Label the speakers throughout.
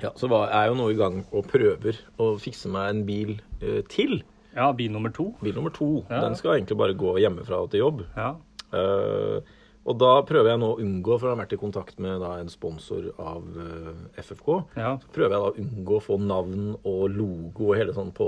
Speaker 1: Ja, så var, er jo nå i gang og prøver å fikse meg en bil eh, til.
Speaker 2: Ja, bil nummer to.
Speaker 1: Bil nummer to.
Speaker 2: Ja.
Speaker 1: Den skal egentlig bare gå hjemmefra og til jobb.
Speaker 2: Ja.
Speaker 1: Eh, og da prøver jeg nå å unngå, for jeg har vært i kontakt med da, en sponsor av eh, FFK.
Speaker 2: Ja.
Speaker 1: Så prøver jeg da å unngå å få navn og logo og hele sånn på,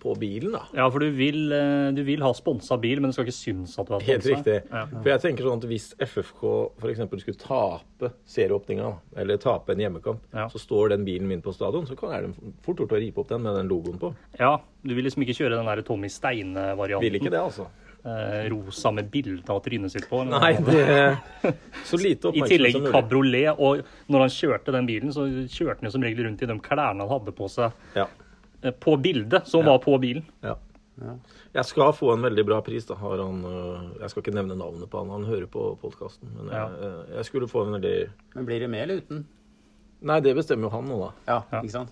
Speaker 1: på bilen, da.
Speaker 2: Ja, for du vil, eh, du vil ha sponsa bil, men du skal ikke synes at du har sponsa.
Speaker 1: Helt riktig.
Speaker 2: Sånn. Ja.
Speaker 1: For jeg tenker sånn at hvis FFK f.eks. skulle tape serieåpninga, da, eller tape en hjemmekamp,
Speaker 2: Ja.
Speaker 1: så står den bilen min på stadion, så kan jeg den fort gjort å ripe opp den med den logoen på.
Speaker 2: ja, du vil liksom ikke kjøre den der Tommy Steine-varianten.
Speaker 1: Vil ikke det, altså.
Speaker 2: Eh, rosa med bilde av trynet sitt på. eller
Speaker 1: Nei,
Speaker 2: noe.
Speaker 1: det Så lite
Speaker 2: I
Speaker 1: oppmerksomhet
Speaker 2: tillegg
Speaker 1: som mulig.
Speaker 2: kabriolet. Og når han kjørte den bilen, så kjørte han jo som regel rundt i de klærne han hadde på seg
Speaker 1: Ja.
Speaker 2: eh, på bildet, som var på bilen.
Speaker 1: Ja. Jeg skal få en veldig bra pris. da har han, øh, Jeg skal ikke nevne navnet på han, han hører på podkasten. Men jeg,
Speaker 2: Ja.
Speaker 1: øh, jeg skulle få en veldig
Speaker 3: Men blir det med eller uten?
Speaker 1: Nei, det bestemmer jo han nå, da.
Speaker 3: Ja,
Speaker 2: Ja.
Speaker 3: ikke sant?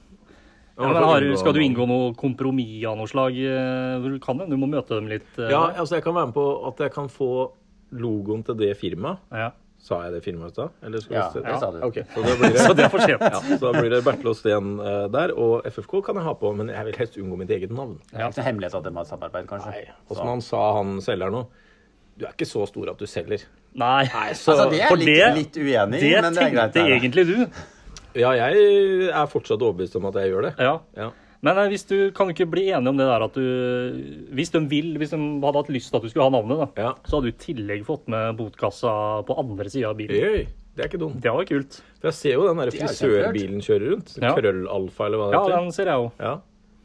Speaker 2: Ja, men har, du- skal du inngå noe kompromiss av noe slag? eh, Du kan det, du må møte dem litt. eh,
Speaker 1: Ja, altså jeg kan være med på at jeg kan få logoen til det firmaet.
Speaker 2: ja.
Speaker 1: Sa jeg det firmaet i stad? Eller skal
Speaker 3: Ja,
Speaker 1: vi se-
Speaker 3: det sa du.
Speaker 1: Ok, så da blir det,
Speaker 2: Så det er for sent.
Speaker 1: ja, så da blir det Bertil og Steen øh, der. Og FFK kan jeg ha på, men jeg vil helst unngå mitt eget navn.
Speaker 3: Det er ikke så hemmelighet at de har et samarbeid, kanskje.
Speaker 1: Nei, Og
Speaker 3: Så-
Speaker 1: som han sa, han selger nå Du er ikke så stor at du selger.
Speaker 2: Nei.
Speaker 1: så-
Speaker 3: altså, det er
Speaker 2: for
Speaker 3: litt,
Speaker 2: det-
Speaker 3: litt uenig, i,
Speaker 2: Det
Speaker 3: men det er greit.
Speaker 2: tenkte
Speaker 3: det er det.
Speaker 2: egentlig du.
Speaker 1: Ja, jeg er fortsatt overbevist om at jeg gjør det.
Speaker 2: Ja.
Speaker 1: Ja.
Speaker 2: Men eh, hvis du kan du ikke bli enig om det der at du Hvis de vil, hvis de hadde hatt lyst til at du skulle ha navnet, da,
Speaker 1: Ja.
Speaker 2: så hadde du i tillegg fått med botkassa på andre sida av bilen.
Speaker 1: Oi, det er ikke dumt.
Speaker 2: Det var kult.
Speaker 1: For jeg ser jo den der
Speaker 3: Det er
Speaker 1: frisørbilen kjører rundt.
Speaker 2: Ja.
Speaker 1: Krøllalfa, eller hva det
Speaker 2: Ja,
Speaker 1: heter.
Speaker 2: den ser jeg òg.
Speaker 1: Ja.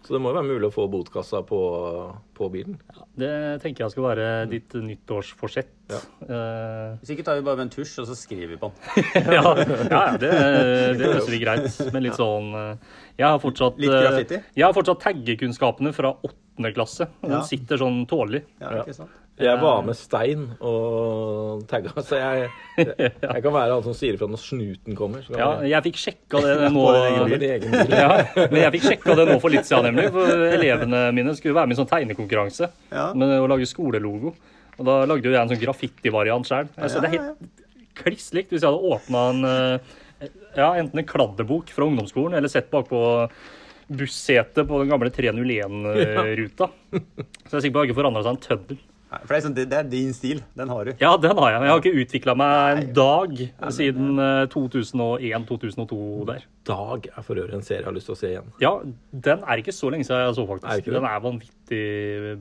Speaker 1: Så det må jo være mulig å få botkassa på, på bilen.
Speaker 2: Det tenker jeg skal være ditt nyttårsforsett. Ja,
Speaker 3: Hvis ikke tar vi bare med en tusj, og så skriver vi på den.
Speaker 2: ja, ja det, det løser vi greit. Men litt sånn eh, Jeg har fortsatt
Speaker 3: Litt graffiti?
Speaker 2: eh, Jeg har fortsatt taggekunnskapene fra åttende klasse.
Speaker 3: Ja.
Speaker 2: Den sitter sånn tålelig.
Speaker 3: Ja, ikke sant?
Speaker 1: Jeg var med stein og tagga, så jeg, jeg, jeg kan være han som sier ifra når snuten kommer. Så kan
Speaker 2: Ja,
Speaker 1: jeg,
Speaker 2: jeg fikk sjekka det nå.
Speaker 3: Bare egen
Speaker 1: ha min egen bil.
Speaker 2: Ja, men jeg fikk sjekka det nå for litt siden, nemlig. For elevene mine skulle være med i sånn tegnekonkurranse
Speaker 3: Ja.
Speaker 2: med å lage skolelogo. Og da lagde jo jeg en sånn graffitivariant sjøl. Altså, det er helt kliss likt hvis jeg hadde åpna en eh, ja, enten en kladdebok fra ungdomsskolen eller sett bakpå bussetet på den gamle 301-ruta. Så jeg er sikker på at jeg ikke forandra seg en tøddel.
Speaker 3: Nei, for det er, sånn, det, det er din stil. Den har du.
Speaker 2: Ja, den har jeg. men Jeg har ikke utvikla meg en dag siden eh, 2001-2002 der.
Speaker 1: Dag er for øvrig en serie jeg har lyst til å se igjen.
Speaker 2: Ja, den er ikke så lenge siden jeg så, faktisk.
Speaker 1: Er ikke det?
Speaker 2: den er vanvittig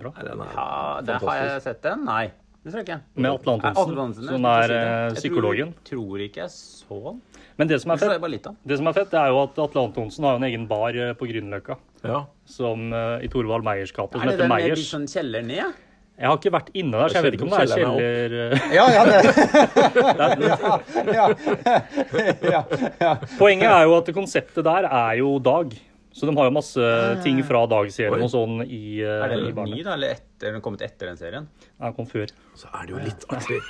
Speaker 2: bra.
Speaker 1: Nei, den er
Speaker 3: Ja, det har jeg sett den. Nei, det tror jeg ikke.
Speaker 2: Med Atle
Speaker 3: Nei, Atle
Speaker 2: Antonsen,
Speaker 3: Antonsen,
Speaker 2: som
Speaker 3: jeg
Speaker 2: er
Speaker 3: skulle
Speaker 2: eh,
Speaker 3: si det. Jeg
Speaker 2: psykologen.
Speaker 3: Tror, tror ikke jeg så han.
Speaker 2: Men det som er
Speaker 3: Så er det
Speaker 2: fett,
Speaker 3: bare litt av.
Speaker 2: det som er fett, det er jo at Atle Antonsen har jo en egen bar eh, på Grünerløkka.
Speaker 1: Ja.
Speaker 2: Som eh, i Thorvald Meyers gate, som
Speaker 3: Er det
Speaker 2: heter
Speaker 3: den med litt
Speaker 2: Meyers.
Speaker 3: sånn kjeller ned?
Speaker 2: Jeg har ikke vært inne der, så jeg vet ikke om det er
Speaker 1: Kjelleren
Speaker 2: kjeller eh,
Speaker 3: Ja, ja, det. ja,
Speaker 2: Poenget er jo at konseptet der er jo Dag. Så de har jo masse
Speaker 3: Ah.
Speaker 2: ting fra Dag-serien og sånn i, eh,
Speaker 3: Er den
Speaker 2: i
Speaker 3: litt ny,
Speaker 2: barnet.
Speaker 3: da? Eller etter, den kommet etter den serien?
Speaker 2: Ja, Den kom før.
Speaker 1: Så er det jo litt artig.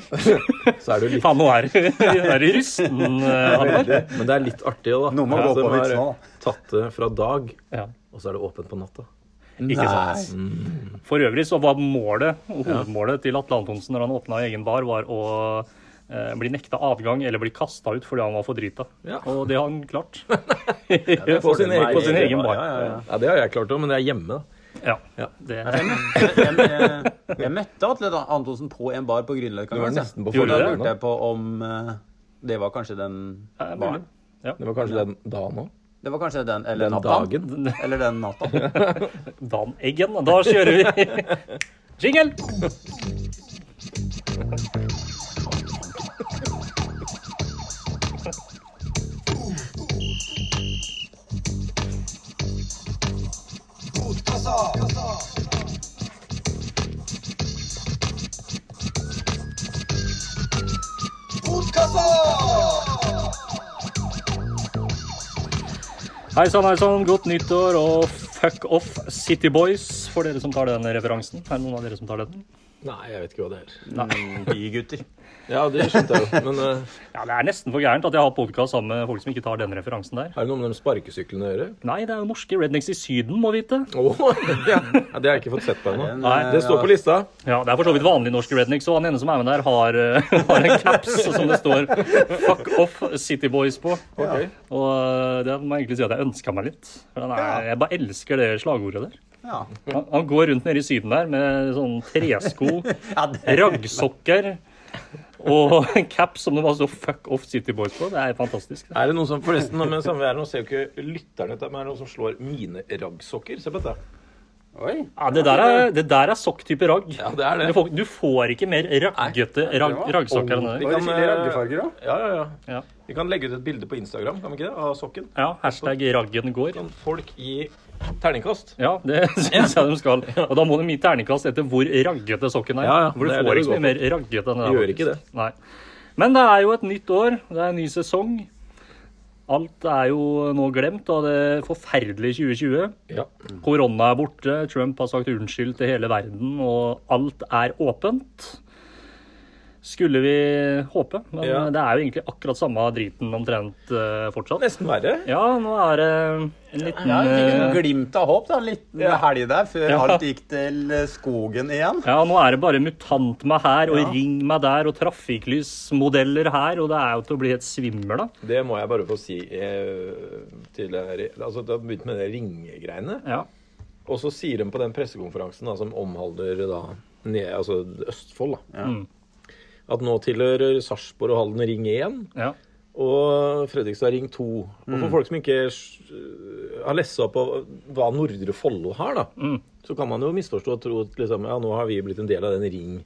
Speaker 1: Så er det jo litt
Speaker 2: Faen, nå er nå er det rusten. eh, Halvard.
Speaker 1: Men det er litt artig òg, da.
Speaker 3: Noen må gå
Speaker 1: De
Speaker 3: på
Speaker 1: har
Speaker 3: vitsen også,
Speaker 1: Tatt det fra dag,
Speaker 2: Ja,
Speaker 1: og så er det åpent på natta.
Speaker 2: ikke sant. For øvrig så var målet, hovedmålet til Atle Antonsen når han åpna egen bar, var å eh, bli nekta adgang eller bli kasta ut fordi han var for drita.
Speaker 1: Ja.
Speaker 2: Og det har han klart.
Speaker 1: På sin, egen,
Speaker 2: på sin
Speaker 1: egen
Speaker 2: egen bar.
Speaker 3: Ja, ja, ja.
Speaker 1: Ja, det har jeg klart òg, men det er hjemme. da.
Speaker 2: Ja.
Speaker 1: Ja.
Speaker 2: Det,
Speaker 3: Jeg, jeg, jeg møtte Atle Antonsen på en bar på Grünerløkka.
Speaker 1: Du var
Speaker 3: en gang,
Speaker 1: nesten på
Speaker 3: så. Og Da
Speaker 2: forrige
Speaker 1: gang, da.
Speaker 3: lurte jeg på om eh, det var kanskje den
Speaker 2: er mulig.
Speaker 3: baren.
Speaker 1: Det var kanskje den dagen òg.
Speaker 3: Det var kanskje den, eller
Speaker 1: Den
Speaker 3: natta.
Speaker 1: dagen.
Speaker 3: Eller den natta.
Speaker 2: Dan Eggen, da kjører vi. Jingle! Hei sann, hei sann. Godt nyttår og fuck off City Boys, for dere som tar den referansen. Er det noen av dere som tar den?
Speaker 1: Nei, jeg vet ikke hva det er.
Speaker 3: Mm, Bygutter.
Speaker 1: Ja, det skjønte jeg jo. Men eh,
Speaker 2: Ja, Det er nesten for gærent at jeg har podkast sammen med folk som ikke tar den referansen der.
Speaker 1: er det noe med de sparkesyklene å gjøre?
Speaker 2: Nei, det er jo norske rednecks i Syden, må vite.
Speaker 1: Åh, ja. ja, Det har jeg ikke fått sett på ennå.
Speaker 3: Den,
Speaker 2: Nei,
Speaker 3: eh,
Speaker 1: Det står på lista.
Speaker 2: Ja, Det er for så vidt vanlige norske rednecks, og han ene som er med der, har, eh, har en caps som det står 'Fuck off City Boys' på.
Speaker 1: Ok.
Speaker 2: Og eh, det må jeg egentlig si at jeg ønska meg litt. For han er, Jeg bare elsker det slagordet der.
Speaker 3: Ja.
Speaker 2: Han, han går rundt nede i Syden der med sånn tresko,
Speaker 3: Ja, det,
Speaker 2: raggsokker og en caps som det bare står 'Fuck off City Boys' på. Det er fantastisk.
Speaker 1: Er det noen som forresten, men samvær, nå ser jo ikke lytterne dette, men er det noen som slår mine raggsokker? Se på dette.
Speaker 3: oi.
Speaker 2: Ja, det der er, det der er sokktype ragg.
Speaker 1: Ja, det er
Speaker 2: Du
Speaker 1: det.
Speaker 2: får, du får ikke mer raggete rag,
Speaker 3: var
Speaker 2: raggsokker enn det.
Speaker 1: ordentlig.
Speaker 2: der.
Speaker 1: Vi kan,
Speaker 4: Var det skikkelig
Speaker 1: eh,
Speaker 4: raggefarger, da?
Speaker 1: Ja, ja, ja.
Speaker 2: Ja.
Speaker 1: Vi kan legge ut et bilde på Instagram, kan vi ikke det? Av sokken.
Speaker 2: ja, hashtag raggen går.
Speaker 1: Kan folk gi terningkast?
Speaker 2: Ja, det syns jeg de skal. Og da må de gi terningkast etter hvor raggete sokken er.
Speaker 1: Ja, ja,
Speaker 2: For du
Speaker 1: det er det
Speaker 2: får
Speaker 1: vi
Speaker 2: ikke så
Speaker 1: går
Speaker 2: mye mer raggete enn det.
Speaker 1: Gjør
Speaker 2: der,
Speaker 1: ikke det.
Speaker 2: faktisk. Nei. Men det er jo et nytt år, det er en ny sesong. Alt er jo nå glemt av det forferdelige 2020.
Speaker 1: Ja.
Speaker 2: Korona er borte, Trump har sagt unnskyld til hele verden, og alt er åpent. Skulle vi håpe, men
Speaker 1: Ja.
Speaker 2: det er jo egentlig akkurat samme driten omtrent eh, fortsatt.
Speaker 1: Nesten verre.
Speaker 2: Ja, nå er det en liten
Speaker 3: Ja, jeg fikk
Speaker 2: eh,
Speaker 3: en glimt av håp, da. En liten helg der før alt gikk til eh, skogen igjen.
Speaker 2: Ja, nå er det bare mutant meg her, og ring meg der, og trafikklysmodeller her, og det er jo til å bli helt svimmel, da.
Speaker 1: Det må jeg bare få si eh, til dere. Altså, det har begynt med de ringegreiene.
Speaker 2: Ja.
Speaker 1: Og så sier de på den pressekonferansen da, som omhandler da, ned, altså, Østfold, da,
Speaker 2: Mm.
Speaker 1: at nå tilhører Sarpsborg og Halden Ring 1
Speaker 2: ja.
Speaker 1: og Fredrikstad Ring 2. Og
Speaker 2: Mm.
Speaker 1: for folk som ikke øh, har lest opp av hva Nordre Follo har, da,
Speaker 2: Mm.
Speaker 1: så kan man jo misforstå og tro at liksom, ja, nå har vi blitt en del av den Ring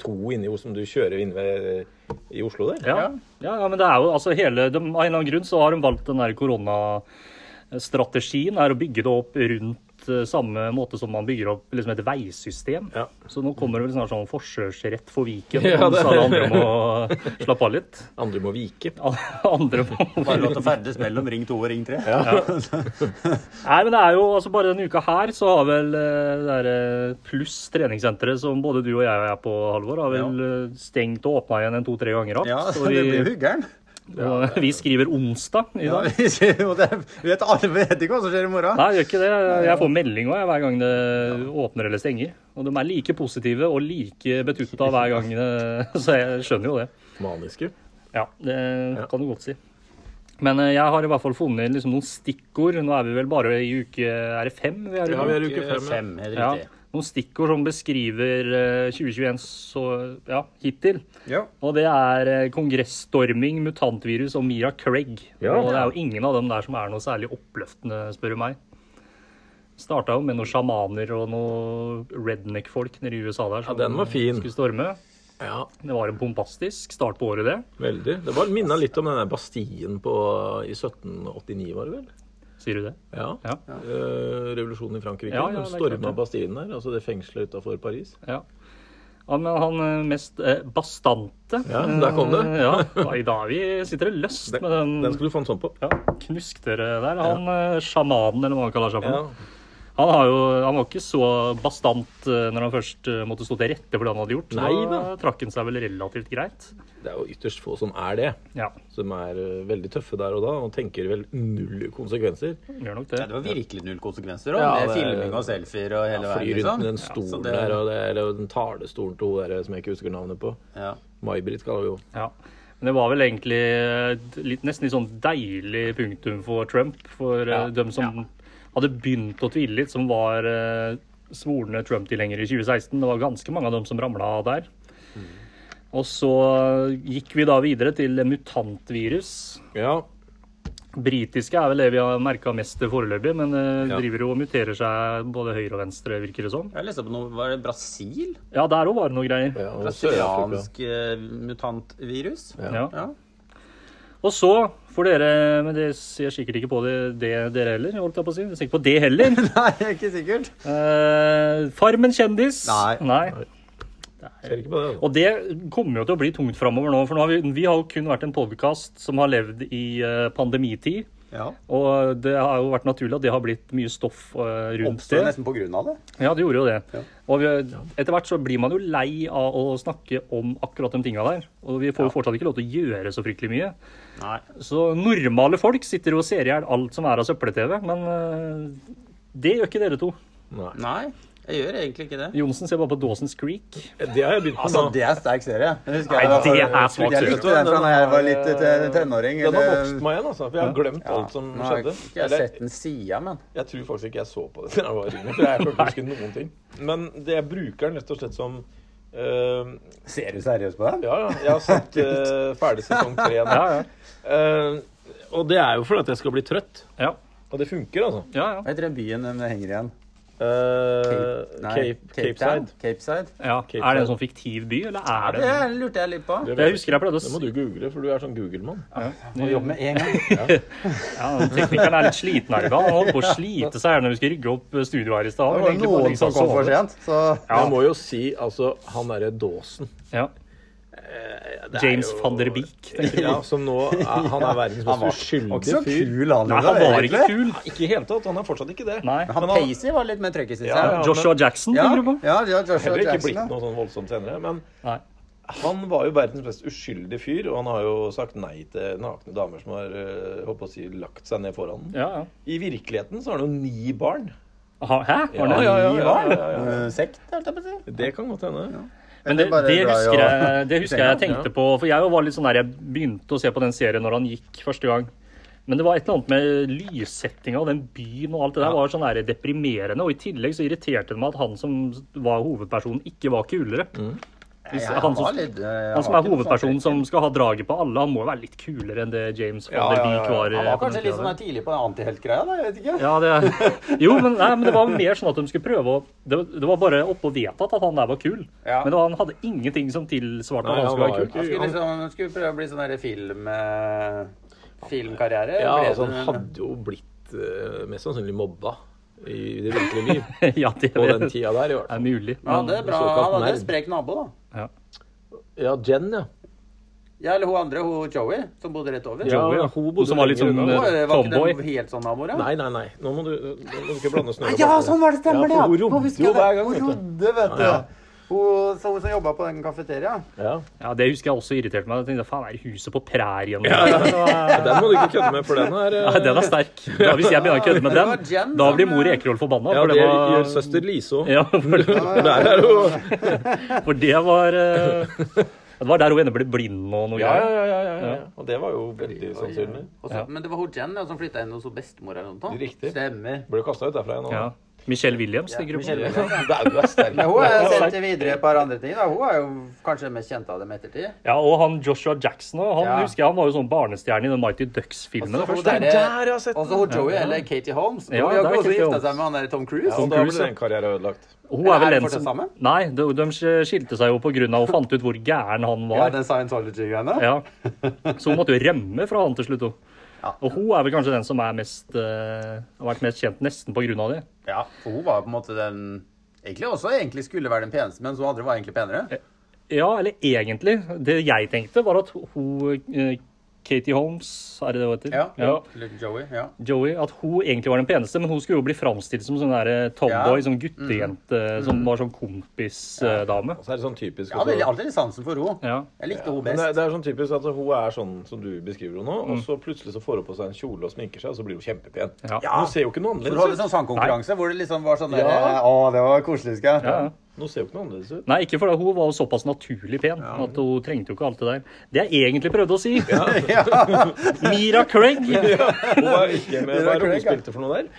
Speaker 1: 2 inni, som du kjører inne ved, eh, i Oslo der.
Speaker 2: Ja. Ja, ja, men det er jo altså hele de, Av en eller annen grunn så har de valgt den der koronastrategien. Er å bygge det opp rundt eh, samme måte som man bygger opp liksom et veisystem.
Speaker 1: Ja.
Speaker 2: Så nå kommer det vel snart sånn forsørsrett for Viken.
Speaker 1: Ja, det-
Speaker 2: Så alle andre må slappe av litt.
Speaker 1: Andre må vike.
Speaker 2: Andre må
Speaker 3: Bare lov til å ferdes mellom Ring 2 og Ring 3.
Speaker 2: Nei, men det er jo altså bare denne uka her så har vel eh, det derre Pluss treningssenteret som både du og jeg er på, Halvor, har vel eh, stengt og åpna igjen en to-tre ganger
Speaker 3: Ja,
Speaker 2: att.
Speaker 3: så
Speaker 2: og
Speaker 3: det blir
Speaker 2: vi,
Speaker 3: huggeren.
Speaker 2: og vi skriver onsdag i
Speaker 3: Ja,
Speaker 2: dag.
Speaker 3: vi ser jo det. Vi vet alle vi vet ikke hva som skjer i morgen.
Speaker 2: Nei, jeg gjør ikke det. Jeg får melding også, jeg, hver gang det åpner eller stenger. Og de er like positive og like betutta hver gang, det- så jeg skjønner jo det.
Speaker 1: Maniske.
Speaker 2: Ja, det kan du godt si. Men eh, jeg har i hvert fall funnet liksom noen stikkord. Nå er vi vel bare i uke Er det fem? Vi er i
Speaker 1: Ja,
Speaker 2: nå?
Speaker 1: vi er i uke fem. ja.
Speaker 3: Fem, helt
Speaker 2: Ja,
Speaker 3: riktig.
Speaker 2: noen stikkord som beskriver eh, 2021 så, ja, hittil.
Speaker 3: Ja.
Speaker 2: Og det er eh, kongressstorming, mutantvirus og Mira Craig.
Speaker 1: Ja.
Speaker 2: Og det er jo ingen av dem der som er noe særlig oppløftende, spør du meg. Starta jo med noen sjamaner og noen redneck-folk nede i USA der
Speaker 1: Ja, den var fin.
Speaker 2: skulle storme.
Speaker 1: Ja,
Speaker 2: Det var en bombastisk start på året, det.
Speaker 1: veldig. Det var minna litt om den der Bastien på, i 1789, var det vel?
Speaker 2: Sier du det?
Speaker 1: Ja.
Speaker 2: Ja.
Speaker 1: Eh, revolusjonen i Frankrike.
Speaker 2: Ja,
Speaker 1: de
Speaker 2: ja, det er klart
Speaker 1: storma
Speaker 2: det.
Speaker 1: Bastien der, altså det fengselet utafor Paris.
Speaker 2: Ja. Ja, men han eh, mest eh, bastante
Speaker 1: Ja, der kom det.
Speaker 2: eh, Ja, da- i dag vi sitter det løst
Speaker 1: Den,
Speaker 2: med den.
Speaker 1: den skulle du få en sånn på.
Speaker 2: Ja, knusk dere der. Han eh, sjamanen, eller hva han kaller seg for.
Speaker 1: Ja.
Speaker 2: noe. Han, har jo, han var ikke så bastant eh, når han først eh, måtte stå til rette for det han hadde gjort.
Speaker 1: Nei
Speaker 2: da
Speaker 1: da.
Speaker 2: trakk han seg vel relativt greit.
Speaker 1: Det er jo ytterst få som er det.
Speaker 2: Ja,
Speaker 1: som er eh, veldig tøffe der og da, og tenker vel null konsekvenser.
Speaker 2: gjør nok
Speaker 3: Ja,
Speaker 2: det.
Speaker 3: det var virkelig null konsekvenser. Og
Speaker 1: Ja,
Speaker 3: med
Speaker 1: det-
Speaker 3: filming og selfier og hele veien.
Speaker 1: Flyr
Speaker 2: sånn.
Speaker 1: rundt med den
Speaker 3: liksom. Ja, så
Speaker 1: stolen
Speaker 3: det-
Speaker 1: der, og det, eller den talestolen til hun der som jeg ikke husker navnet på.
Speaker 3: Ja.
Speaker 1: May-Britt kaller vi jo.
Speaker 2: Ja. Men det var vel egentlig eh, litt, nesten litt sånn deilig punktum for Trump. For eh, dem som hadde begynt å tvile litt, som var eh, svorne Trump-tilhengere i 2016. Det var ganske mange av dem som ramla av der. Og så gikk vi da videre til mutantvirus.
Speaker 1: Ja,
Speaker 2: Britiske er vel det vi har merka mest til foreløpig, men eh,
Speaker 1: Ja.
Speaker 2: driver jo og muterer seg både høyre og venstre, virker det som.
Speaker 3: Jeg leste på noe Var det Brasil?
Speaker 2: Ja, der òg var det noe greier.
Speaker 1: ja og Sør-Afrika.
Speaker 3: Brasiliansk eh, mutantvirus?
Speaker 1: Ja.
Speaker 2: Ja.
Speaker 3: Ja.
Speaker 2: Og så får dere Men dere ser sikkert ikke på det, det dere heller. holdt jeg på å si. Dere ser ikke på det heller.
Speaker 3: Nei, det er ikke sikkert.
Speaker 2: Eh, farmen kjendis.
Speaker 3: Nei.
Speaker 1: Ser ikke på det. da.
Speaker 2: Og det kommer jo til å bli tungt framover nå. For nå har vi, vi har jo kun vært en podkast som har levd i eh, pandemitid.
Speaker 3: Ja.
Speaker 2: Og det har jo vært naturlig at det har blitt mye stoff eh, rundt
Speaker 3: Oppstår
Speaker 2: det.
Speaker 3: nesten på grunn av det.
Speaker 2: Ja, det gjorde jo det.
Speaker 3: Ja.
Speaker 2: Og vi, etter hvert så blir man jo lei av å snakke om akkurat de tinga der. Og vi får jo fortsatt ikke lov til å gjøre så fryktelig mye.
Speaker 3: Nei.
Speaker 2: Så normale folk sitter jo og ser i hjel alt som er av søppel-TV, men eh, det gjør ikke dere to.
Speaker 1: Nei.
Speaker 3: Nei, jeg gjør egentlig ikke det.
Speaker 2: Jonsen ser bare på Dawson's Creek.
Speaker 1: Det har jeg begynt med
Speaker 3: Altså,
Speaker 1: nå.
Speaker 3: det er sterk serie. Jeg husker
Speaker 2: Nei,
Speaker 3: jeg-
Speaker 2: det er svak
Speaker 3: Jeg
Speaker 2: serie.
Speaker 3: likte den fra da jeg var litt eh, tenåring.
Speaker 1: Den har
Speaker 3: eller-
Speaker 1: vokst meg igjen, altså. For jeg har glemt alt som
Speaker 3: Nå har jeg
Speaker 1: skjedde.
Speaker 3: ikke jeg
Speaker 1: Eller,
Speaker 3: sett den sida, men
Speaker 1: jeg tror faktisk ikke jeg så på det da jeg var yngre. For jeg kan ikke huske noen ting. Men det jeg bruker den rett og slett som eh,
Speaker 3: Ser du seriøst på den?
Speaker 1: Ja, ja. Jeg har sett eh, ferdig sesong tre nå.
Speaker 2: Ja, ja.
Speaker 1: Eh, og det er jo fordi at jeg skal bli trøtt.
Speaker 2: Ja,
Speaker 1: Og det funker, altså.
Speaker 2: ja. ja.
Speaker 3: Hva heter den byen den henger igjen?
Speaker 1: Eh,
Speaker 3: Nei,
Speaker 1: Cape, Cape
Speaker 3: Town?
Speaker 1: Side.
Speaker 3: Cape Side?
Speaker 2: ja.
Speaker 1: Cape
Speaker 2: Er det
Speaker 1: Town.
Speaker 2: en sånn fiktiv by, eller er det
Speaker 3: Det lurte jeg litt på.
Speaker 1: Det
Speaker 2: Jeg husker jeg pleide å
Speaker 1: Det må du google, for du er sånn Google-mann.
Speaker 3: Må jobbe med en gang.
Speaker 2: Ja, Teknikeren er litt sliten her i dag. Han holdt på å slite seg her når vi skulle rygge opp studioet her i stad.
Speaker 3: Det
Speaker 2: Men
Speaker 3: var
Speaker 2: egentlig bare liksom
Speaker 3: noen
Speaker 2: ligge
Speaker 3: som
Speaker 2: og
Speaker 3: kom
Speaker 2: sove.
Speaker 3: for sent, så
Speaker 2: Ja.
Speaker 1: Jeg må jo si altså han derre Dawson.
Speaker 2: Ja.
Speaker 3: Eh,
Speaker 1: Det er
Speaker 2: James
Speaker 1: jo-
Speaker 2: van der Beek. tenker jeg.
Speaker 1: Ja, som nå er, Han er verdens
Speaker 3: Han
Speaker 1: mest
Speaker 3: var ikke så
Speaker 1: uskyldige fyr.
Speaker 3: kul, han.
Speaker 2: Nei,
Speaker 3: Ola,
Speaker 2: han var ikke
Speaker 3: egentlig.
Speaker 2: kul.
Speaker 1: Ikke i hele tatt. Han er fortsatt ikke det.
Speaker 2: Nei.
Speaker 3: Men Han
Speaker 1: Men han-
Speaker 3: Pacey var litt mer trøkk i seg.
Speaker 1: Ja, ja.
Speaker 2: Joshua Jackson,
Speaker 3: Ja,
Speaker 2: tenker du på?
Speaker 3: ja, ja, Joshua
Speaker 1: Heller ikke blitt
Speaker 3: Jackson. ja.
Speaker 1: noe sånn voldsomt senere. Men
Speaker 2: Nei.
Speaker 1: han var jo verdens mest uskyldige fyr, og han har jo sagt nei til nakne damer som har eh, håper å si, lagt seg ned foran ham.
Speaker 2: Ja, ja.
Speaker 1: I virkeligheten så har han jo ni barn.
Speaker 2: Aha, Hæ? Var det?
Speaker 1: Ja, ja,
Speaker 3: Ni
Speaker 1: ja,
Speaker 3: barn?
Speaker 1: ja, ja, ja.
Speaker 3: Eh, Sekt, holdt jeg på å si.
Speaker 1: Det kan godt hende.
Speaker 2: Men det,
Speaker 3: Bare
Speaker 2: det,
Speaker 3: dra i
Speaker 2: husker
Speaker 3: og-
Speaker 2: jeg, det husker jeg jeg
Speaker 1: Ja.
Speaker 2: tenkte på. For jeg var litt sånn der, jeg begynte å se på den serien når han gikk første gang. Men det var et eller annet med lyssettinga og den byen og alt det der var sånn der deprimerende. Og i tillegg så irriterte det meg at han som var hovedpersonen, ikke var kulere. Hvis,
Speaker 3: Mm. Ja,
Speaker 2: han,
Speaker 3: var
Speaker 2: som,
Speaker 3: litt, eh,
Speaker 2: han som
Speaker 3: var
Speaker 2: er
Speaker 3: ikke noe
Speaker 2: hovedpersonen
Speaker 3: sånn-
Speaker 2: som skal ha draget på alle, han må jo være litt kulere enn det James van
Speaker 1: Ja,
Speaker 2: der
Speaker 1: ja, ja,
Speaker 2: Beek
Speaker 1: ja.
Speaker 2: var.
Speaker 3: Han
Speaker 2: eh,
Speaker 3: var
Speaker 2: på den
Speaker 3: kanskje
Speaker 2: tiden
Speaker 3: litt sånn
Speaker 2: der.
Speaker 3: der tidlig på antihelt-greia, da. Jeg vet ikke.
Speaker 2: Ja, det, jo, men, nei, men det var mer sånn at de skulle prøve å Det, var- det var bare oppe og vedtatt at han der var kul. Men
Speaker 3: Ja.
Speaker 2: det var, han hadde ingenting som tilsvarte at
Speaker 1: Nei,
Speaker 2: han
Speaker 1: han
Speaker 2: skulle
Speaker 1: var
Speaker 2: være
Speaker 1: jo
Speaker 2: kul.
Speaker 1: ikke-
Speaker 3: Han skulle, liksom, han skulle prøve å bli sånn der film... eh, Filmkarriere?
Speaker 1: Ja,
Speaker 3: ble
Speaker 1: altså,
Speaker 3: det-
Speaker 1: han hadde jo blitt eh, mest sannsynlig mobba i det virkelige liv
Speaker 2: ja, det
Speaker 1: på den
Speaker 2: vet-
Speaker 1: tida der, i hvert
Speaker 2: er
Speaker 1: fall.
Speaker 2: mulig.
Speaker 3: Men han hadde
Speaker 2: Men,
Speaker 3: bra,
Speaker 1: såkalt
Speaker 3: han hadde
Speaker 1: nerd.
Speaker 3: en sprek nabo, da.
Speaker 2: ja.
Speaker 1: Ja, Jen, ja.
Speaker 3: Ja, eller hun andre, hun Joey, som bodde rett over.
Speaker 2: Joey, ja.
Speaker 1: hun bodde
Speaker 2: Hun som var litt
Speaker 1: lenger
Speaker 2: sånn
Speaker 1: unna.
Speaker 2: eh,
Speaker 3: Var ikke
Speaker 2: tomboy.
Speaker 3: den helt sånn naboer,
Speaker 1: Nei, nei, nei. Nå må du, nå må du ikke blande snø
Speaker 3: Ja, sånn var det, stemmer det!
Speaker 1: Ja,
Speaker 3: Ja,
Speaker 1: for hun
Speaker 3: Nå
Speaker 1: rodde
Speaker 3: husker
Speaker 1: jo
Speaker 3: jeg det.
Speaker 1: hver gang,
Speaker 3: Hun
Speaker 1: vet du.
Speaker 3: rodde, vet du.
Speaker 1: Ja, ja.
Speaker 3: Hun så hun som jobba på den kafeteriaen.
Speaker 1: Ja.
Speaker 2: Ja, det husker jeg også irriterte meg. Jeg tenkte, faen, er det huset på prærien?
Speaker 1: Den må du ikke kødde med, for den er eh,
Speaker 2: Ja, den er sterk. Da, hvis jeg begynner å kødde med
Speaker 3: Det var
Speaker 2: den,
Speaker 3: Jen
Speaker 2: da
Speaker 3: som- eh,
Speaker 2: blir mor Ekerhol forbanna.
Speaker 1: Ja,
Speaker 2: for
Speaker 1: det
Speaker 2: det var
Speaker 1: gjør søster Lise òg.
Speaker 2: ja, for,
Speaker 1: For der er jo
Speaker 2: for det var eh, Det var der hun ender ble blind og noe
Speaker 1: Ja, ja,
Speaker 2: greier.
Speaker 1: ja. ja, ja, ja. Og det var jo veldig sannsynlig.
Speaker 3: Og så-
Speaker 2: Ja.
Speaker 3: Men det var hun Jen ja, som flytta inn hos hun bestemor eller noe. sånt.
Speaker 1: Riktig.
Speaker 3: Stemmer.
Speaker 1: Ble kasta ut derfra igjen nå.
Speaker 2: Ja. Michelle Williams,
Speaker 3: Ja,
Speaker 2: tenker du på?
Speaker 3: Michelle.
Speaker 1: Dau er sterk.
Speaker 3: Men hun er
Speaker 2: Ja,
Speaker 3: sendt
Speaker 2: sant.
Speaker 3: videre et par andre ting. da. Hun er jo kanskje den mest kjente av dem i ettertid.
Speaker 2: Ja, og han Joshua Jackson også, han
Speaker 3: Ja. Altså,
Speaker 2: husker jeg, han var jo sånn barnestjerne i den Mighty Ducks-filmen.
Speaker 3: Og så-
Speaker 2: først.
Speaker 1: Det er der jeg har sett
Speaker 3: Altså, Og så
Speaker 1: den!
Speaker 3: hun Joey, eller Katie Holmes.
Speaker 2: Ja,
Speaker 3: hun har
Speaker 2: det er
Speaker 3: jo også
Speaker 2: Katie
Speaker 3: gifta
Speaker 2: Holmes.
Speaker 3: seg med han der Tom Cruise.
Speaker 1: Og da ble den karrieren ødelagt.
Speaker 2: Hun er
Speaker 3: Er
Speaker 2: vel
Speaker 3: de
Speaker 2: den
Speaker 3: fortsatt
Speaker 2: som...
Speaker 3: sammen?
Speaker 2: Nei, de, de skilte seg jo på grunn av og fant ut hvor gæren han
Speaker 3: Ja,
Speaker 2: var.
Speaker 3: den Scientology-greiene.
Speaker 2: Ja. Så hun måtte jo rømme fra han til slutt. hun.
Speaker 3: Ja.
Speaker 2: Og hun er vel kanskje den som er mest, eh, har vært mest kjent nesten på grunn av det.
Speaker 3: Ja, for hun var jo på en måte den Egentlig også egentlig skulle være den peneste, mens hun andre var egentlig penere.
Speaker 2: Ja, eller egentlig. Det jeg tenkte var at hun, eh, Katie Holmes, er det det hun heter?
Speaker 3: Ja. Lille Joey, ja.
Speaker 2: Joey, at hun egentlig var den peneste, men hun skulle jo bli framstilt som sånn der eh, tomboy,
Speaker 3: Ja. Mm.
Speaker 2: som guttejente, som var sånn kompisdame.
Speaker 1: Og så er det sånn typisk
Speaker 3: Jeg hadde
Speaker 1: også-
Speaker 3: alltid litt sansen for henne.
Speaker 2: Ja.
Speaker 3: Jeg likte henne
Speaker 1: Men
Speaker 3: best.
Speaker 1: det, er- det er sånn typisk at hun er sånn som du beskriver henne nå, og så plutselig så får hun på seg en kjole og sminker seg, og så blir hun kjempepen.
Speaker 2: Ja.
Speaker 1: Nå ser jo ikke noe
Speaker 3: For hun hadde
Speaker 1: annerledes ut.
Speaker 3: sånn sangkonkurranse hvor det liksom var sånn der,
Speaker 1: Ja.
Speaker 3: Å, det var koselig, skal jeg.
Speaker 2: Ja. ja.
Speaker 1: Nå ser jo ikke noe annerledes ut.
Speaker 2: Nei, ikke fordi hun var jo såpass naturlig pen at hun trengte jo ikke alt det der. Det jeg egentlig prøvde å si. Mira Craig.
Speaker 1: Hun var ikke med. Hva
Speaker 3: Det
Speaker 1: er
Speaker 3: var
Speaker 1: det hun
Speaker 3: Craig, ja.
Speaker 1: spilte for noe der?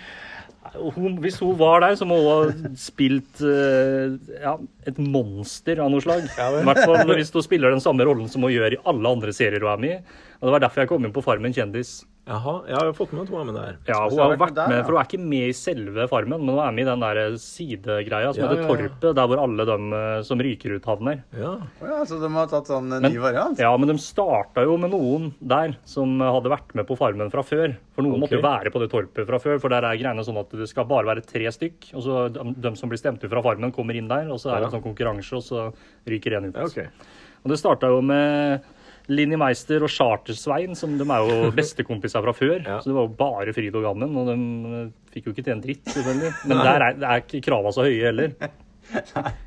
Speaker 2: Hun, hvis hun var der, så må hun ha spilt eh, ja, et monster av noe slag. I hvert fall hvis hun spiller den samme rollen som hun gjør i alle andre serier hun er med i. Og Det var derfor jeg kom inn på Farmen kjendis.
Speaker 1: Jaha, jeg har jo fått med at hun er med der.
Speaker 2: Ja, Hun
Speaker 3: har
Speaker 2: har
Speaker 3: vært
Speaker 2: vært
Speaker 3: med der,
Speaker 2: med,
Speaker 3: ja.
Speaker 2: for hun er ikke med i selve Farmen, men hun er med i den der sidegreia som
Speaker 1: Ja,
Speaker 2: heter
Speaker 1: ja, ja.
Speaker 2: Torpet, der hvor alle de eh, som ryker ut, havner.
Speaker 1: Ja.
Speaker 3: Å ja, så de har tatt sånn en ny variant?
Speaker 2: Ja, men de starta jo med noen der som hadde vært med på Farmen fra før. For noen måtte jo være på det torpet fra før, for der er greiene sånn at det skal bare være tre stykk. Og så de, de som blir stemt ut fra Farmen, kommer inn der, og så er det en sånn konkurranse, og så ryker en ut.
Speaker 1: ja, ok.
Speaker 2: Og det starta jo med Linni Meister og Chartersvein, som de er jo bestekompiser fra før.
Speaker 1: Ja.
Speaker 2: Så det var jo bare fryd og gammen, og de eh, fikk jo ikke til en dritt, selvfølgelig. Men der er, er ikke krava så høye heller.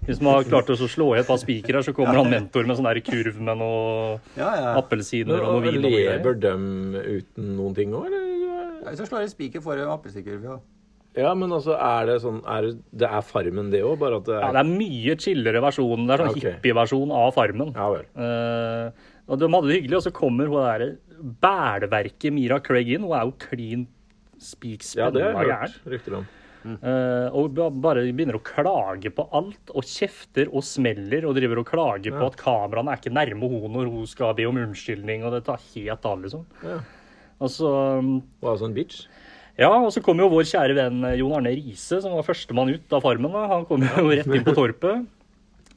Speaker 2: Hvis man har klart å så slå i et par spikere, så kommer han mentor med sånn der kurv med noe
Speaker 3: Ja, ja.
Speaker 2: appelsiner og noe
Speaker 1: Men
Speaker 2: vin. og noe greier.
Speaker 1: Lever dem uten noen ting òg, eller?
Speaker 3: Hvis du slår i spiker, får du appelsikurv. Ja.
Speaker 1: Ja, men altså, er det sånn er det, det er Farmen, det òg, bare at det
Speaker 2: Ja,
Speaker 1: er
Speaker 2: det er mye chillere versjon. Det er sånn
Speaker 1: Ok.
Speaker 2: hippieversjon av Farmen.
Speaker 1: Ja vel.
Speaker 2: Eh, og de hadde det hyggelig, og så kommer hun der bælverket Mira Craig inn. Hun er jo klin spik
Speaker 1: Ja, det
Speaker 2: spenna
Speaker 1: har jeg
Speaker 2: gæren.
Speaker 1: hørt rykter om.
Speaker 2: Eh, og ba- bare begynner å klage på alt, og kjefter og smeller, og driver og klager på at kameraene er ikke nærme henne når hun skal be om unnskyldning, og det tar helt av, liksom.
Speaker 1: Ja.
Speaker 2: Og så, mm,
Speaker 1: Hun er sånn bitch.
Speaker 2: ja, og så kommer jo vår kjære venn eh, Jon Arne Riise, som var førstemann ut av Farmen. Da. Han kom jo rett inn på torpet.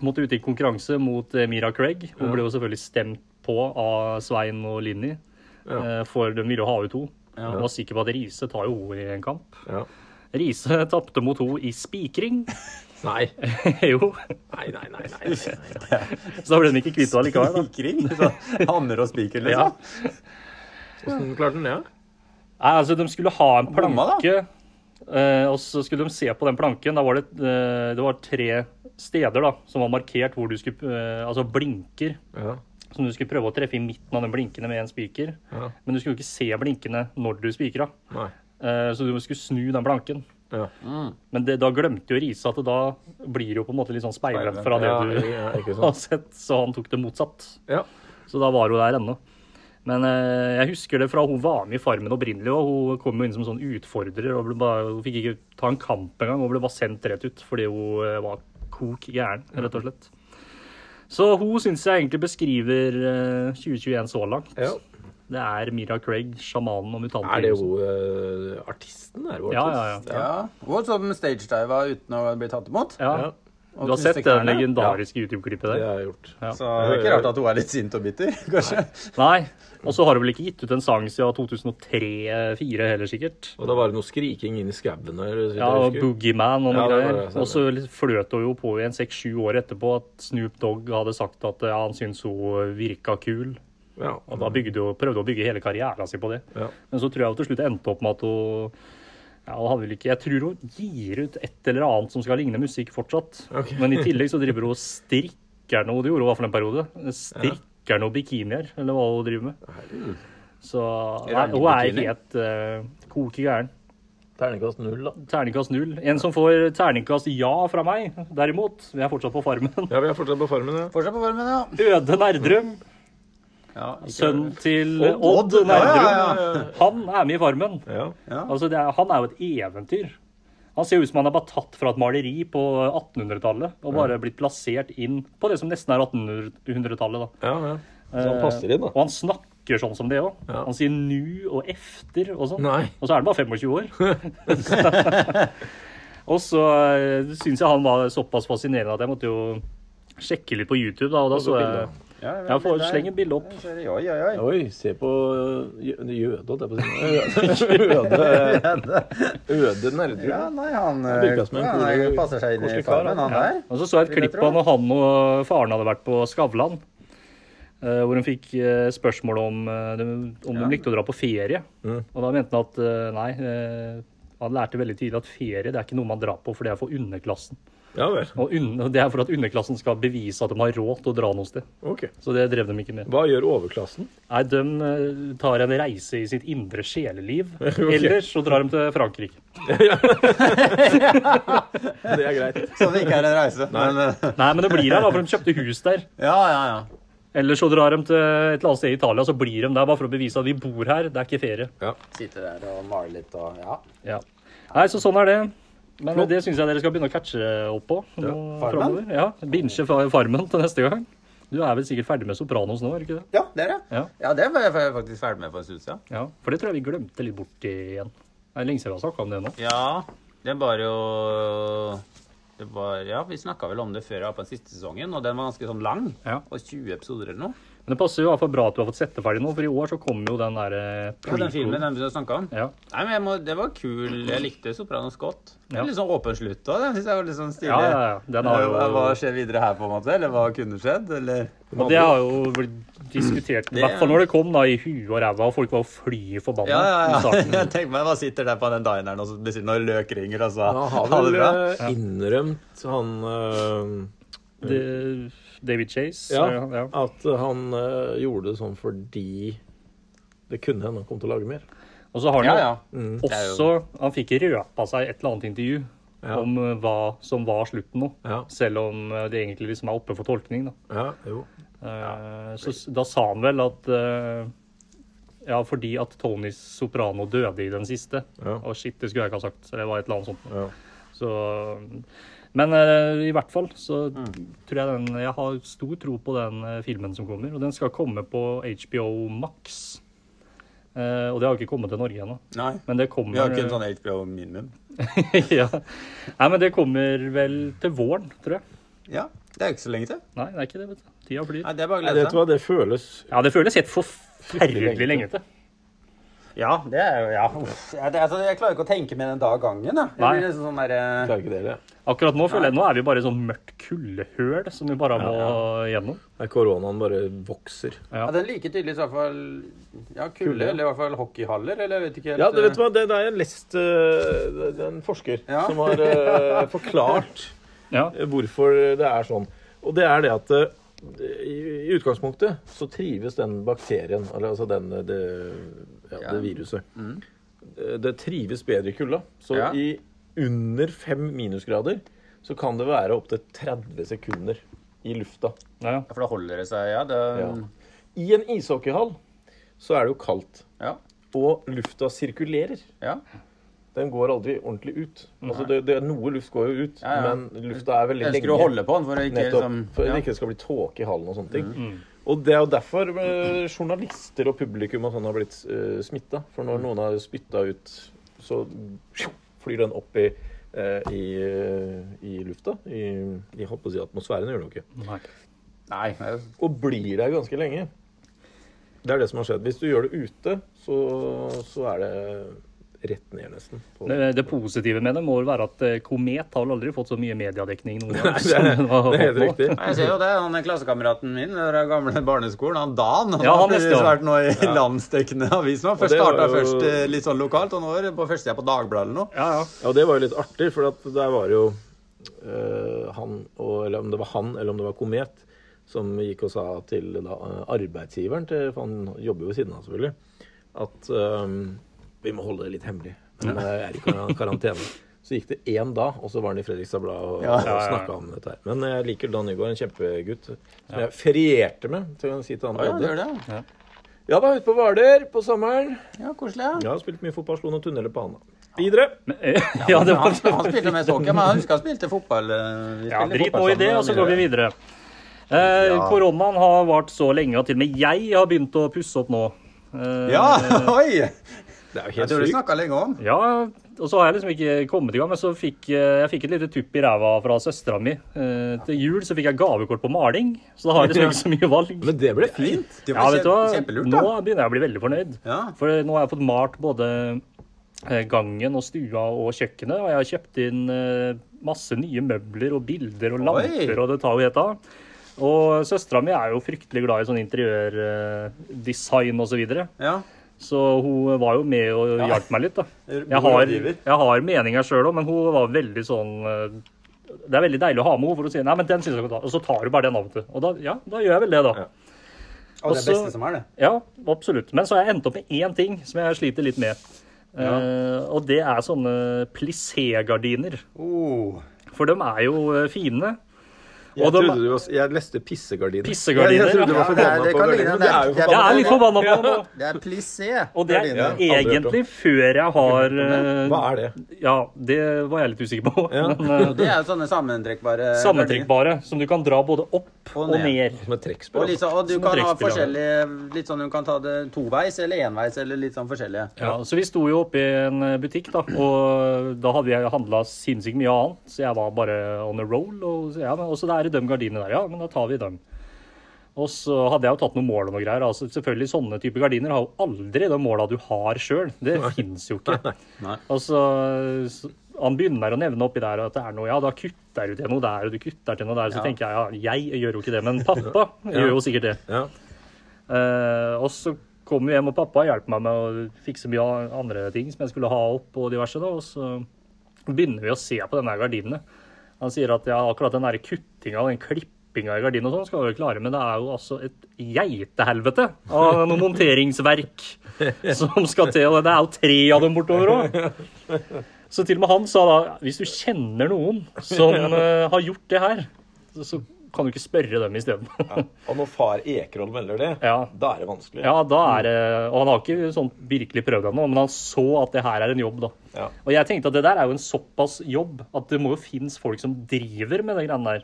Speaker 2: Måtte ut i konkurranse mot eh, Mira Craig. Hun ble jo selvfølgelig stemt på av Svein og Linni,
Speaker 1: Ja.
Speaker 2: eh, for de ville jo ha ut henne.
Speaker 3: Ja.
Speaker 2: Hun var sikker på at Riise tar jo henne i en kamp.
Speaker 1: Ja.
Speaker 2: Riise tapte mot henne i spikring.
Speaker 1: Nei.
Speaker 2: jo,
Speaker 1: Nei, nei, nei. nei, nei, nei.
Speaker 2: så da ble de ikke kvitt henne likevel. Da.
Speaker 3: Spikring? Så Hammer og spiker,
Speaker 2: Ja.
Speaker 3: liksom?
Speaker 1: Hvordan klarte den det? Ja?
Speaker 2: Nei, altså, de skulle ha en
Speaker 3: Bomma, da.
Speaker 2: planke, eh, og så skulle de se på den planken. Da var det, eh, det var tre steder da, som var markert hvor du skulle eh, Altså blinker.
Speaker 1: Ja.
Speaker 2: Som du skulle prøve å treffe i midten av den blinkene med en spiker.
Speaker 1: Ja.
Speaker 2: Men du skulle jo ikke se blinkene når du spikra,
Speaker 1: Nei.
Speaker 2: eh, så du skulle snu den planken.
Speaker 1: Ja.
Speaker 2: Men det, da glemte jo Riise at det da blir det jo på en måte litt sånn speilvendt fra det
Speaker 1: Ja,
Speaker 2: du
Speaker 1: ja, ikke
Speaker 2: har
Speaker 1: sant.
Speaker 2: sett, så han tok det motsatt.
Speaker 1: Ja.
Speaker 2: Så da var hun der ennå. Men eh, jeg husker det fra hun var med i Farmen opprinnelig. Og hun kom jo inn som sånn utfordrer og ble bare, hun fikk ikke ta en kamp engang. Hun ble bare sendt rett ut fordi hun eh, var kok gæren, rett og slett. Så hun syns jeg egentlig beskriver eh, 2021 så langt.
Speaker 1: ja.
Speaker 2: Det er Mira Craig, sjamanen og mutanten.
Speaker 1: Er det jo eh, artisten? Er det jo
Speaker 2: Ja,
Speaker 1: artist?
Speaker 3: Ja. Og som stagediva uten å bli tatt imot.
Speaker 2: Ja.
Speaker 1: Ja.
Speaker 2: Du har sett det legendariske YouTube-klippet
Speaker 1: Det
Speaker 2: der?
Speaker 1: har jeg gjort.
Speaker 2: Ja.
Speaker 3: Så det er ikke rart at hun er litt sint og bitter, kanskje.
Speaker 2: Nei. Og så har hun vel ikke gitt ut en sang siden 2003-2004 eh, heller, sikkert.
Speaker 1: Og da var det noe skriking inn i skauen her. så vidt jeg
Speaker 2: Ja, og
Speaker 1: husker.
Speaker 2: Boogeyman og noe
Speaker 1: Ja, det var
Speaker 2: greier.
Speaker 1: det, stemmer.
Speaker 2: Og så fløt hun jo på igjen seks-sju år etterpå at Snoop Dogg hadde sagt at ja, han syntes hun virka kul.
Speaker 1: Ja.
Speaker 2: Og da bygde hun, prøvde hun å bygge hele karrieren sin på det.
Speaker 1: Mm. Ja.
Speaker 2: Men så tror jeg hun til slutt endte opp med at hun ja, hun hadde vel ikke, Jeg tror hun gir ut et eller annet som skal ligne musikk fortsatt.
Speaker 1: Ok.
Speaker 2: Men i tillegg så driver hun og strikker noe, det gjorde hun i hvert fall en periode. Strikker noe bikinier, eller hva hun driver med. Så nei,
Speaker 3: Rare
Speaker 2: hun er
Speaker 3: bikinier.
Speaker 2: helt uh, koke gæren.
Speaker 1: Terningkast null, da.
Speaker 2: Terningkast null. En som får terningkast ja fra meg, derimot. Vi er fortsatt på Farmen.
Speaker 1: Ja, vi er fortsatt på Farmen, ja.
Speaker 3: Fortsatt på varmen, ja.
Speaker 2: Øde Nerdrum,
Speaker 3: ja
Speaker 2: sønnen til
Speaker 1: Odd.
Speaker 2: Odd
Speaker 3: Odd, ja, ja,
Speaker 2: Nerdrum, han er med i Farmen.
Speaker 1: ja.
Speaker 2: Altså, det er, han er jo et eventyr. Han ser jo ut som han er bare tatt fra et maleri på 1800-tallet og bare blitt plassert inn på det som nesten er 1800-tallet. da.
Speaker 1: ja, ja. Så han passer inn,
Speaker 2: Og
Speaker 1: da.
Speaker 2: han snakker sånn som det òg.
Speaker 1: Ja.
Speaker 2: Han sier 'nu' og 'efter' og sånn.
Speaker 1: Nei.
Speaker 2: Og så er han bare 25 år. og så syns jeg han var såpass fascinerende at jeg måtte jo sjekke litt på YouTube, da, og
Speaker 1: Og
Speaker 2: da
Speaker 1: så
Speaker 2: så jeg
Speaker 1: bilder.
Speaker 3: ja.
Speaker 2: Jeg får slenge et bilde opp.
Speaker 3: Oi, oi, oi.
Speaker 1: Oi, se på øh, jø- jøde, holdt jeg på å si. Øde, øde nerdrum.
Speaker 3: Ja, nei, han,
Speaker 1: Han virker som en
Speaker 3: ja,
Speaker 1: koselig-
Speaker 3: han passer seg inn i
Speaker 1: koselig kar,
Speaker 3: farmen,
Speaker 1: han.
Speaker 3: han der.
Speaker 2: Og så så jeg et
Speaker 3: Vil jeg
Speaker 2: klipp av når han og faren hadde vært på Skavlan. eh, hvor de fikk eh, spørsmål om, eh, de- om de likte å dra på ferie. Og da mente han at eh, nei, eh, han lærte veldig tidlig at ferie det er ikke noe man drar på, for det er for underklassen.
Speaker 1: Ja vel.
Speaker 2: Og un og det er for at underklassen skal bevise at de har råd til å dra noe sted.
Speaker 1: Ok.
Speaker 2: Så det drev de ikke med.
Speaker 1: Hva gjør overklassen?
Speaker 2: Nei, de eh, tar en reise i sitt indre sjeleliv. Ellers så drar de til Frankrike.
Speaker 1: Det er greit.
Speaker 3: Så det ikke er en reise. Men, eh,
Speaker 2: Nei, men det blir her, da, for de kjøpte hus der.
Speaker 3: ja, ja, ja.
Speaker 2: Eller så drar de til et eller annet sted i Italia, så blir de der bare for å bevise at vi bor her. Det er ikke ferie.
Speaker 1: Ja.
Speaker 3: Sitte der og male litt og ja.
Speaker 2: Ja. Nei, så sånn er det. Men det syns jeg dere skal begynne å catche opp på. nå
Speaker 3: Farmen?
Speaker 2: fremover. Ja, Binche fa- Farmen til neste gang. Du er vel sikkert ferdig med Sopranos nå, er du ikke det?
Speaker 3: Ja, det er det.
Speaker 2: Ja.
Speaker 3: Ja, det var jeg faktisk ferdig med for en stund siden.
Speaker 2: ja. For det tror jeg vi glemte litt bort igjen. Det er lenge siden vi har snakka om det nå.
Speaker 3: Ja, det var jo det var, Ja, vi snakka vel om det før ja, på den siste sesongen, og den var ganske sånn lang.
Speaker 2: Ja.
Speaker 3: Og 20 episoder eller noe.
Speaker 2: Men det passer jo i hvert fall bra at du har fått sett det ferdig nå, for i år så kommer jo den derre
Speaker 3: Ja, den filmen den vi snakka om.
Speaker 2: Ja.
Speaker 3: Nei, men jeg må, Det var kul. Jeg likte 'Sopranos' godt.
Speaker 2: Ja.
Speaker 3: Ja. Litt sånn åpen slutt òg. Den syns jeg var litt sånn stilig.
Speaker 2: Ja, ja, ja. Den har jo-
Speaker 3: hva, hva skjer videre her, på en måte? Eller hva kunne skjedd? Eller
Speaker 2: Og det har jo blitt diskutert, i
Speaker 3: Det-
Speaker 2: hvert fall når det kom da i huet og ræva, og folk var jo fly forbanna
Speaker 3: Ja, ja,
Speaker 2: i
Speaker 3: ja.
Speaker 2: starten.
Speaker 3: Jeg tenker meg, hva sitter der på den dineren og så bestiller noen løkringer, og så
Speaker 1: Men Han har
Speaker 3: ha det
Speaker 1: vel
Speaker 3: bra?
Speaker 1: eh, innrømt, han eh,
Speaker 2: Det- David Chase.
Speaker 1: ja,
Speaker 2: Ja, ja.
Speaker 1: at han eh, gjorde det sånn fordi det kunne hende han kom til å lage mer.
Speaker 2: Og så har han
Speaker 3: Ja,
Speaker 2: jo
Speaker 3: ja.
Speaker 1: Mm.
Speaker 3: Det er
Speaker 2: også Han fikk røpa seg et eller annet intervju
Speaker 1: Ja.
Speaker 2: om eh, hva som var slutten nå.
Speaker 1: Ja,
Speaker 2: Selv om eh, det egentlig liksom er oppe for tolkning, da.
Speaker 1: ja jo.
Speaker 2: Eh, Så s- da sa han vel at eh, Ja, fordi at Tony Soprano døde i den siste.
Speaker 1: Ja.
Speaker 2: Og shit, det skulle jeg ikke ha sagt. Eller det var et eller annet sånt.
Speaker 1: Ja.
Speaker 2: Så, men eh, i hvert fall så
Speaker 3: Mm.
Speaker 2: tror jeg den Jeg har stor tro på den eh, filmen som kommer. Og den skal komme på HBO Max. Eh, og det har jo ikke kommet til Norge ennå.
Speaker 3: Nei.
Speaker 2: Men det kommer
Speaker 3: Vi har ikke en sånn HBO minimum.
Speaker 2: ja. Nei, men det kommer vel til våren, tror jeg.
Speaker 3: Ja. Det er jo ikke så lenge til.
Speaker 2: Nei, det er ikke det, vet du. Tida flyr.
Speaker 3: Nei, det er bare å
Speaker 1: Nei, vet
Speaker 3: glede
Speaker 1: du hva, det føles
Speaker 2: Ja, det føles helt forferdelig lenge til.
Speaker 3: Ja, det er jo Ja. Uff. Ja, det, altså, jeg klarer ikke å tenke med den dag gangen, da. Jeg
Speaker 2: Nei.
Speaker 3: blir liksom sånn der, eh,
Speaker 1: Klarer ikke dere.
Speaker 2: Akkurat nå føler jeg nå er vi bare i sånn mørkt kullehøl som vi bare må gjennom.
Speaker 1: Nei, Koronaen bare vokser.
Speaker 3: ja, den liker tydeligvis i hvert fall ja, kulde,
Speaker 1: Kulde.
Speaker 3: eller i hvert fall hockeyhaller, eller jeg vet ikke helt
Speaker 1: Ja, det, vet du
Speaker 3: eh,
Speaker 1: hva, det, det er en lest eh, det det er en forsker
Speaker 3: Ja.
Speaker 1: som har eh, forklart
Speaker 2: Ja.
Speaker 1: eh, hvorfor det er sånn. Og det er det at eh, i i utgangspunktet så trives den bakterien, eller altså den, eh, det, ja,
Speaker 3: Ja. Mm.
Speaker 1: det viruset. Eh, Det trives bedre i kulda. Så
Speaker 3: Ja.
Speaker 1: i under fem minusgrader så kan det være opptil 30 sekunder i lufta.
Speaker 2: Ja, ja.
Speaker 3: For da holder det seg, ja. Det,
Speaker 1: Ja. I en ishockeyhall så er det jo kaldt,
Speaker 3: ja.
Speaker 1: og lufta sirkulerer.
Speaker 3: ja.
Speaker 1: Den går aldri ordentlig ut. Altså, det, det, noe luft går jo ut,
Speaker 3: Ja, ja.
Speaker 1: men lufta er veldig
Speaker 3: Jeg
Speaker 1: lenge.
Speaker 3: ønsker å holde på den for å ikke
Speaker 1: Nettopp,
Speaker 3: liksom
Speaker 1: For at
Speaker 3: ja.
Speaker 1: det ikke skal bli tåke i hallen og sånne ting. Og det er jo derfor eh, journalister og publikum og sånn har blitt eh, smitta. For når noen har spytta ut, så flyr den opp i, eh, i, eh, i lufta. I, i holdt på å si atmosfæren, gjør den jo ikke.
Speaker 2: Nei.
Speaker 3: Nei. jeg-
Speaker 1: Og blir der ganske lenge. Det er det som har skjedd. Hvis du gjør det ute, så, så er det rett ned, nesten. På.
Speaker 2: eh, Det, det positive med det må vel være at eh, Komet har vel aldri fått så mye mediedekning noen gang.
Speaker 1: Det er, det er helt riktig.
Speaker 3: Nei, Jeg ser jo det. Han er klassekameraten min fra gamle barneskolen. Han Dan. Han
Speaker 2: Ja, han
Speaker 3: har
Speaker 2: neste
Speaker 3: plutselig
Speaker 2: år.
Speaker 3: vært nå i landsdekkende avis. nå.
Speaker 1: det
Speaker 3: Først
Speaker 1: var
Speaker 3: starta
Speaker 1: jo-
Speaker 3: først eh, litt sånn lokalt, og nå er det på førstesida på Dagbladet eller noe.
Speaker 2: Ja, ja.
Speaker 1: Ja, det var jo litt artig, for at der var jo eh, han, og, eller om det var han, eller om det var Komet, som gikk og sa til da, eh, arbeidsgiveren til For han jobber jo ved siden av, selvfølgelig. At eh, vi må holde det litt hemmelig. Men det er i kar- karantene. Så gikk det én da, og så var han i Fredrikstad Blad og,
Speaker 3: Ja.
Speaker 1: og snakka om dette her. Men jeg liker Dan Nygaard, en kjempegutt. Som jeg ferierte med, til å si til han
Speaker 3: Å, ja, det gjør
Speaker 1: Odde.
Speaker 3: det. ja.
Speaker 1: Ja da, ute på Hvaler på sommeren.
Speaker 3: Ja, koselig. ja.
Speaker 1: Jeg har spilt mye fotball, slo noen tunneler på handa. Videre.
Speaker 2: eh, ja, det
Speaker 3: Han,
Speaker 2: var
Speaker 3: han spilte med Såke, men jeg husker han spilte fotball. eh, Vi
Speaker 2: Ja,
Speaker 3: spiller
Speaker 2: drit nå
Speaker 3: fotball
Speaker 2: i det,
Speaker 3: sammen,
Speaker 2: og så går vi videre. Eh,
Speaker 3: Ja.
Speaker 2: Koronaen har vart så lenge at til og med jeg har begynt å pusse opp nå. Eh,
Speaker 3: Ja, oi!
Speaker 1: Det er jo
Speaker 3: Jeg
Speaker 1: helt
Speaker 3: tror du
Speaker 1: sykt.
Speaker 3: snakka lenge om.
Speaker 2: ja, og så har jeg liksom ikke kommet i gang, men så fikk eh, jeg fikk et lite tupp i ræva fra søstera mi. Eh, til jul så fikk jeg gavekort på maling, så da har jeg liksom ikke så mye valg.
Speaker 1: Men det ble fint.
Speaker 3: Det
Speaker 2: Ja,
Speaker 3: var
Speaker 2: vet du hva?
Speaker 3: kjempe- kjempelurt,
Speaker 2: Nå
Speaker 3: da.
Speaker 2: begynner jeg å bli veldig fornøyd.
Speaker 3: Ja.
Speaker 2: For nå har jeg fått malt både eh, gangen og stua og kjøkkenet, og jeg har kjøpt inn eh, masse nye møbler og bilder og lamper,
Speaker 3: Oi!
Speaker 2: og det tar jo helt av. Og søstera mi er jo fryktelig glad i sånn interiørdesign osv., så, videre.
Speaker 3: ja.
Speaker 2: så hun var jo med og hjalp meg litt, da. Jeg
Speaker 3: God
Speaker 2: har,
Speaker 3: rådgiver.
Speaker 2: jeg har meninger sjøl òg, men hun var veldig sånn eh, Det er veldig deilig å ha med henne, for hun sier 'nei, men den syns jeg kan ta', og så tar du bare den av og til. Og da, ja, da gjør jeg vel det, da.
Speaker 1: Ja.
Speaker 3: Og det
Speaker 2: Også-
Speaker 3: beste som er det.
Speaker 2: Ja, absolutt. Men så har jeg endt opp med én ting som jeg sliter litt med. Eh, og det er sånne plissé-gardiner.
Speaker 3: Oh.
Speaker 2: For de er jo eh, fine.
Speaker 1: Jeg,
Speaker 2: Og de-
Speaker 1: trodde du var, jeg leste pissegardiner.
Speaker 2: Pissegardiner,
Speaker 1: Jeg, jeg trodde du
Speaker 3: ja.
Speaker 1: var
Speaker 3: Ja, det-
Speaker 1: forbanna
Speaker 3: det
Speaker 1: på
Speaker 3: kan ligne
Speaker 1: gardiner. men Det er jo
Speaker 3: det.
Speaker 2: Jeg
Speaker 1: forbanna.
Speaker 2: er litt forbanna på det nå.
Speaker 3: Det er plissé.
Speaker 2: Og det
Speaker 3: Gardiner.
Speaker 2: er
Speaker 1: Ja, aldri hørt om.
Speaker 2: egentlig før jeg har eh,
Speaker 1: Hva er det?
Speaker 2: Ja, det var jeg litt usikker på.
Speaker 1: Ja.
Speaker 2: Men, eh,
Speaker 3: Det er jo sånne sammentrekkbare
Speaker 2: Sammentrekkbare som du kan dra både opp
Speaker 3: Og
Speaker 2: og
Speaker 3: ned.
Speaker 2: ned.
Speaker 1: Som et
Speaker 3: Og,
Speaker 1: trekkspill. altså.
Speaker 3: litt sånn- og du
Speaker 2: Som
Speaker 3: kan ha
Speaker 2: trekkspill, ja.
Speaker 3: forskjellige Litt sånn du kan ta det toveis eller enveis eller litt sånn forskjellige.
Speaker 2: Ja, så vi sto jo oppe i en eh, butikk, da, og da hadde jeg handla sinnssykt mye annet. Så jeg var bare on a roll. Og så, ja, men også der er de gardinene der, ja, men da tar vi dem. Og så hadde jeg jo tatt noen mål og noe greier. Altså, selvfølgelig Sånne type gardiner har jo aldri de måla du har sjøl. Det fins jo ikke.
Speaker 3: Nei.
Speaker 2: Og så, så Han begynner å nevne oppi der at det er noe Ja, da kutter du til noe der, og du kutter til noe der. Så
Speaker 3: Ja.
Speaker 2: tenker jeg ja, jeg gjør jo ikke det, men pappa gjør jo sikkert det.
Speaker 1: Ja.
Speaker 2: Eh, og så kom vi hjem, og pappa hjelper meg med å fikse mye andre ting som jeg skulle ha opp, og diverse, da. Og så begynner vi å se på denne gardinene. Han sier at ja, akkurat den der kuttinga og den klippinga i gardinen og sånn skal vi jo klare, men det er jo altså et geitehelvete av noe monteringsverk som skal til. Og det er jo tre av dem bortover òg. Så til og med han sa da hvis du kjenner noen som eh, har gjort det her, så- så kan du ikke spørre dem isteden.
Speaker 1: Og når far Ekerhold melder det,
Speaker 2: Ja.
Speaker 1: da er det vanskelig.
Speaker 2: Ja, da er det Og han har ikke sånn virkelig prøvd ennå, men han så at det her er en jobb, da.
Speaker 1: Ja.
Speaker 2: Og jeg tenkte at det der er jo en såpass jobb at det må jo finnes folk som driver med de greiene der.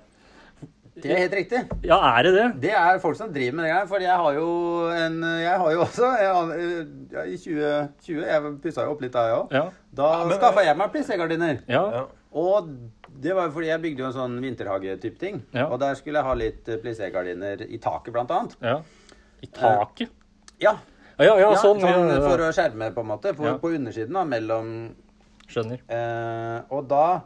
Speaker 3: Det er helt riktig.
Speaker 2: Ja, er det det?
Speaker 3: Det er folk som driver med det her. For jeg har jo en Jeg har jo også en- ja, I 2020 Jeg pussa jo opp litt da, jeg òg.
Speaker 2: Ja.
Speaker 3: Da
Speaker 1: men-
Speaker 3: skaffa jeg meg plissegardiner.
Speaker 2: Ja.
Speaker 1: Ja.
Speaker 3: Og det var jo fordi jeg bygde jo en sånn vinterhage-type ting.
Speaker 2: Ja.
Speaker 3: Og der skulle jeg ha litt eh, plissegardiner i taket, blant annet.
Speaker 2: ja. I taket?
Speaker 3: Ja.
Speaker 2: Ja, ja,
Speaker 3: ja
Speaker 2: sånn.
Speaker 3: sånn,
Speaker 2: ja,
Speaker 3: For
Speaker 2: ja.
Speaker 3: å skjerme, på en måte. På,
Speaker 2: Ja.
Speaker 3: på undersiden, da, mellom
Speaker 2: Skjønner.
Speaker 3: Eh, og da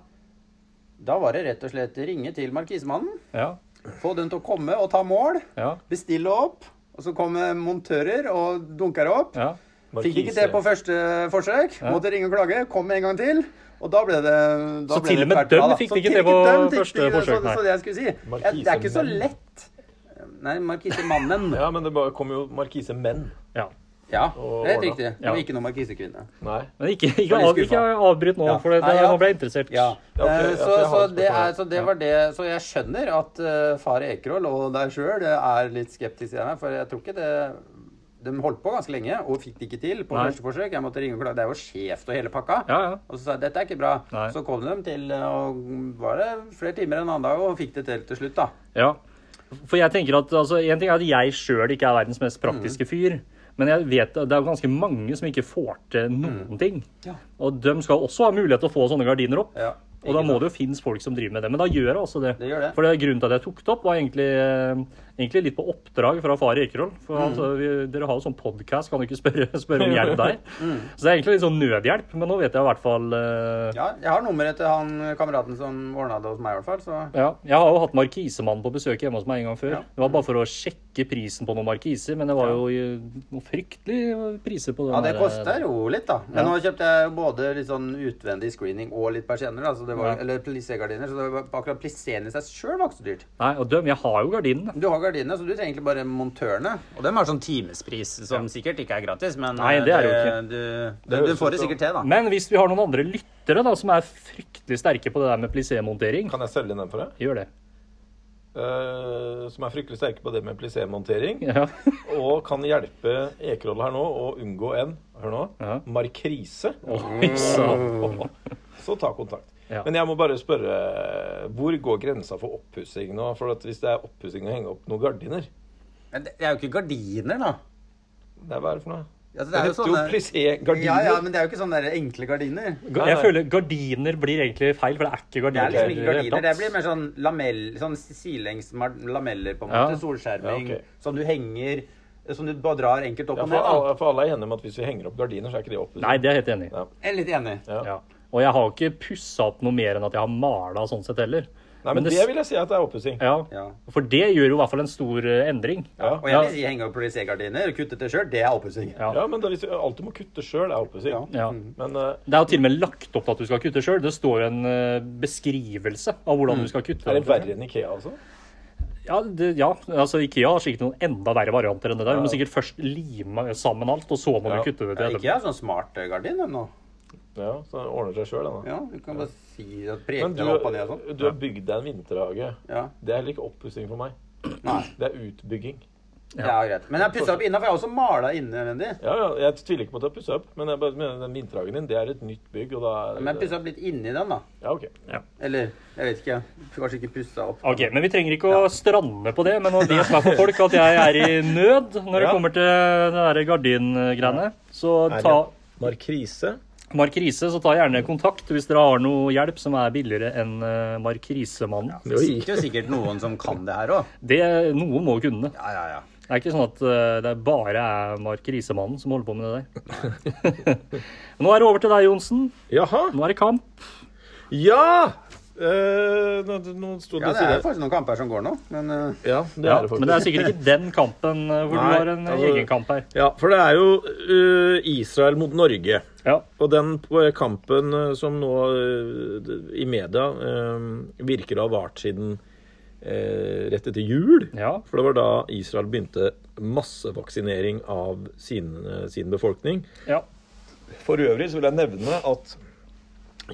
Speaker 3: Da var det rett og slett ringe til markismannen,
Speaker 2: Ja.
Speaker 3: få den til å komme og ta mål,
Speaker 2: Ja.
Speaker 3: bestille opp, og så kommer montører og dunker opp.
Speaker 2: ja.
Speaker 3: Fikk ikke det på første eh, forsøk, måtte ringe og klage, kom en gang til. Og da ble det da
Speaker 2: Så
Speaker 3: ble
Speaker 2: til
Speaker 3: det
Speaker 2: og med
Speaker 3: kvart
Speaker 2: dem
Speaker 3: bra, da.
Speaker 2: fikk
Speaker 3: Så
Speaker 2: det ikke
Speaker 3: til-
Speaker 2: til på
Speaker 3: dem fikk
Speaker 2: første
Speaker 3: det ikke-
Speaker 2: forsøk,
Speaker 3: Så,
Speaker 2: nei.
Speaker 3: så det jeg skulle si. Ja, det er ikke så
Speaker 1: Markisemannen.
Speaker 3: lett. Nei, markisemannen.
Speaker 1: Ja, men det bare kom jo markise menn.
Speaker 2: ja.
Speaker 3: Ja,
Speaker 1: Og
Speaker 3: det er helt
Speaker 1: ordna.
Speaker 3: riktig.
Speaker 2: Ja.
Speaker 3: Og ikke noe markisekvinne.
Speaker 1: Nei.
Speaker 2: Men ikke,
Speaker 3: Jeg
Speaker 2: ikke,
Speaker 3: er litt
Speaker 2: av, ikke avbryt nå,
Speaker 3: Ja.
Speaker 2: for det,
Speaker 3: Nei,
Speaker 2: det,
Speaker 3: ja.
Speaker 2: nå ble jeg interessert.
Speaker 3: Ja.
Speaker 1: Ja, ok,
Speaker 3: Eh,
Speaker 1: ja,
Speaker 3: så,
Speaker 1: for jeg har
Speaker 3: så,
Speaker 1: et
Speaker 3: det
Speaker 1: spørsmål.
Speaker 3: er, så det var det Så jeg skjønner at eh, far Ekerhol og deg sjøl er litt skeptisk til det her, for jeg tror ikke det De holdt på ganske lenge og fikk det ikke til på
Speaker 2: Nei.
Speaker 3: første forsøk. Jeg måtte ringe og klage. Det er jo skjevt og hele pakka.
Speaker 2: Ja, ja.
Speaker 3: Og så sa jeg dette er ikke bra.
Speaker 2: Nei.
Speaker 3: Så kom de til eh, og var det flere timer en annen dag og fikk det til til slutt, da.
Speaker 2: Ja. For jeg tenker at altså, En ting er at jeg sjøl ikke er verdens mest praktiske
Speaker 3: Mm.
Speaker 2: fyr. Men jeg vet at det er jo ganske mange som ikke får til noen ting.
Speaker 3: Mm. Ja.
Speaker 2: Og de skal også ha mulighet til å få sånne gardiner opp.
Speaker 3: Ja,
Speaker 2: og da må det jo finnes folk som driver med det. Men da gjør jeg også det.
Speaker 3: Det gjør det.
Speaker 2: For grunnen til at jeg tok det opp, var egentlig, eh, egentlig litt på oppdrag fra far Ekerhold. For
Speaker 3: Mm.
Speaker 2: altså, vi, dere har jo sånn podkast, kan du ikke spørre, spørre om hjelp der?
Speaker 3: Mm.
Speaker 2: Så det er egentlig litt sånn nødhjelp, men nå vet jeg i hvert fall eh,
Speaker 3: Ja, jeg har nummeret til han kameraten som ordna det hos meg, i hvert fall. Så
Speaker 2: ja, jeg har jo hatt markisemann på besøk hjemme hos meg en gang før.
Speaker 3: Ja.
Speaker 2: Det var bare for å sjekke prisen på noen markiser, men det var jo eh, noen fryktelige priser på den
Speaker 3: Ja, det
Speaker 2: der-
Speaker 3: koster jo litt, da. Men
Speaker 2: Ja.
Speaker 3: nå kjøpte jeg jo både litt sånn utvendig screening og litt persienner. da, så det var-
Speaker 2: Ja.
Speaker 3: Eller plissé-gardiner. Så det var akkurat plisseen i seg sjøl var ikke så dyrt.
Speaker 2: eh, Nei, og døm, jeg har jo gardinene.
Speaker 3: Du har gardinene, så du trenger egentlig bare montørene. Og dem har sånn timespris, som sikkert ikke er gratis, men
Speaker 2: Nei, det er jo
Speaker 3: eh,
Speaker 2: ikke.
Speaker 3: Du, du, du får det sikkert til, da.
Speaker 2: Men hvis vi har noen andre lyttere da, som er fryktelig sterke på det der med plissé-montering,
Speaker 1: Kan jeg selge inn den for deg?
Speaker 2: gjør det.
Speaker 1: Eh, som er fryktelig sterke på det med plissé-montering.
Speaker 2: Ja.
Speaker 1: Og kan hjelpe Ekerhold her nå å unngå en hør nå,
Speaker 2: Ja.
Speaker 1: markrise.
Speaker 2: Oi, sann.
Speaker 1: Så ta kontakt.
Speaker 2: Ja.
Speaker 1: Men jeg må bare spørre, hvor går grensa for oppussing nå? For at hvis det er oppussing å henge opp noen gardiner,
Speaker 3: Men det det er jo ikke gardiner, da.
Speaker 1: det er hva er det for noe?
Speaker 3: Altså,
Speaker 1: Det heter jo plissé-gardiner.
Speaker 3: Ja, ja, men det er jo ikke sånne der enkle gardiner.
Speaker 2: Ga- Jeg føler gardiner blir egentlig feil, for det er ikke
Speaker 3: Det er
Speaker 2: gardiner.
Speaker 3: liksom ikke
Speaker 2: i det hele
Speaker 3: gardiner. Det
Speaker 2: tatt.
Speaker 3: blir mer sånn lamell, sånn sidelengs mar- lameller, på en
Speaker 2: Ja.
Speaker 3: måte. Solskjerming
Speaker 1: Ja, ok.
Speaker 3: som du henger Som du bare drar enkelt opp
Speaker 1: Ja, for,
Speaker 3: og ned. da.
Speaker 1: alle, for alle er enige om at hvis vi henger opp gardiner, så er ikke det oppussing.
Speaker 2: Nei, det er jeg helt enig i.
Speaker 1: Ja.
Speaker 3: Jeg er litt enig.
Speaker 1: Ja.
Speaker 2: Ja. Og jeg har jo ikke pussa opp noe mer enn at jeg har mala sånn sett heller.
Speaker 1: Nei, men, det vil jeg si at det er oppussing.
Speaker 2: ja.
Speaker 3: Ja.
Speaker 2: For det gjør jo i hvert fall en stor eh, endring.
Speaker 1: Ja.
Speaker 3: Og jeg vil si henge opp plissé-gardiner, kutte til skjørt, det er oppussing.
Speaker 2: Ja.
Speaker 1: Ja, men det er liksom, alt du må kutte sjøl, er oppussing.
Speaker 3: Ja. Mm.
Speaker 2: Ja.
Speaker 1: Men eh,
Speaker 2: Det er jo til og med lagt opp til at du skal kutte sjøl. Det står jo en eh, beskrivelse av hvordan du skal kutte.
Speaker 1: Mm. er det verre enn Ikea, altså?
Speaker 2: Ja, det, ja, altså Ikea har sikkert noen enda verre varianter enn det der. Du
Speaker 1: Ja.
Speaker 2: må sikkert først lime sammen alt, og så må
Speaker 1: Ja.
Speaker 2: du kutte det til
Speaker 3: Ja, ikke
Speaker 2: etterpå.
Speaker 3: jeg, sånn smart gardin dem nå.
Speaker 1: Ja, så det ordner seg sjøl, da.
Speaker 3: Ja, du kan bare si
Speaker 1: Men
Speaker 3: at preke
Speaker 1: du,
Speaker 3: den opp og ned og sånn.
Speaker 1: du har bygd deg en vinterhage.
Speaker 3: Ja.
Speaker 1: Det er heller ikke oppussing for meg.
Speaker 3: Nei,
Speaker 1: Det er utbygging.
Speaker 3: det er greit. Men jeg pussa opp innafor, jeg har også mala innvendig.
Speaker 1: Ja, ja, Jeg tviler ikke på at du har pussa opp, men jeg bare mener den vinterhagen din, det er et nytt bygg, og da er
Speaker 3: Men jeg pussa opp litt inni den, da.
Speaker 1: Ja, ok.
Speaker 3: Eller jeg vet ikke. Kanskje ikke pussa opp.
Speaker 2: Ok, men Vi trenger ikke å strande på det, men nå vet meg for folk at jeg er i nød når det
Speaker 1: Ja.
Speaker 2: kommer til det der gardingreiene. Så ta
Speaker 1: Markrise.
Speaker 2: Mark Riise, så ta gjerne kontakt hvis dere har noe hjelp som er billigere enn eh, Mark Riise-mannen.
Speaker 3: Det sitter jo sikkert noen som kan det her òg.
Speaker 2: Det- Noen må kunne det.
Speaker 3: Ja, ja, ja.
Speaker 2: Det er ikke sånn at eh, det bare er Mark Riise-mannen som holder på med det der. Nå er det over til deg, Johnsen.
Speaker 1: Jaha.
Speaker 2: Nå er det kamp.
Speaker 1: Ja! Eh, nå, nå sto det
Speaker 3: Ja, Det er
Speaker 1: sikkert
Speaker 3: faktisk noen kamper som går nå, men eh,
Speaker 1: Ja, det
Speaker 2: Ja,
Speaker 1: er det faktisk.
Speaker 2: men det er sikkert ikke den kampen eh,
Speaker 1: Nei,
Speaker 2: hvor du har en eh,
Speaker 1: altså-
Speaker 2: egen kamp her.
Speaker 1: Ja, for det er jo eh, Israel mot Norge.
Speaker 2: Ja.
Speaker 1: Og den p- kampen eh, som nå eh, d- i media eh, virker å ha vart siden eh, rett etter jul.
Speaker 2: ja.
Speaker 1: For det var da Israel begynte massevaksinering av sin, eh, sin befolkning.
Speaker 2: ja.
Speaker 1: For øvrig så vil jeg nevne at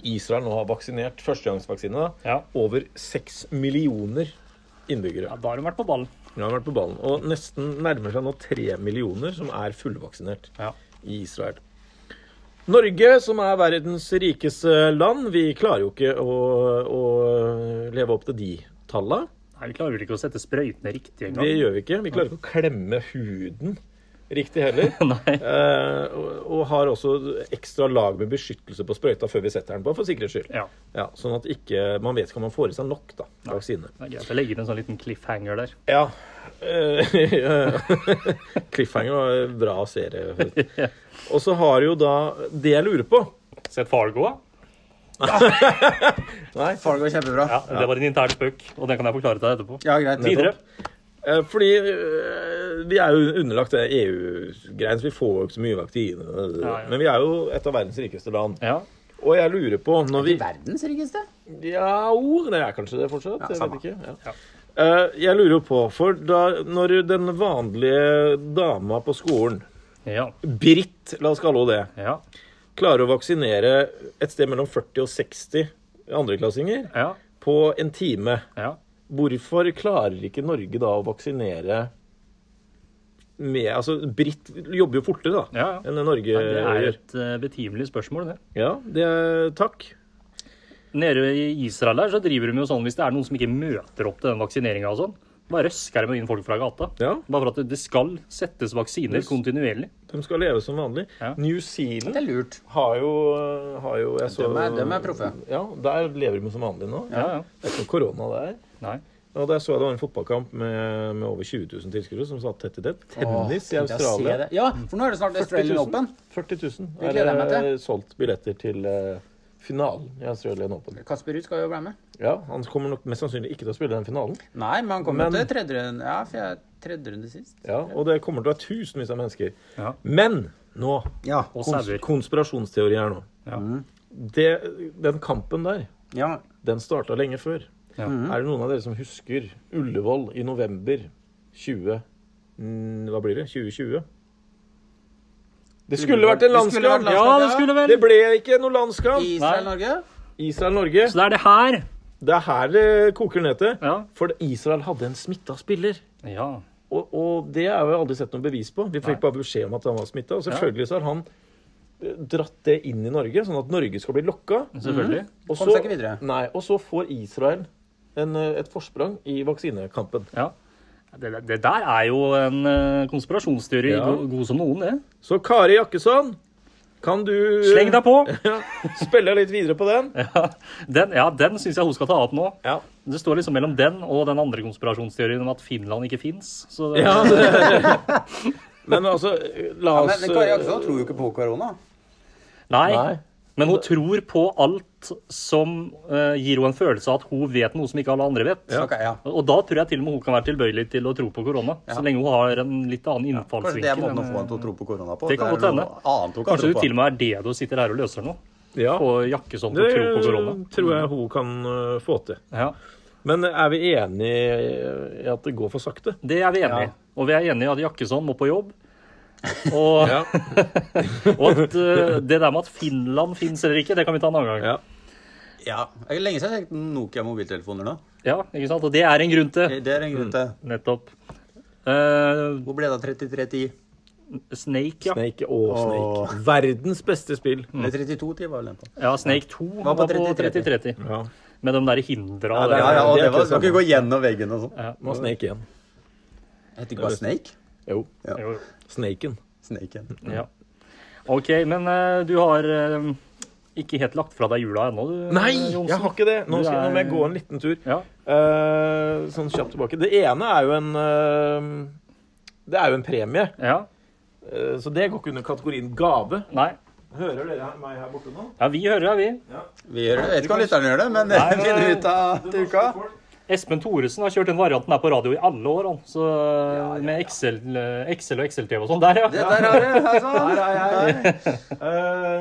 Speaker 1: Israel nå har vaksinert førstegangsvaksine. da,
Speaker 2: Ja.
Speaker 1: Over seks millioner
Speaker 2: ja,
Speaker 1: innbyggere.
Speaker 2: da har du vært på ballen.
Speaker 1: De har vært på ballen. Og nesten nærmer seg nå tre millioner som er fullvaksinert
Speaker 2: Ja.
Speaker 1: i Israel. Norge, som er verdens rikeste land, vi klarer jo ikke å, å leve opp til de tallene.
Speaker 2: Nei, vi klarer vel ikke å sette sprøytene riktig engang.
Speaker 1: Det gjør vi ikke. Vi klarer ikke å klemme huden riktig heller.
Speaker 2: Nei.
Speaker 1: Eh, og- og har også ekstra lag med beskyttelse på sprøyta før vi setter den på, for sikkerhets skyld.
Speaker 2: Ja.
Speaker 1: Ja, sånn at ikke, man vet ikke om man får i seg nok da, vaksine.
Speaker 2: Det er greit. Jeg legger en sånn liten cliffhanger der.
Speaker 1: Ja. Eh, Cliffhanger var en bra serie. Og så har jo da Det jeg lurer på
Speaker 2: Sett Fargo, da?
Speaker 1: Nei,
Speaker 3: Fargo er kjempebra.
Speaker 2: Ja, det var en intern spøk, og den kan jeg forklare til deg etterpå.
Speaker 3: Ja, greit.
Speaker 2: Videre.
Speaker 1: Eh, Fordi eh, vi er jo underlagt det EU-greien, så vi får jo ikke så mye vaksine.
Speaker 2: Ja, ja.
Speaker 1: Men vi er jo et av verdens rikeste land.
Speaker 2: Ja.
Speaker 1: Og jeg lurer på når vi
Speaker 3: Verdens rikeste?
Speaker 1: Ja, o, det er kanskje det fortsatt.
Speaker 3: Ja,
Speaker 1: jeg
Speaker 3: samme.
Speaker 1: vet ikke. Ja. Eh, Jeg lurer jo på, for da når den vanlige dama på skolen,
Speaker 2: ja.
Speaker 1: Britt, la oss kalle henne det,
Speaker 2: Ja.
Speaker 1: klarer å vaksinere et sted mellom 40 og 60 andreklassinger
Speaker 2: Ja.
Speaker 1: på en time
Speaker 2: Ja.
Speaker 1: Hvorfor klarer ikke Norge da å vaksinere med Altså, Britt jobber jo fortere, da,
Speaker 2: ja. ja.
Speaker 1: enn Norge
Speaker 2: Det er
Speaker 1: gjør.
Speaker 2: et eh, betimelig spørsmål, det.
Speaker 1: Ja, det er, takk.
Speaker 2: Nede i Israel der så driver de jo sånn hvis det er noen som ikke møter opp til den vaksineringa og sånn. Bare røsker de inn folk fra gata.
Speaker 1: Ja,
Speaker 2: Bare for at det- det skal settes vaksiner
Speaker 1: Yes.
Speaker 2: kontinuerlig.
Speaker 1: de skal leve som vanlig.
Speaker 2: Ja.
Speaker 1: New
Speaker 3: Det
Speaker 1: Zealand
Speaker 3: er lurt.
Speaker 1: har jo, har jo jeg så,
Speaker 3: Dem er- dem er proffe.
Speaker 1: Ja, der lever de som vanlig nå.
Speaker 2: Ja, ja.
Speaker 1: Det er ikke noe korona der.
Speaker 2: Nei.
Speaker 1: Og der så jeg det var en fotballkamp med, med over 20 000 tilskuere som satt tett i tett. Tennis i
Speaker 3: Åh, tenk deg å se
Speaker 1: Australia.
Speaker 3: det. Ja, for nå er det snart
Speaker 1: 40
Speaker 3: Australian
Speaker 1: 000.
Speaker 3: Open.
Speaker 1: 40 000
Speaker 3: Det gleder jeg meg
Speaker 1: er
Speaker 3: til.
Speaker 1: eh, solgt billetter til eh, finalen i Australian Open.
Speaker 3: Kasper Ruud skal jo være med.
Speaker 1: Ja, han kommer nok mest sannsynlig ikke til å spille den finalen.
Speaker 3: Nei, men han kommer
Speaker 1: Men-
Speaker 3: til tredje runde. Ja, for jeg tredje runde sist.
Speaker 1: Ja, Og det kommer til å være tusenvis av mennesker.
Speaker 2: Ja.
Speaker 1: Men nå
Speaker 3: Ja.
Speaker 1: kons
Speaker 2: Og sauer.
Speaker 1: Konspirasjonsteori her nå.
Speaker 2: Ja.
Speaker 1: Det, den kampen der,
Speaker 3: ja.
Speaker 1: den starta lenge før.
Speaker 2: Ja.
Speaker 1: Er det noen av dere som husker Ullevål i november 20... mm, Hva blir det? 2020? Det skulle vært en
Speaker 3: Det skulle
Speaker 1: landskamp!
Speaker 3: vært landskamp.
Speaker 1: Ja,
Speaker 2: ja, det skulle vel
Speaker 1: det ble ikke noe landskamp!
Speaker 2: Nei.
Speaker 3: Israel-Norge?
Speaker 1: Israel-Norge.
Speaker 2: Så det er det her.
Speaker 1: Det er her det koker ned til.
Speaker 2: Ja.
Speaker 1: For Israel hadde en smitta spiller.
Speaker 2: ja.
Speaker 1: Og, og det har vi aldri sett noe bevis på. Vi fikk bare beskjed om at han var smitta. Og selvfølgelig så har han eh, dratt det inn i Norge, sånn at Norge skal bli lokka.
Speaker 2: Selvfølgelig.
Speaker 1: Og
Speaker 3: Kom
Speaker 1: så-
Speaker 3: seg ikke videre.
Speaker 1: Nei, og så får Israel en, eh, et forsprang i vaksinekampen.
Speaker 2: Ja. Det, det der er jo en eh, konspirasjonsteori
Speaker 1: Ja.
Speaker 2: god, god som noen, det.
Speaker 1: Så Kari Jakkesson, kan du eh,
Speaker 2: Sleng deg på!
Speaker 1: ja, spille litt videre på den?
Speaker 2: Ja, den, ja, den syns jeg hun skal ta opp nå.
Speaker 1: Ja.
Speaker 2: Det står liksom mellom den og den andre konspirasjonsteorien om at Finland ikke fins. Så det,
Speaker 1: ja det- men altså, la
Speaker 3: Ja,
Speaker 1: oss
Speaker 3: men men Kari Jakkesson tror jo ikke på korona.
Speaker 2: nei.
Speaker 1: Nei.
Speaker 2: Men hun tror på alt som eh, gir henne en følelse av at hun vet noe som ikke alle andre vet.
Speaker 3: Så, ok, ja.
Speaker 2: Og da tror jeg til og med hun kan være tilbøyelig til å tro på korona.
Speaker 3: Ja.
Speaker 2: Så lenge hun har en litt annen
Speaker 3: Kanskje det
Speaker 2: innfallsvinkel.
Speaker 3: er måten å få
Speaker 2: enn-
Speaker 3: henne til å tro på korona på?
Speaker 2: Det kan
Speaker 3: er
Speaker 2: godt
Speaker 3: noe
Speaker 2: hende.
Speaker 3: annet hun kan
Speaker 2: Kanskje
Speaker 3: tro
Speaker 2: det
Speaker 3: på.
Speaker 2: til og med er det du sitter her og løser nå?
Speaker 1: eh, ja,
Speaker 2: På jakke som
Speaker 1: det
Speaker 2: du tror på korona?
Speaker 1: tror jeg hun kan eh, få til.
Speaker 2: Ja.
Speaker 1: Men er vi enige i at det går for sakte?
Speaker 2: Det er vi enig i.
Speaker 3: Ja.
Speaker 2: Og vi er enig i at Jakkesson må på jobb. Og,
Speaker 1: Ja.
Speaker 2: og at eh, det der med at Finland fins eller ikke, det kan vi ta en annen gang.
Speaker 1: ja.
Speaker 3: Ja. Det er lenge siden jeg har tenkt Nokia-mobiltelefoner nå.
Speaker 2: Ja, ikke sant? Og det er en grunn til.
Speaker 3: Det er en grunn til.
Speaker 2: Nettopp. Eh,
Speaker 3: Hvor ble det av 3310?
Speaker 2: Snake, ja.
Speaker 1: Snake og Snake. Verdens beste spill.
Speaker 3: Eller 3210 var vel den på.
Speaker 2: Ja, Snake 2
Speaker 3: Var
Speaker 2: var
Speaker 3: på
Speaker 2: på 3030.
Speaker 1: Ja.
Speaker 2: Med de der hindra.
Speaker 1: Ja, det
Speaker 2: der.
Speaker 3: Ja, ja, og
Speaker 1: det er
Speaker 3: det var,
Speaker 1: ikke
Speaker 3: skal ikke gå gjennom veggen og sånn.
Speaker 2: Ja.
Speaker 1: Nå er Snake igjen.
Speaker 3: Heter ikke bare Snake?
Speaker 1: Jo.
Speaker 3: Ja.
Speaker 2: Jo,
Speaker 1: Snaken.
Speaker 3: Snaken.
Speaker 2: ja. OK, men eh, du har eh, ikke helt lagt fra deg jula ennå, du?
Speaker 1: Nei,
Speaker 2: eh, Johnsen?
Speaker 1: jeg har ikke det! Nå,
Speaker 2: Du
Speaker 1: skal, nå må
Speaker 2: er-
Speaker 1: jeg gå en liten tur.
Speaker 2: Ja.
Speaker 1: Eh, sånn kjapt tilbake. Det ene er jo en eh, Det er jo en premie,
Speaker 2: ja.
Speaker 1: eh, så det går ikke under kategorien gave.
Speaker 2: Nei.
Speaker 1: Hører dere her- meg her borte nå?
Speaker 2: Ja, vi hører deg, vi.
Speaker 3: Vi gjør det. Jeg vet ikke om lytterne gjør det, men det
Speaker 2: Nei, men-
Speaker 3: finner vi ut av til uka.
Speaker 2: Espen Thoresen har kjørt den varianten her på radio i alle år, han. Så,
Speaker 1: ja,
Speaker 2: Med Excel, eh, Excel og Excel-TV og sånn. Der,
Speaker 3: Det
Speaker 2: ja.
Speaker 3: der har du. Her sånn.
Speaker 1: Eh,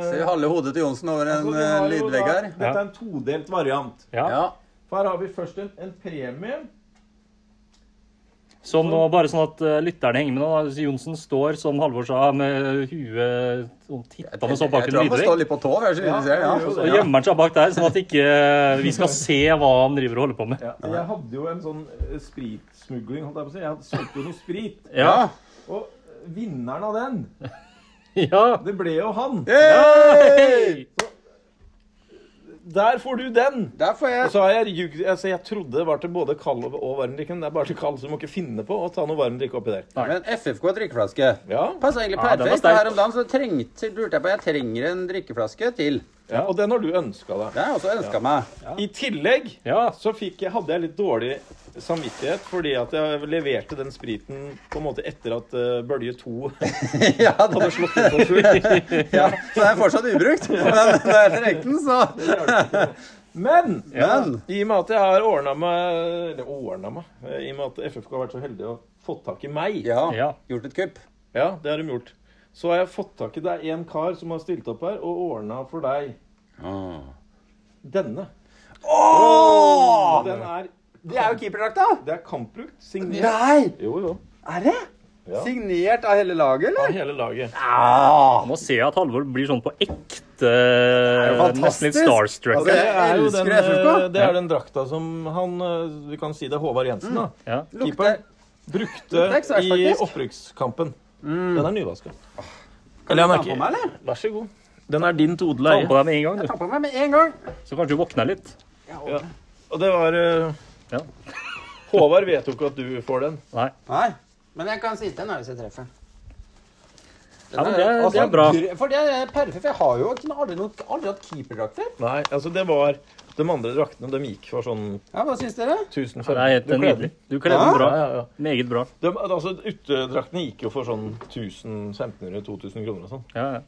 Speaker 3: Ser vi halve hodet til Johnsen over en
Speaker 1: så vi
Speaker 3: eh,
Speaker 1: har jo da-
Speaker 3: lydvegg her.
Speaker 1: Dette er en todelt variant.
Speaker 2: ja.
Speaker 3: Ja.
Speaker 1: For her har vi først en, en premie.
Speaker 2: Som nå, bare sånn at eh, lytterne henger med nå. da. Johnsen står, som Halvor sa, med huet sånn, tittende
Speaker 3: Jeg
Speaker 2: sånn
Speaker 3: tror
Speaker 2: bak en
Speaker 3: han må stå
Speaker 2: lydvegg.
Speaker 3: litt på tå. for jeg er så lite
Speaker 1: Ja,
Speaker 3: ser,
Speaker 1: jo,
Speaker 2: Og
Speaker 1: det.
Speaker 3: ja.
Speaker 2: gjemmer han seg bak der, sånn at ikke eh, vi skal se hva han driver og holder på med.
Speaker 1: Jeg hadde jo en sånn eh, spritsmugling, holdt jeg på å si. Jeg hadde- solgte jo noe sprit.
Speaker 2: Ja.
Speaker 1: Og eh, vinneren av den,
Speaker 2: ja.
Speaker 1: det ble jo han.
Speaker 3: Yay!
Speaker 2: Hei!
Speaker 1: Der får du den!
Speaker 3: Der får
Speaker 1: Og
Speaker 3: jeg
Speaker 1: så har jeg ljugd altså, Jeg trodde det var til både kald og og varm drikke, men det er bare til kald, så du må ikke finne på å ta noe varm drikke oppi der.
Speaker 3: en FFK drikkeflaske.
Speaker 1: Ja.
Speaker 3: Passer egentlig
Speaker 2: Ja, den var
Speaker 3: perfekt.
Speaker 2: sterk.
Speaker 3: Her om dagen så trengte, lurte jeg på Jeg trenger en drikkeflaske til.
Speaker 1: ja. Og den har du ønska deg.
Speaker 3: Det har jeg også ønska meg.
Speaker 1: I tillegg
Speaker 2: Ja.
Speaker 1: så fikk jeg, hadde jeg litt dårlig samvittighet fordi at jeg leverte den spriten på en måte etter at eh, bølge to
Speaker 3: Ja, det,
Speaker 1: hadde slått inn for fullt.
Speaker 3: ja, så den er fortsatt ubrukt. Men når jeg trengte den, så
Speaker 1: Men
Speaker 3: Men
Speaker 1: i og med at jeg har ordna meg Eller ordna meg eh, I og med at FFK har vært så heldig å få tak i meg,
Speaker 3: ja,
Speaker 2: Ja.
Speaker 3: gjort et kupp.
Speaker 1: ja det har de gjort, så har jeg fått tak i Det er en kar som har stilt opp her og ordna for deg denne. Og Den er,
Speaker 3: Det er jo keeperdrakta!
Speaker 1: det er kampbrukt. Signert.
Speaker 3: Nei!
Speaker 1: Jo, jo.
Speaker 3: Er det?
Speaker 1: Ja.
Speaker 3: Signert av hele laget,
Speaker 1: Av
Speaker 3: eller?
Speaker 1: hele laget.
Speaker 3: Ja.
Speaker 2: Nå ser jeg at Halvor blir sånn på ekte eh,
Speaker 3: jo
Speaker 2: Nesten litt
Speaker 3: fantastisk.
Speaker 2: starstruck.
Speaker 3: Altså,
Speaker 1: Det er jo
Speaker 3: elsker
Speaker 1: den,
Speaker 3: FFK.
Speaker 1: eh, det er den drakta som han eh, Vi kan si det er Håvard Jensen, da.
Speaker 2: Ja.
Speaker 1: Keeperen brukte
Speaker 3: lukter eksaktfaktisk.
Speaker 1: i opprykkskampen. Den er nyvaska.
Speaker 3: Kan du ta på meg, eller?
Speaker 1: Vær så god. Den er din til odel
Speaker 2: Ta
Speaker 1: og
Speaker 2: den på
Speaker 1: eie.
Speaker 2: deg med en gang,
Speaker 3: Ta på meg med en gang.
Speaker 2: du. Så kanskje du våkner litt.
Speaker 1: Og det var eh,
Speaker 2: Ja.
Speaker 1: Håvard vet jo ikke at du får den.
Speaker 2: Nei.
Speaker 3: Nei, men jeg kan sitte den her hvis jeg treffer. Den
Speaker 2: Ja, men det er- det er bra.
Speaker 3: gr- For det er perfekt, for jeg har jo ikke noe- aldri, noe, aldri hatt keeperdrakt før.
Speaker 1: Nei, altså det var De andre draktene de gikk for sånn
Speaker 3: Ja, hva syns dere?
Speaker 1: 1050.
Speaker 2: Det er helt
Speaker 1: Du kledde
Speaker 2: nydelig. Du kledde den
Speaker 1: Ja,
Speaker 2: bra.
Speaker 1: ja, ja.
Speaker 2: Meget bra.
Speaker 1: De, altså, Utedraktene gikk jo for sånn 1500-2000 kroner og sånn.
Speaker 2: Ja, ja.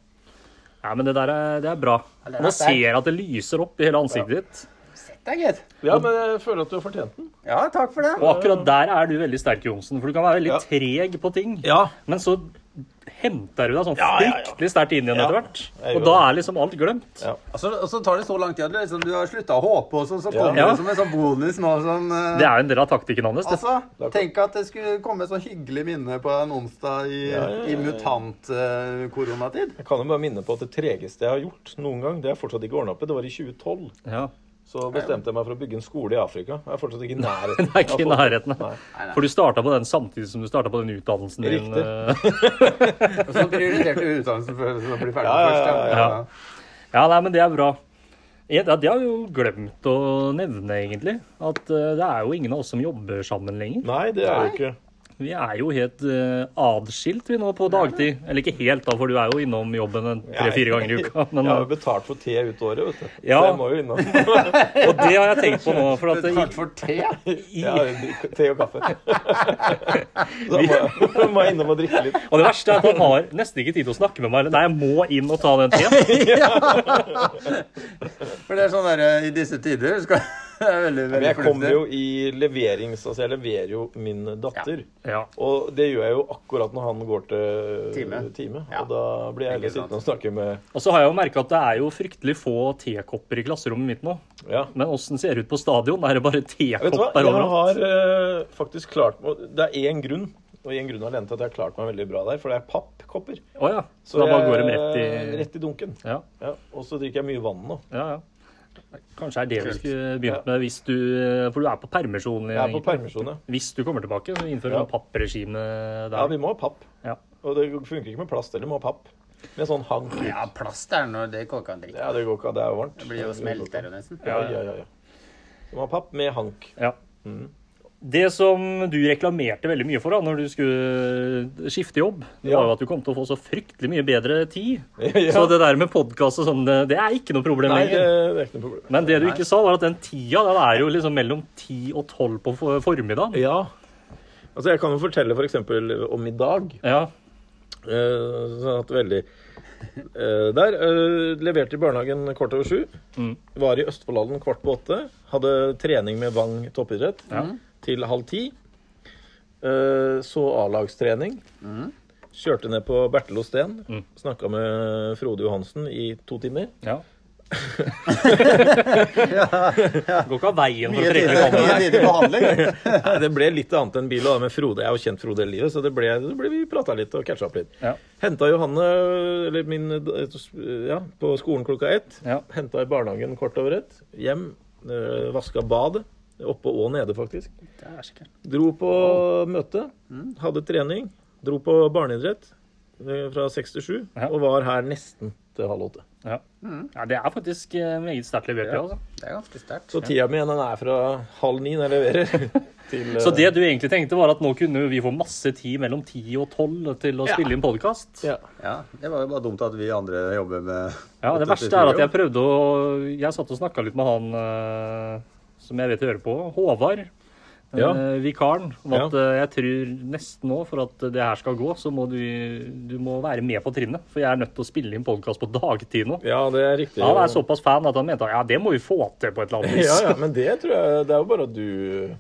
Speaker 2: Nei, men det der er, det er bra.
Speaker 3: Ja, det er
Speaker 2: Nå
Speaker 3: sterkt.
Speaker 2: ser jeg at det lyser opp i hele ansiktet ditt.
Speaker 3: Det er greit.
Speaker 1: Ja, men jeg føler at du har fortjent den.
Speaker 3: Ja, takk for det.
Speaker 2: Og akkurat der er du veldig sterk, Johnsen. For du kan være veldig
Speaker 1: Ja.
Speaker 2: treg på ting.
Speaker 1: Ja.
Speaker 2: Men så henter du deg sånn
Speaker 1: Ja, ja, ja.
Speaker 2: fryktelig sterkt inn igjen
Speaker 1: Ja.
Speaker 2: etter hvert.
Speaker 1: Jeg
Speaker 2: Og
Speaker 1: gjør
Speaker 2: da er liksom alt glemt.
Speaker 3: Og så, og så tar det så lang tid at du, liksom, du har slutta å håpe, og så, så
Speaker 1: Ja.
Speaker 3: kommer
Speaker 2: Ja.
Speaker 3: det som en sånn bonus nå sånn eh,
Speaker 2: Det er jo en del av taktikken hans. det.
Speaker 3: Altså, tenk at det skulle komme et sånn hyggelig minne på en onsdag i,
Speaker 1: Ja, ja, ja,
Speaker 3: i eh,
Speaker 1: ja.
Speaker 3: mutant-koronatid.
Speaker 1: Jeg kan jo bare minne på at det tregeste jeg har gjort noen gang, det er fortsatt ikke ordna opp i, det var i 2012.
Speaker 2: Ja.
Speaker 1: Så bestemte jeg meg for å bygge en skole i Afrika. Jeg er fortsatt ikke i nærheten.
Speaker 2: Det er ikke i
Speaker 1: av å få-
Speaker 2: nærheten.
Speaker 1: Nei.
Speaker 3: nei.
Speaker 2: For du starta på den samtidig som du starta på den utdannelsen din. eh.
Speaker 3: Og så prioriterte du utdannelsen før du blir ferdig
Speaker 1: Ja, ja,
Speaker 3: først.
Speaker 1: ja,
Speaker 2: ja. Ja, nei, men det er bra. Ja, Det det har vi jo glemt å nevne, egentlig. At eh, det er jo ingen av oss som jobber sammen lenger.
Speaker 1: Nei, det er jo ikke.
Speaker 2: Vi er jo helt eh, adskilt vi nå på dagtid. Eller ikke helt, da, for du er jo innom jobben en tre-fire ganger i uka. Men,
Speaker 1: Jeg har jo betalt for te ut året, vet du.
Speaker 2: Ja.
Speaker 1: Så jeg må jo innom.
Speaker 2: eh, og det har jeg tenkt på nå. For at det,
Speaker 3: Betalt for te?
Speaker 2: i,
Speaker 1: Jeg har jo drikk- te og kaffe. Så jeg må, jeg må innom og drikke litt.
Speaker 2: og det verste er at han har nesten ikke tid til å snakke med meg. Nei, jeg må inn og ta den teen.
Speaker 3: For det er sånn der, i disse tider skal det er veldig,
Speaker 1: Men
Speaker 3: veldig
Speaker 1: jeg kommer jo i leverings... Altså, jeg leverer jo min datter.
Speaker 2: Ja.
Speaker 1: Og det gjør jeg jo akkurat når han går til
Speaker 3: Time. Ja.
Speaker 1: Og da blir jeg heller
Speaker 3: Ikke sant.
Speaker 1: sittende og snakke med
Speaker 2: Og så har jeg jo merka at det er jo fryktelig få tekopper i klasserommet mitt nå.
Speaker 1: Ja.
Speaker 2: Men åssen ser det ut på stadion? Er det bare
Speaker 1: Vet du hva?
Speaker 2: tekopper
Speaker 1: Jeg
Speaker 2: overalt?
Speaker 1: har eh, faktisk klart meg Det er én grunn, og én grunn alene til at jeg har klart meg veldig bra der, for det er pappkopper.
Speaker 2: Å ja. Så da bare går de
Speaker 1: jeg-
Speaker 2: rett i
Speaker 1: rett i dunken.
Speaker 2: Ja,
Speaker 1: Ja, og så drikker jeg mye vann nå.
Speaker 2: ja. ja. Kanskje er det vi skulle begynt med hvis du For du er på permisjon?
Speaker 1: Jeg er på
Speaker 2: egentlig.
Speaker 1: permisjon, ja.
Speaker 2: Hvis du kommer tilbake, så innfører
Speaker 1: Ja.
Speaker 2: vi ja. pappregime der.
Speaker 1: Ja, vi må ha papp.
Speaker 2: Ja.
Speaker 1: Og det funker ikke med plast heller, vi må ha papp. Med sånn hank ut.
Speaker 3: Ja, plast er noe det går ikke an å drikke.
Speaker 1: Ja, det går ikke, det er jo varmt.
Speaker 3: Det blir jo
Speaker 1: går ikke.
Speaker 3: smelter jo nesten.
Speaker 1: Ja, ja, ja. ja. Vi må ha papp med hank.
Speaker 2: Ja. Det som du reklamerte veldig mye for da når du skulle skifte jobb, det
Speaker 1: Ja.
Speaker 2: var jo at du kom til å få så fryktelig mye bedre tid.
Speaker 1: Ja.
Speaker 2: Så det der med podkast og sånn, det, det er ikke noe problem
Speaker 1: Nei, det,
Speaker 2: lenger.
Speaker 1: det er ikke noe problem.
Speaker 2: Men det du ikke sa, var at den tida den er jo liksom mellom ti og tolv på for- formiddagen.
Speaker 1: Ja. Altså, jeg kan jo fortelle f.eks. eksempel om i dag.
Speaker 2: Ja.
Speaker 1: Eh, sånn at veldig eh, Der. eh, leverte i barnehagen kvart over sju. Var i Østfoldhallen kvart på åtte. Hadde trening med Vang toppidrett
Speaker 2: Ja.
Speaker 1: til halv ti. Eh, så A-lagstrening. Kjørte ned på Bertel og Steen. Snakka med Frode Johansen i to timer.
Speaker 2: ja. Går ikke av veien for å trekke kameraet.
Speaker 4: Mye tidlig behandling.
Speaker 1: Nei, det ble litt annet enn bil, og da, men Frode, jeg har jo kjent Frode hele livet, så det ble, det ble vi prata litt og catcha opp litt.
Speaker 2: Ja.
Speaker 1: Henta Johanne eller min, ja, på skolen klokka ett.
Speaker 2: Ja.
Speaker 1: Henta i barnehagen kort over ett. Hjem. Øh, vaska badet. Oppe og nede, faktisk. Dro på møte. Hadde trening. Dro på barneidrett øh, fra seks til sju.
Speaker 2: Ja.
Speaker 1: Og var her nesten til halv åtte.
Speaker 2: Ja.
Speaker 1: Mm.
Speaker 2: ja, det er faktisk eh, meget sterkt levert. Ja. Altså.
Speaker 3: Det er ganske sterkt.
Speaker 1: Så tida mi den er fra halv ni når jeg leverer, til øh,
Speaker 2: Så det du egentlig tenkte, var at nå kunne vi få masse tid mellom ti og tolv til å spille inn podkast?
Speaker 1: ja.
Speaker 4: Ja, det var jo bare dumt at vi andre jobber med
Speaker 2: Ja, det verste er at jeg prøvde å Jeg satt og snakka litt med han eh, som jeg vet hører på, Håvard. eh,
Speaker 1: Ja.
Speaker 2: Vikaren. Om
Speaker 1: Ja.
Speaker 2: at eh, jeg tror nesten nå, for at det her skal gå, så må du, du må være med på trinnet. For jeg er nødt til å spille inn podkast på dagtid nå.
Speaker 1: ja, det er riktig.
Speaker 2: Han er såpass fan at han mente at ja, det må vi få til på et eller annet vis.
Speaker 1: Ja, ja, men det tror jeg Det er jo bare at du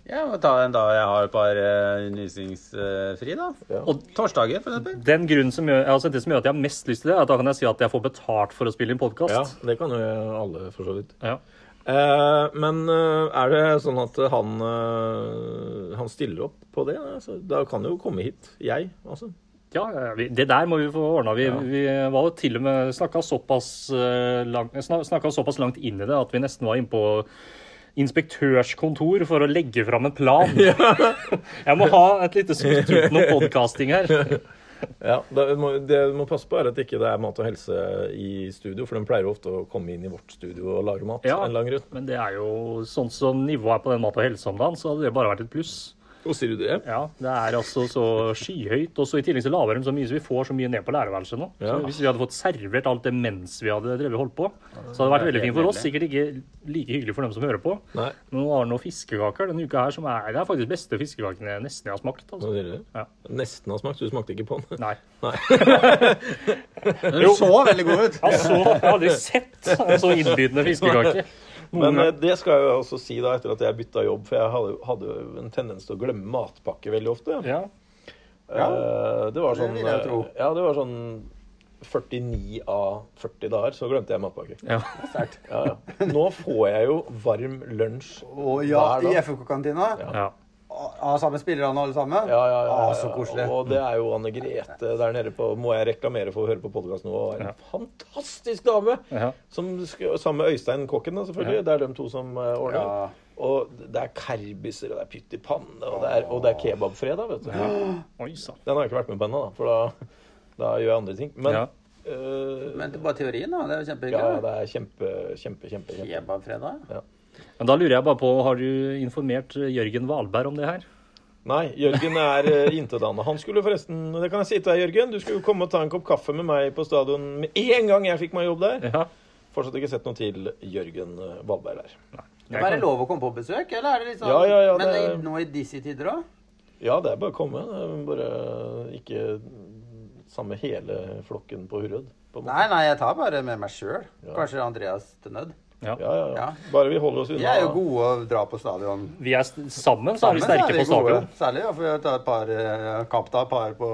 Speaker 4: Jeg må ta en dag jeg har et par
Speaker 3: eh,
Speaker 4: uh, undervisningsfri, da.
Speaker 1: Ja.
Speaker 4: Og torsdager, for eksempel.
Speaker 2: Den grunnen som gjør, altså det som gjør at jeg har mest lyst til det, er at da kan jeg si at jeg får betalt for å spille
Speaker 1: Ja,
Speaker 2: inn podkast.
Speaker 1: det kan jo alle, for så vidt.
Speaker 2: Ja.
Speaker 1: Eh, men eh, er det sånn at han eh, Han stiller opp på det? Altså, da kan jo komme hit, jeg, altså.
Speaker 2: Ja, ja, vi- det der må vi få ordna. Vi, vi var jo til og med snakka såpass, eh, lang- snak- snakket såpass langt inn i det at vi nesten var inne på inspektørskontor for å legge fram en plan. Jeg må ha et lite smutt uten noe podcasting her.
Speaker 1: Ja, da, må, Det du må passe på, er at ikke det er mat og helse i studio, for de pleier jo ofte å komme inn i vårt studio og lage mat
Speaker 2: Ja.
Speaker 1: en lang rundt.
Speaker 2: Men det er jo sånn som nivået er på den mat og helse om dagen, så hadde det bare vært et pluss.
Speaker 1: Og sier du det?
Speaker 2: Ja, Det er altså så skyhøyt. Og så i tillegg så laver de så mye så vi får så mye ned på lærerværelset nå.
Speaker 1: Ja.
Speaker 2: Så hvis vi hadde fått servert alt det mens vi hadde drevet holdt på, så hadde det vært veldig fint for oss. Sikkert ikke like hyggelig for dem som hører på.
Speaker 1: Nei.
Speaker 2: Men Nå har vi noen fiskekaker denne uka her som er Det er faktisk de beste fiskekakene jeg nesten har smakt.
Speaker 1: Nå
Speaker 2: altså.
Speaker 1: sier du det?
Speaker 2: Ja.
Speaker 1: Nesten har smakt. Du smakte ikke på den.
Speaker 2: Nei.
Speaker 4: Den så veldig god ut.
Speaker 2: Jeg, så, jeg har aldri sett en så innbydende fiskekake.
Speaker 1: Men eh, det skal jeg jo også si da, etter at jeg bytta jobb, for jeg hadde, hadde jo en tendens til å glemme matpakke veldig ofte.
Speaker 2: Ja.
Speaker 1: Eh, det var
Speaker 4: det
Speaker 1: sånn
Speaker 4: vil jeg tro.
Speaker 1: eh, Ja, det var sånn 49 av 40 dager, så glemte jeg matpakke.
Speaker 2: ja.
Speaker 1: Ja, ja. Nå får jeg jo varm lunsj.
Speaker 3: Og ja,
Speaker 1: Hver dag.
Speaker 3: i FK-kantina.
Speaker 2: ja.
Speaker 3: Av samme spillerne, alle sammen.
Speaker 1: Ja, ja, ja,
Speaker 3: Å, Ah, så koselig.
Speaker 1: Og det er jo Anne Grete der nede på Må jeg reklamere for å høre på podkasten nå? Og er en fantastisk dame!
Speaker 2: Ja.
Speaker 1: Som, sk- sammen med Øystein Kokken, da, selvfølgelig. Det er de to som uh, ordner.
Speaker 3: Ja.
Speaker 1: Og det er kerbiser, og det er pytt i panne, og det er, og det er kebabfredag, vet du.
Speaker 2: Oi sann.
Speaker 1: Den har jeg ikke vært med på ennå, da, for da, da gjør jeg andre ting. Men
Speaker 2: Ja.
Speaker 1: eh,
Speaker 3: Men det er bare teorien, da. Det er jo
Speaker 1: Ja, ja,
Speaker 3: kjempehyggelig.
Speaker 1: det er kjempe, kjempe, kjempe. kjempe.
Speaker 3: Kebabfredag.
Speaker 2: Men da lurer jeg bare på, har du informert Jørgen Valberg om det her?
Speaker 1: Nei, Jørgen er eh, intetanende. Han skulle forresten Det kan jeg si til deg, Jørgen. Du skulle jo komme og ta en kopp kaffe med meg på stadion med en gang jeg fikk meg jobb der.
Speaker 2: Ja.
Speaker 1: Fortsatt ikke sett noe til Jørgen eh, Valberg der.
Speaker 3: Det er bare lov å komme på besøk, eller er det litt sånn
Speaker 1: Ja, ja, ja,
Speaker 3: Men
Speaker 1: det-
Speaker 3: i- nå i disse tider òg?
Speaker 1: Ja, det er bare å komme. Det er Bare ikke samme hele flokken på Hurød. På en måte.
Speaker 3: Nei, nei, jeg tar bare med meg sjøl. Kanskje Andreas til nødd.
Speaker 1: Ja, ja, ja.
Speaker 3: Ja.
Speaker 1: Bare vi holder oss
Speaker 3: Vi
Speaker 1: unna.
Speaker 3: er jo gode å dra på stadion.
Speaker 2: Vi er s- sammen, så er vi
Speaker 3: Sammen
Speaker 2: sterke
Speaker 3: er
Speaker 2: på stadion.
Speaker 3: gode. Særlig ja, for å ta et par eh, kapta, et par på,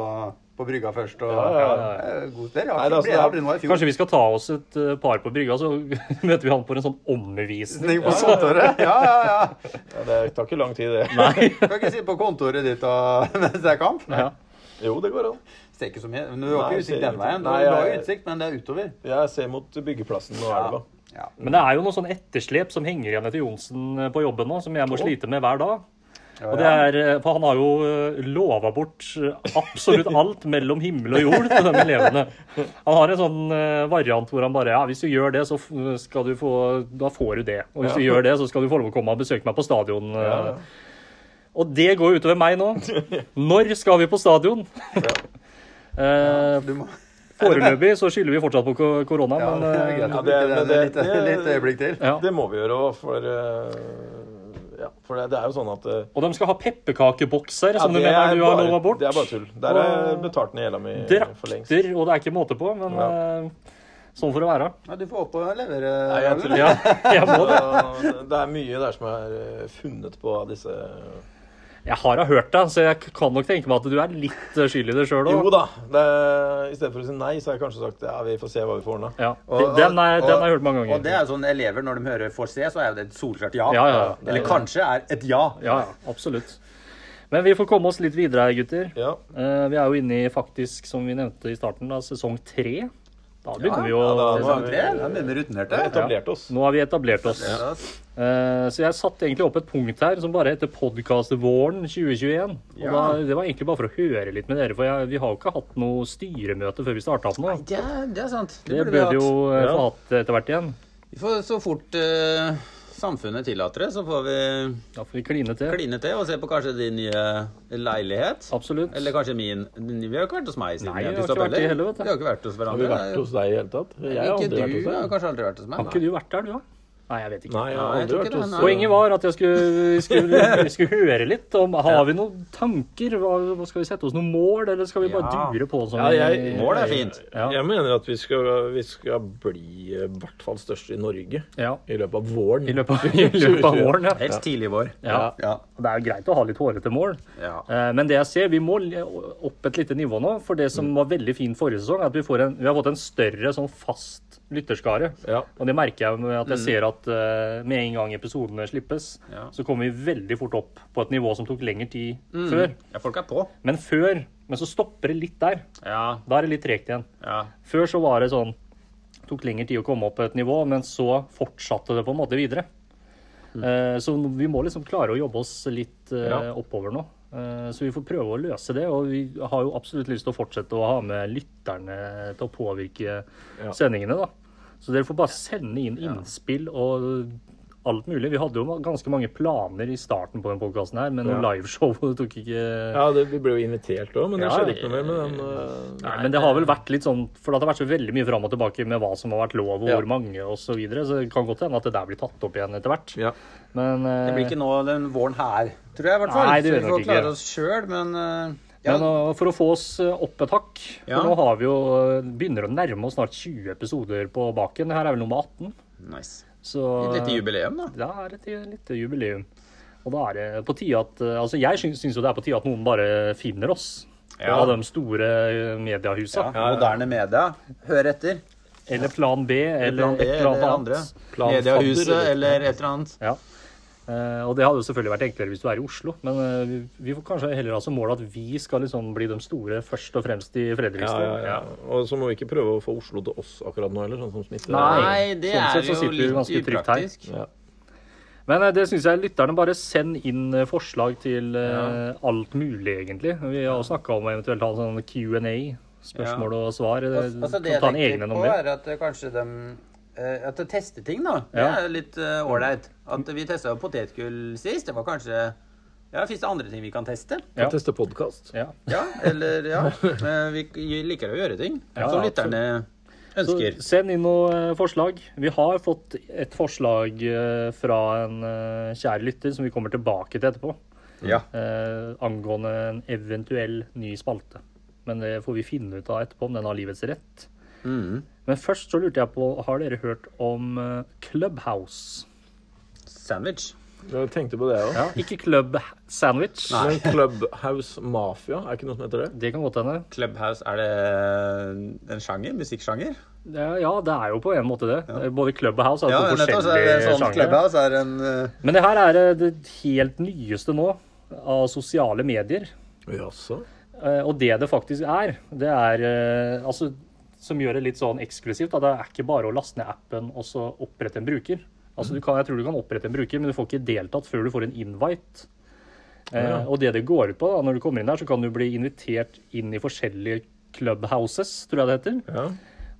Speaker 3: på brygga først. Og,
Speaker 1: Ja, ja, ja.
Speaker 3: Eh, God sted.
Speaker 1: Nei, det er altså-
Speaker 3: Jeg ble nå i fjor.
Speaker 2: Kanskje vi skal ta oss et eh, par på brygga, så møter vi han på en sånn omvisning.
Speaker 3: På kontoret. Ja, ja, ja.
Speaker 1: Ja, det tar ikke lang tid, det.
Speaker 3: Kan ikke sitte på kontoret ditt og, mens det er kamp.
Speaker 2: Ja.
Speaker 1: Jo, det går an.
Speaker 3: Ser ikke så mye. Men Du har
Speaker 1: Nei,
Speaker 3: ikke utsikt
Speaker 1: ser
Speaker 3: den veien.
Speaker 1: ingenting.
Speaker 3: Du har
Speaker 1: Nei,
Speaker 3: bra
Speaker 1: jeg-
Speaker 3: utsikt, men det er utover.
Speaker 1: Jeg ser mot byggeplassen og elva.
Speaker 3: Ja.
Speaker 2: Men det er jo noe sånn etterslep som henger igjen etter Johnsen eh, på jobben nå, som jeg må slite med hver dag. Og det er, eh, for Han har jo eh, lova bort eh, absolutt alt mellom himmel og jord til de elevene. Han har en sånn eh, variant hvor han bare ja, hvis du gjør det, så f- skal du få, da får du det. Og hvis du gjør det, så skal du få lov å komme og besøke meg på stadion. eh. Og det går jo utover meg nå. Når skal vi på stadion? Eh,
Speaker 3: Du må
Speaker 2: foreløpig så skylder vi fortsatt på ko- korona,
Speaker 3: Ja, det
Speaker 2: men
Speaker 3: er
Speaker 2: eh,
Speaker 3: greit å
Speaker 1: det er-
Speaker 3: bruke den
Speaker 1: det-
Speaker 3: litt, litt øyeblikk til.
Speaker 2: ja.
Speaker 1: Det må vi gjøre òg, for eh, Ja, for det, det er jo sånn at eh,
Speaker 2: Og de skal ha pepperkakebokser, som
Speaker 1: ja,
Speaker 2: du mener du har
Speaker 1: bare-
Speaker 2: lova bort.
Speaker 1: Det er bare tull. Der er betalt ned gjelda mi for lengst.
Speaker 2: Drakter, og det er ikke måte på, men
Speaker 1: Ja.
Speaker 2: eh, sånn får det være.
Speaker 3: Ja, du får opp og levere.
Speaker 1: Nei, jeg tuller.
Speaker 2: Ja, jeg må det.
Speaker 1: Så Det er mye der som er eh, funnet på av disse
Speaker 2: Jeg har da hørt deg, så jeg kan nok tenke meg at du er litt eh, skyld i det sjøl
Speaker 1: Jo
Speaker 2: òg.
Speaker 1: da. Det, I stedet for å si nei, så har jeg kanskje sagt ja, vi får se hva vi får ordna.
Speaker 2: Ja.
Speaker 3: Og-
Speaker 2: Den, er,
Speaker 3: og-
Speaker 2: den har jeg hørt mange ganger.
Speaker 3: Og det er jo sånn elever, når de hører 'får se', så er jo det et solklart ja.
Speaker 2: Ja, ja, ja. Det er-
Speaker 3: Eller kanskje er et ja.
Speaker 2: Ja, ja, absolutt. Men vi får komme oss litt videre her, gutter.
Speaker 1: Ja.
Speaker 2: Eh, vi er jo inne i faktisk, som vi nevnte i starten, da, sesong tre. Da begynner vi å
Speaker 1: ja, da-
Speaker 3: Det er sant, det. Da begynner
Speaker 1: Vi har
Speaker 3: rutinerte.
Speaker 1: etablert oss.
Speaker 2: Nå har vi etablert oss. Eh, så jeg satte egentlig opp et punkt her som bare heter podkast-våren 2021. Og da, det var egentlig bare for å høre litt med dere, for jeg, vi har jo ikke hatt noe styremøte før vi starta opp nå.
Speaker 3: Det er, det er sant.
Speaker 2: Det burde vi jo
Speaker 3: hatt.
Speaker 2: eh, få
Speaker 1: Ja.
Speaker 2: hatt etter hvert igjen.
Speaker 3: Vi får, så fort eh, samfunnet tillater det, så får vi
Speaker 2: Da får vi kline til.
Speaker 3: kline til og se på kanskje din nye leilighet.
Speaker 2: Absolutt.
Speaker 3: Eller kanskje min. Vi har jo ikke vært hos meg siden
Speaker 2: Nei, vi
Speaker 3: jeg
Speaker 2: har
Speaker 3: pusset
Speaker 2: ikke vært i
Speaker 3: opp,
Speaker 2: helvete.
Speaker 3: Vi har ikke vært hos
Speaker 1: Har
Speaker 3: hverandre.
Speaker 1: vi vært hos deg i det hele tatt? Jeg har
Speaker 3: ikke
Speaker 1: aldri
Speaker 3: du
Speaker 1: vært hos
Speaker 3: har
Speaker 1: deg.
Speaker 3: kanskje aldri vært hos meg.
Speaker 2: Har ikke du vært der, du, da? Nei, jeg vet ikke.
Speaker 1: Nei, jeg har
Speaker 3: Nei, jeg
Speaker 1: aldri
Speaker 3: tror
Speaker 1: vært
Speaker 3: ikke
Speaker 1: hos
Speaker 3: det, nei.
Speaker 2: Poenget var at jeg skulle, skulle, skulle høre litt om Har vi noen tanker? Hva, hva skal vi sette oss noen mål, eller skal vi bare
Speaker 3: Ja.
Speaker 2: dure på som
Speaker 1: Ja, jeg-
Speaker 2: vi-
Speaker 3: Mål er fint.
Speaker 2: Ja.
Speaker 1: Jeg mener at vi skal, vi skal bli eh, i hvert fall størst i Norge
Speaker 2: Ja.
Speaker 1: i løpet av våren.
Speaker 2: I løpet av, i løpet av våren, ja.
Speaker 3: Helst tidlig i vår.
Speaker 2: ja.
Speaker 3: Ja.
Speaker 2: Det er jo greit å ha litt hårete mål.
Speaker 3: Ja.
Speaker 2: Eh, Men det jeg ser, vi må l- opp et lite nivå nå. For det
Speaker 3: Mm.
Speaker 2: som var veldig fint forrige sesong, er at vi, får en, vi har fått en større sånn fast lytterskare.
Speaker 1: Ja.
Speaker 2: Og det merker jeg med at jeg ser at eh, med en gang episodene slippes,
Speaker 3: Mm. Ja. Mm.
Speaker 2: så kommer vi veldig fort opp på et nivå som tok lengre tid før.
Speaker 3: Ja, folk er på.
Speaker 2: Men før Men så stopper det litt der.
Speaker 3: Ja,
Speaker 2: Da er det litt tregt igjen.
Speaker 3: ja.
Speaker 2: Før så var det sånn tok lengre tid å komme opp på et nivå, men så fortsatte det på en måte videre. Eh, Så vi må liksom klare å jobbe oss litt eh,
Speaker 1: Mm. Ja.
Speaker 2: oppover nå. Eh, Så vi får prøve å løse det. Og vi har jo absolutt lyst til å fortsette å ha med lytterne til å påvirke
Speaker 1: Ja.
Speaker 2: sendingene, da. Så dere får bare sende inn innspill og alt mulig. Vi hadde jo ganske mange planer i starten på den podkasten her, men noe
Speaker 1: Ja.
Speaker 2: liveshow tok ikke
Speaker 1: Ja, det, vi ble jo invitert òg, men det
Speaker 2: Ja,
Speaker 1: skjedde ikke noe mer med den. eh,
Speaker 2: Nei, men det har vel vært litt sånn For det har vært så veldig mye fram og tilbake med hva som har vært lov, og hvor mange osv. Så, videre, så det kan godt hende at det der blir tatt opp igjen etter hvert.
Speaker 1: Ja.
Speaker 2: Men eh,
Speaker 3: Det blir ikke nå den våren her, tror jeg i hvert fall.
Speaker 2: Nei, det
Speaker 3: Så
Speaker 2: gjør
Speaker 3: vi
Speaker 2: nok
Speaker 3: får
Speaker 2: ikke.
Speaker 3: klare oss sjøl, men eh, ja,
Speaker 2: men eh, for å få oss eh, opp et hakk For
Speaker 3: Ja.
Speaker 2: nå har vi jo eh, begynner å nærme oss snart 20 episoder på baken. Her er vel nummer 18.
Speaker 3: nice.
Speaker 2: Så
Speaker 3: Et lite jubileum, da.
Speaker 2: Det er et lite jubileum. Og da er det på tide at eh, Altså, jeg syns, syns jo det er på tide at noen bare finner oss.
Speaker 3: Ja.
Speaker 2: Av de store eh, mediehusa.
Speaker 3: Ja, moderne media. Hør etter.
Speaker 2: Eller Plan B, eller,
Speaker 3: Plan B
Speaker 2: et eller annet.
Speaker 3: eller andre.
Speaker 1: Plan
Speaker 3: Mediehuset
Speaker 1: Fadder,
Speaker 3: eller et eller annet.
Speaker 2: Ja. Eh, og det hadde jo selvfølgelig vært enklere hvis du er i Oslo, men eh, vi, vi får kanskje heller ha som mål at vi skal liksom bli de store først og fremst i
Speaker 1: Ja,
Speaker 2: Fredrikstad.
Speaker 1: ja, ja. Og så må vi ikke prøve å få Oslo til oss akkurat nå heller, sånn som smitte.
Speaker 2: Nei.
Speaker 3: Nei, det
Speaker 2: Sånn
Speaker 3: er
Speaker 2: sett så
Speaker 3: jo
Speaker 2: sitter vi
Speaker 3: litt
Speaker 2: ganske trygt her.
Speaker 3: upraktisk.
Speaker 1: Ja.
Speaker 2: Men eh, det syns jeg lytterne bare send inn eh, forslag til eh, alt mulig, egentlig. Vi har jo snakka om å eventuelt ha en sånn Q&A, spørsmål og svar. eh,
Speaker 3: Al- Altså, det
Speaker 2: kan ta
Speaker 3: jeg
Speaker 2: en egne
Speaker 3: tenker på,
Speaker 2: nummer.
Speaker 3: er at eh, kanskje de eh, At de tester ting, da. Det
Speaker 2: Ja.
Speaker 3: er litt eh, ålreit. At vi testa potetgull sist. Det var kanskje Ja, fins det andre ting vi kan teste?
Speaker 2: Ja.
Speaker 1: Kan teste podkast.
Speaker 2: Ja.
Speaker 3: Ja, eller ja. Eh, Vi k- liker å gjøre ting
Speaker 2: Ja,
Speaker 3: som
Speaker 2: ja,
Speaker 3: lytterne
Speaker 2: Så
Speaker 3: ønsker.
Speaker 2: send inn noen eh, forslag. Vi har fått et forslag eh, fra en eh, kjær lytter som vi kommer tilbake til etterpå.
Speaker 3: Ja.
Speaker 2: eh, angående en eventuell ny spalte. Men det får vi finne ut av etterpå, om den har livets rett.
Speaker 3: Mhm.
Speaker 2: Men først så lurte jeg på, har dere hørt om eh, Clubhouse?
Speaker 3: Sandwich.
Speaker 1: Jeg tenkte på det òg.
Speaker 2: Ja, ikke Club Sandwich.
Speaker 1: Men Clubhouse Mafia, er ikke noe som heter det?
Speaker 2: Det kan godt hende.
Speaker 3: Clubhouse, er det en sjanger? Musikksjanger?
Speaker 2: Det er- Ja, det er jo på en måte det. Eh, Både Club og House er
Speaker 3: Ja,
Speaker 2: jo to
Speaker 3: nettopp. Så er det
Speaker 2: forskjellige
Speaker 3: sånn
Speaker 2: sjangere.
Speaker 3: Clubhouse er en eh,
Speaker 2: Men det her er eh, det helt nyeste nå av sosiale medier.
Speaker 1: Jaså?
Speaker 2: Eh, Og det det faktisk er, det er eh, altså, som gjør det litt sånn eksklusivt. Da. Det er ikke bare å laste ned appen og så opprette en bruker. Altså, du kan, jeg tror du kan opprette en bruker, men du får ikke deltatt før du får en invite. Eh,
Speaker 1: Ja.
Speaker 2: Og det det går ut på, da, når du kommer inn der, så kan du bli invitert inn i forskjellige clubhouses, tror jeg det heter.
Speaker 1: Ja.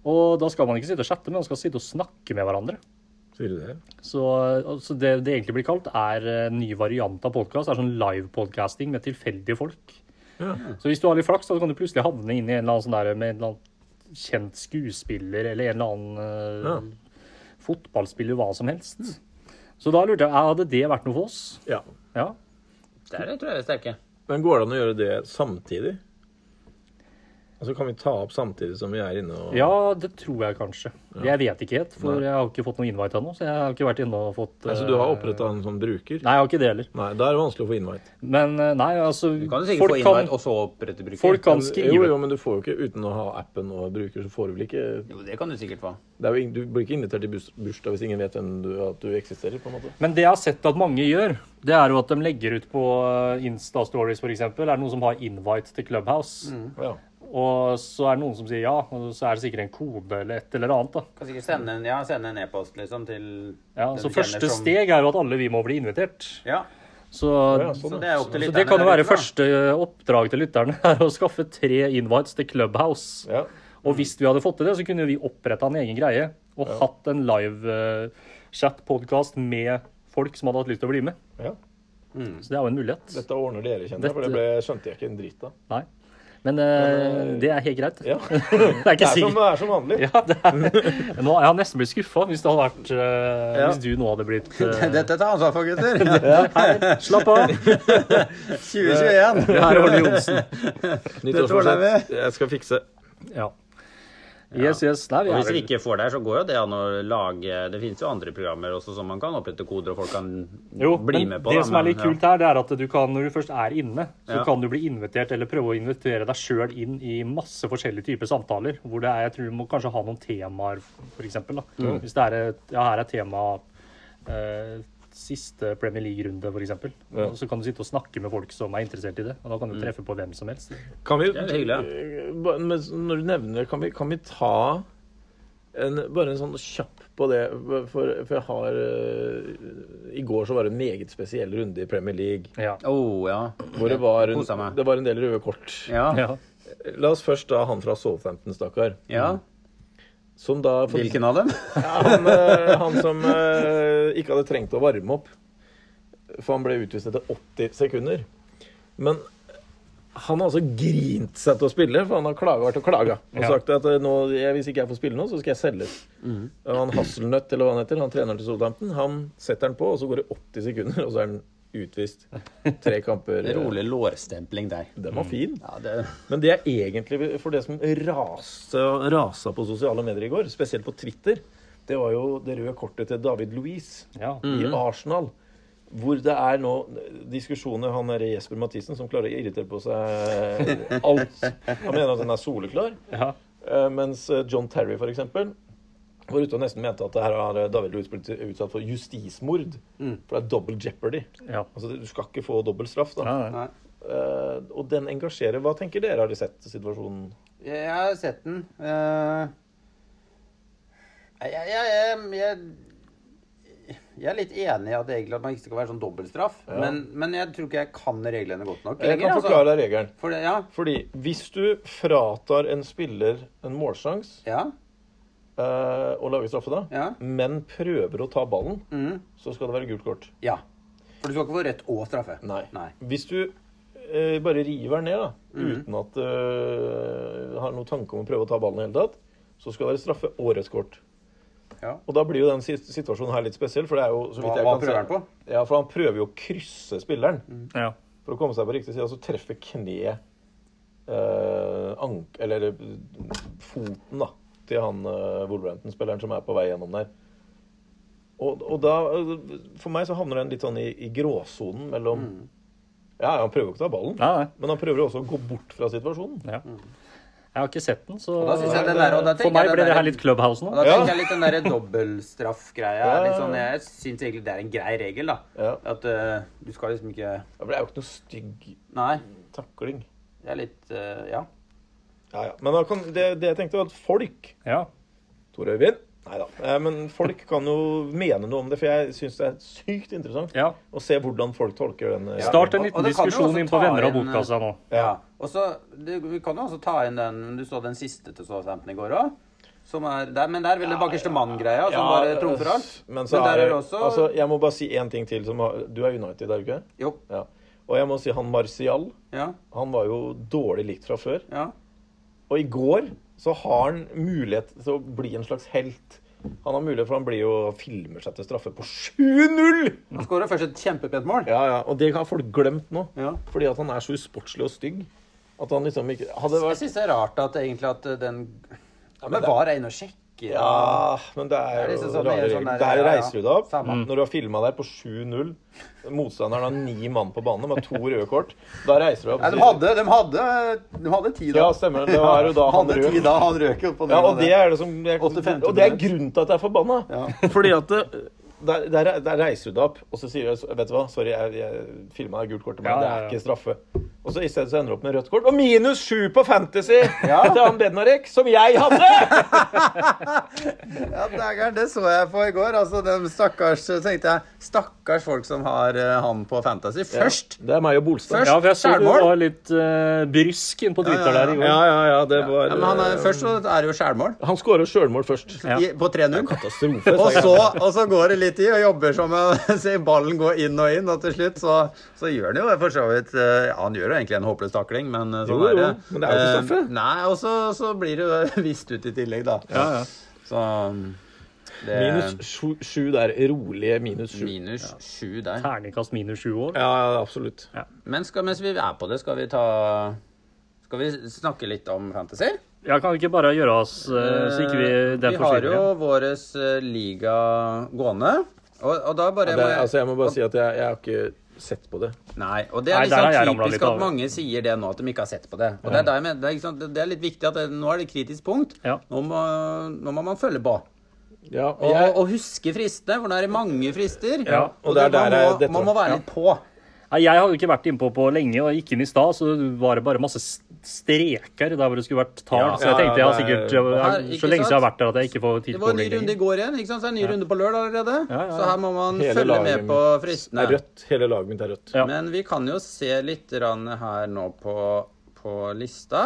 Speaker 2: Og da skal man ikke sitte og chatte, men man skal sitte og snakke med hverandre.
Speaker 1: Så Sier du det?
Speaker 2: Så, så det det egentlig blir kalt, er en ny variant av podkast. Det er sånn live-podcasting med tilfeldige folk.
Speaker 1: Ja.
Speaker 2: Så hvis du har litt flaks, da kan du plutselig havne inn i en eller annen sånn der med en eller annen kjent skuespiller eller en eller annen eh, fotballspiller, hva som helst. Så da lurte jeg, eh, hadde det vært noe for oss?
Speaker 1: ja.
Speaker 2: Ja.
Speaker 4: Der tror jeg vi er sterke.
Speaker 1: Men går det an å gjøre det samtidig? Altså Kan vi ta opp samtidig som vi er inne og
Speaker 2: ja, det tror jeg kanskje. Jeg vet ikke helt, for jeg har ikke fått noen invite ennå. Så jeg har ikke vært inne og
Speaker 1: Nei,
Speaker 2: fått eh,
Speaker 1: Så Altså, du har oppretta en sånn bruker?
Speaker 2: Nei, jeg har ikke det heller.
Speaker 1: Nei, da er det vanskelig å få invite.
Speaker 2: Men eh, nei, altså
Speaker 4: Du kan jo sikkert
Speaker 2: folk
Speaker 4: få
Speaker 2: kan-
Speaker 4: invite og så opprette bruker.
Speaker 2: Folk kan skrive
Speaker 1: Jo, jo, men du får jo ikke uten å ha appen og bruker, så får du vel ikke
Speaker 4: Jo, det kan du sikkert få.
Speaker 1: det er jo, ing- Du blir ikke invitert til bus- bursdag hvis ingen vet hvem du, at du eksisterer, på en måte.
Speaker 2: Men det jeg har sett at mange gjør, det er jo at de legger ut på eh, Insta-stories f.eks. Er det noen som har invite til Clubhouse?
Speaker 4: Mm.
Speaker 1: Ja.
Speaker 2: Og så er det noen som sier ja, og så er det sikkert en kode eller et eller annet. da.
Speaker 4: Kan sikkert sende en, ja, sende en e-post, liksom, til
Speaker 2: Ja,
Speaker 4: den
Speaker 2: Så
Speaker 4: du kjenner
Speaker 2: første
Speaker 4: som-
Speaker 2: steg er jo at alle vi må bli invitert.
Speaker 4: Ja,
Speaker 2: Så,
Speaker 1: Ja,
Speaker 2: så
Speaker 1: sånn,
Speaker 4: så det
Speaker 1: ja.
Speaker 4: er opp til lytterne.
Speaker 2: det kan jo
Speaker 4: der
Speaker 2: være
Speaker 4: ute, da.
Speaker 2: første eh, oppdrag til lytterne er å skaffe tre invites til Clubhouse.
Speaker 1: ja.
Speaker 2: Og hvis vi hadde fått til det, så kunne vi oppretta en egen greie og hatt en live eh, chat-podkast med folk som hadde hatt lyst til å bli med.
Speaker 1: ja.
Speaker 2: Så det er jo en mulighet.
Speaker 1: Dette ordner dere, kjenner jeg, for det ble, skjønte jeg ikke en drit av.
Speaker 2: Nei. Men eh,
Speaker 1: Men, eh,
Speaker 2: det er helt greit.
Speaker 1: Ja. Det
Speaker 2: Det er ikke
Speaker 1: er som,
Speaker 2: sikkert.
Speaker 1: det er som vanlig.
Speaker 2: Ja, det er, nå, jeg har nesten blitt skuffa hvis, det hadde vært, eh,
Speaker 1: Ja.
Speaker 2: hvis du nå hadde blitt eh,
Speaker 3: Dette tar ansvar for, gutter.
Speaker 2: Slapp av!
Speaker 3: 2021.
Speaker 2: Det er Arne Johnsen.
Speaker 1: Nyttårsforsett.
Speaker 3: ordner
Speaker 1: Jeg skal fikse.
Speaker 2: Ja. Yes, yes. Nei, vi
Speaker 4: Og
Speaker 2: er
Speaker 4: hvis vi
Speaker 2: vel
Speaker 4: ikke får det her, så går jo det an å lage Det finnes jo andre programmer også som man kan opprette koder, og folk kan
Speaker 2: jo,
Speaker 4: bli
Speaker 2: men
Speaker 4: med på.
Speaker 2: det
Speaker 4: da,
Speaker 2: som er
Speaker 4: men,
Speaker 2: litt kult her, det er at du kan, når du først er inne, så
Speaker 4: Ja.
Speaker 2: kan du bli invitert, eller prøve å invitere deg sjøl inn i masse forskjellige typer samtaler. Hvor det er, jeg tror du må kanskje ha noen temaer, f.eks. Hvis det er et, ja, her er tema eh, siste Premier League-runde, f.eks.
Speaker 1: Ja.
Speaker 2: Så kan du sitte og snakke med folk som er interessert i det. Og da kan du treffe på hvem som helst.
Speaker 1: Kan vi,
Speaker 4: Det er hyggelig,
Speaker 1: Ba- Eh, men når du nevner det, kan vi, kan vi ta en, bare en sånn kjapp på det? For, for jeg har eh, I går så var det en meget spesiell runde i Premier League.
Speaker 2: Ja.
Speaker 4: Oh, ja.
Speaker 1: Hvor det var en,
Speaker 4: Kosa meg.
Speaker 1: det var en del røde kort.
Speaker 4: Ja.
Speaker 2: Ja.
Speaker 1: La oss først da han fra Southampton, stakkar.
Speaker 4: ja.
Speaker 1: Som da
Speaker 4: Hvilken av dem?
Speaker 1: Han, eh, han som eh, ikke hadde trengt å varme opp. For han ble utvist etter 80 sekunder. Men han har altså grint seg til å spille, for han har klaga, vært og klaga. Og
Speaker 2: Ja.
Speaker 1: sagt at eh, nå, jeg, hvis ikke jeg får spille nå, så skal jeg selges.
Speaker 4: Mm.
Speaker 1: Og han Hasselnøtt, eller hva han heter, han treneren til Southampton, han setter den på, og så går det 80 sekunder, og så er han utvist. Tre kamper.
Speaker 4: Rolig lårstempling der.
Speaker 1: Den var fin.
Speaker 4: Ja, det
Speaker 1: Men det er egentlig for det som raste, rasa på sosiale medier i går, spesielt på Twitter, det var jo det røde kortet til David Louise
Speaker 2: Ja.
Speaker 1: i Arsenal. Hvor det er nå diskusjoner Han er Jesper Mathisen som klarer å irritere på seg alt. Han mener at den er soleklar.
Speaker 2: Ja.
Speaker 1: Eh, Mens eh, John Terry, for eksempel, var ute og nesten mente at det her har eh, David Louise blitt utsatt for justismord.
Speaker 2: Mm.
Speaker 1: For det er double jeopardy.
Speaker 2: Ja.
Speaker 1: Altså, du skal ikke få dobbel straff, da.
Speaker 2: Ja, ja.
Speaker 3: Nei.
Speaker 1: Eh, og den engasjerer. Hva tenker dere? Har de sett situasjonen?
Speaker 3: Jeg har sett den. Eh, jeg, jeg, jeg, jeg, jeg er litt enig i at, egentlig at man ikke skal være sånn dobbeltstraff. Men, men jeg tror ikke jeg kan reglene godt nok
Speaker 1: Jeg kan
Speaker 3: lenger.
Speaker 1: forklare deg regelen.
Speaker 3: For det, ja.
Speaker 1: Fordi hvis du fratar en spiller en målsjanse
Speaker 3: Ja.
Speaker 1: eh, og lager straffe da,
Speaker 3: Ja.
Speaker 1: men prøver å ta ballen,
Speaker 3: Mm,
Speaker 1: så skal det være gult kort.
Speaker 3: ja. For du skal ikke få rett og straffe.
Speaker 1: Nei.
Speaker 3: Nei.
Speaker 1: Hvis du eh, bare river ned, da, uten at du har noen tanke om å prøve å ta ballen i det hele tatt, så skal det være straffe og rødt kort.
Speaker 3: Ja.
Speaker 1: Og da blir jo den sit- situasjonen her litt spesiell, for det er jo så
Speaker 3: Hva-
Speaker 1: vidt jeg
Speaker 3: hva
Speaker 1: kan
Speaker 3: prøver han på?
Speaker 1: Ja, for han prøver jo å krysse spilleren
Speaker 2: ja.
Speaker 1: for å komme seg på riktig side, og så treffer kneet eh, ank... Eller eh, foten, da, til han eh, Wolverhampton-spilleren som er på vei gjennom der. Og, og da eh, For meg så havner den litt sånn i, i gråsonen mellom Ja, han prøver jo ikke å ta ballen,
Speaker 2: Nei, nei.
Speaker 1: men han prøver jo også å gå bort fra situasjonen.
Speaker 2: Ja. Jeg har ikke sett den, så
Speaker 3: Og da synes jeg den der, og da
Speaker 2: for
Speaker 3: tenker
Speaker 2: meg
Speaker 3: jeg
Speaker 2: ble
Speaker 3: den
Speaker 2: det her
Speaker 3: der-
Speaker 2: litt Clubhouse nå.
Speaker 3: Og da
Speaker 1: Ja.
Speaker 3: tenker jeg litt den der dobbeltstraff-greia.
Speaker 1: Ja, ja,
Speaker 3: litt sånn,
Speaker 1: ja.
Speaker 3: jeg syns egentlig det er en grei regel, da.
Speaker 1: Ja.
Speaker 3: At eh, du skal liksom ikke
Speaker 1: Ja, for Det er jo ikke noe stygg
Speaker 3: Nei.
Speaker 1: takling.
Speaker 3: Det er litt eh, Ja.
Speaker 1: Ja, ja. Men da kan, det, det jeg tenkte, var at folk
Speaker 2: Ja.
Speaker 1: Tor Øyvind? Nei da. Eh, Men folk kan jo mene noe om det, for jeg syns det er sykt interessant
Speaker 2: ja.
Speaker 1: å se hvordan folk tolker den. eh,
Speaker 2: Start en
Speaker 3: og- og
Speaker 2: liten
Speaker 3: det kan jo
Speaker 2: diskusjon
Speaker 3: også
Speaker 2: inn
Speaker 3: ta
Speaker 2: på venner av
Speaker 3: inn, eh,
Speaker 2: bokkassa nå.
Speaker 1: Ja.
Speaker 3: Ja. Og så, det- Vi kan jo også ta inn den Du så den siste til Southampton i går òg. Som er der, men der er vel det bakerste mann-greia som bare trumfer alt.
Speaker 1: Men så
Speaker 3: der
Speaker 1: er
Speaker 3: er det
Speaker 1: det
Speaker 3: også
Speaker 1: Altså, jeg må bare si én ting til. Som har, du er United, er du ikke?
Speaker 3: Jo.
Speaker 1: Ja. Og jeg må si han Martial.
Speaker 3: Ja.
Speaker 1: Han var jo dårlig likt fra før.
Speaker 3: ja.
Speaker 1: Og i går så har han mulighet til å bli en slags helt. Han har mulighet for han blir jo filmer seg til straffe på 7-0!
Speaker 3: Han skårer først et kjempepent mål.
Speaker 1: Ja, ja, og det har folk glemt nå.
Speaker 3: Ja.
Speaker 1: Fordi at han er så usportslig og stygg. At han liksom ikke Hadde
Speaker 3: Jeg
Speaker 1: vært
Speaker 3: syns det er rart at egentlig at eh, den ja, Men VAR er inne og sjekker.
Speaker 1: Ja, men det
Speaker 3: Det
Speaker 1: er
Speaker 3: er
Speaker 1: jo
Speaker 3: liksom sånn-
Speaker 1: rare
Speaker 3: det er sånn
Speaker 1: regler.
Speaker 3: der,
Speaker 1: Der
Speaker 3: ja, ja.
Speaker 1: reiser du deg opp.
Speaker 3: Samme.
Speaker 1: Når du har filma deg på 7-0 Motstanderen har ni mann på banen med to røde kort. Da reiser du deg opp.
Speaker 3: Nei, de hadde, de hadde, de hadde ti da.
Speaker 1: Ja, stemmer det. Det var jo da han
Speaker 3: hadde
Speaker 1: røk.
Speaker 3: ti da han røk jo på
Speaker 1: Ja, og
Speaker 3: nivået
Speaker 1: det
Speaker 3: der.
Speaker 1: er det som jeg,
Speaker 3: 85.
Speaker 1: Og det er grunnen til at jeg er forbanna.
Speaker 3: Ja.
Speaker 1: Fordi at eh, det, der, der, der reiser du deg opp, og så sier du Vet du hva, sorry, jeg, jeg filma deg gult kort, men
Speaker 2: Ja,
Speaker 1: det
Speaker 2: ja,
Speaker 1: er
Speaker 2: ja.
Speaker 1: ikke straffe. Og så i stedet så ender du opp med rødt kort. Og minus sju på Fantasy
Speaker 3: Ja.
Speaker 1: til han Bednarek, som jeg hadde!
Speaker 3: Ja, dægeren, det så jeg på i går. Altså, de stakkars, så tenkte jeg, stakkars folk som har eh, han på Fantasy først.
Speaker 1: Det er meg og Bolstad.
Speaker 2: Ja, for jeg så du
Speaker 3: Skjærmål?
Speaker 2: var litt eh, brysk inn på Twitter der i går.
Speaker 1: Ja, ja, ja, det var
Speaker 3: Ja, men han er, først så er det jo skjærmål
Speaker 1: Han skårer sjølmål først.
Speaker 2: Ja.
Speaker 3: i- på 3-0.
Speaker 1: Katastrofe.
Speaker 3: Og så, og så går det litt i og jobber som en ser ballen gå inn og inn, og til slutt så, så gjør han jo for så vidt eh, Ja, han gjør jo egentlig en håpløs takling, men eh, sånn
Speaker 1: Jo, jo,
Speaker 3: er det.
Speaker 1: men det er jo ikke
Speaker 3: Eh,
Speaker 1: straffe.
Speaker 3: Nei, og så, så blir det jo vist ut i tillegg, da.
Speaker 2: Ja, ja.
Speaker 3: Så det,
Speaker 4: Eh.
Speaker 1: Minus sju- sju der. Rolige minus sju.
Speaker 4: Minus sju der.
Speaker 2: Terningkast minus sju år.
Speaker 1: Ja, ja, absolutt.
Speaker 4: Men skal, mens vi er på det, skal vi ta Skal vi snakke litt om fantasy?
Speaker 2: Jeg kan vi ikke bare gjøre oss eh, så ikke vi den
Speaker 4: vi har
Speaker 2: forsvinner.
Speaker 4: jo
Speaker 2: igjen?
Speaker 4: våres eh, liga gående.
Speaker 3: og, og da bare
Speaker 1: Det,
Speaker 3: må jeg-
Speaker 1: altså, jeg må bare si at jeg, jeg har ikke sett på det.
Speaker 4: Nei, og det er
Speaker 2: Nei,
Speaker 4: litt
Speaker 2: der har
Speaker 4: sånn
Speaker 2: jeg ramlet litt
Speaker 4: typisk
Speaker 2: av.
Speaker 4: at mange sier det nå, at de ikke har sett på det. Og det, er der jeg mener, det, er, ikke sant, det er litt viktig at det, nå er det et kritisk punkt.
Speaker 2: Ja.
Speaker 4: Nå, må, nå må man følge på.
Speaker 1: Ja,
Speaker 4: Og,
Speaker 1: og jeg,
Speaker 4: og huske fristene, for nå er det mange frister.
Speaker 2: Ja,
Speaker 4: og,
Speaker 1: og det er
Speaker 4: det- man,
Speaker 1: der jeg-
Speaker 4: må,
Speaker 1: dette
Speaker 4: man må
Speaker 1: var-
Speaker 4: være litt på.
Speaker 2: Nei, jeg har jo ikke vært innpå på lenge, og jeg gikk inn i stad, så var det bare masse s- streker der hvor det skulle vært tall.
Speaker 4: Ja,
Speaker 2: så jeg
Speaker 1: ja,
Speaker 2: tenkte jeg har
Speaker 1: det er-
Speaker 2: sikkert jeg,
Speaker 4: Her,
Speaker 2: jeg,
Speaker 4: ikke
Speaker 2: Så lenge
Speaker 4: sant?
Speaker 2: siden jeg har vært der at jeg ikke får tid på
Speaker 4: Det var en ny runde i
Speaker 2: lenger.
Speaker 4: går igjen, ikke sant? så det er en ny runde på lørdag allerede.
Speaker 2: Ja, ja, ja.
Speaker 4: Så her må man
Speaker 1: Hele
Speaker 4: følge
Speaker 1: laget
Speaker 4: med på fristene.
Speaker 1: det er rødt. Hele laget mitt er rødt.
Speaker 2: Ja.
Speaker 4: Men vi kan jo se litt grann her nå på, på lista.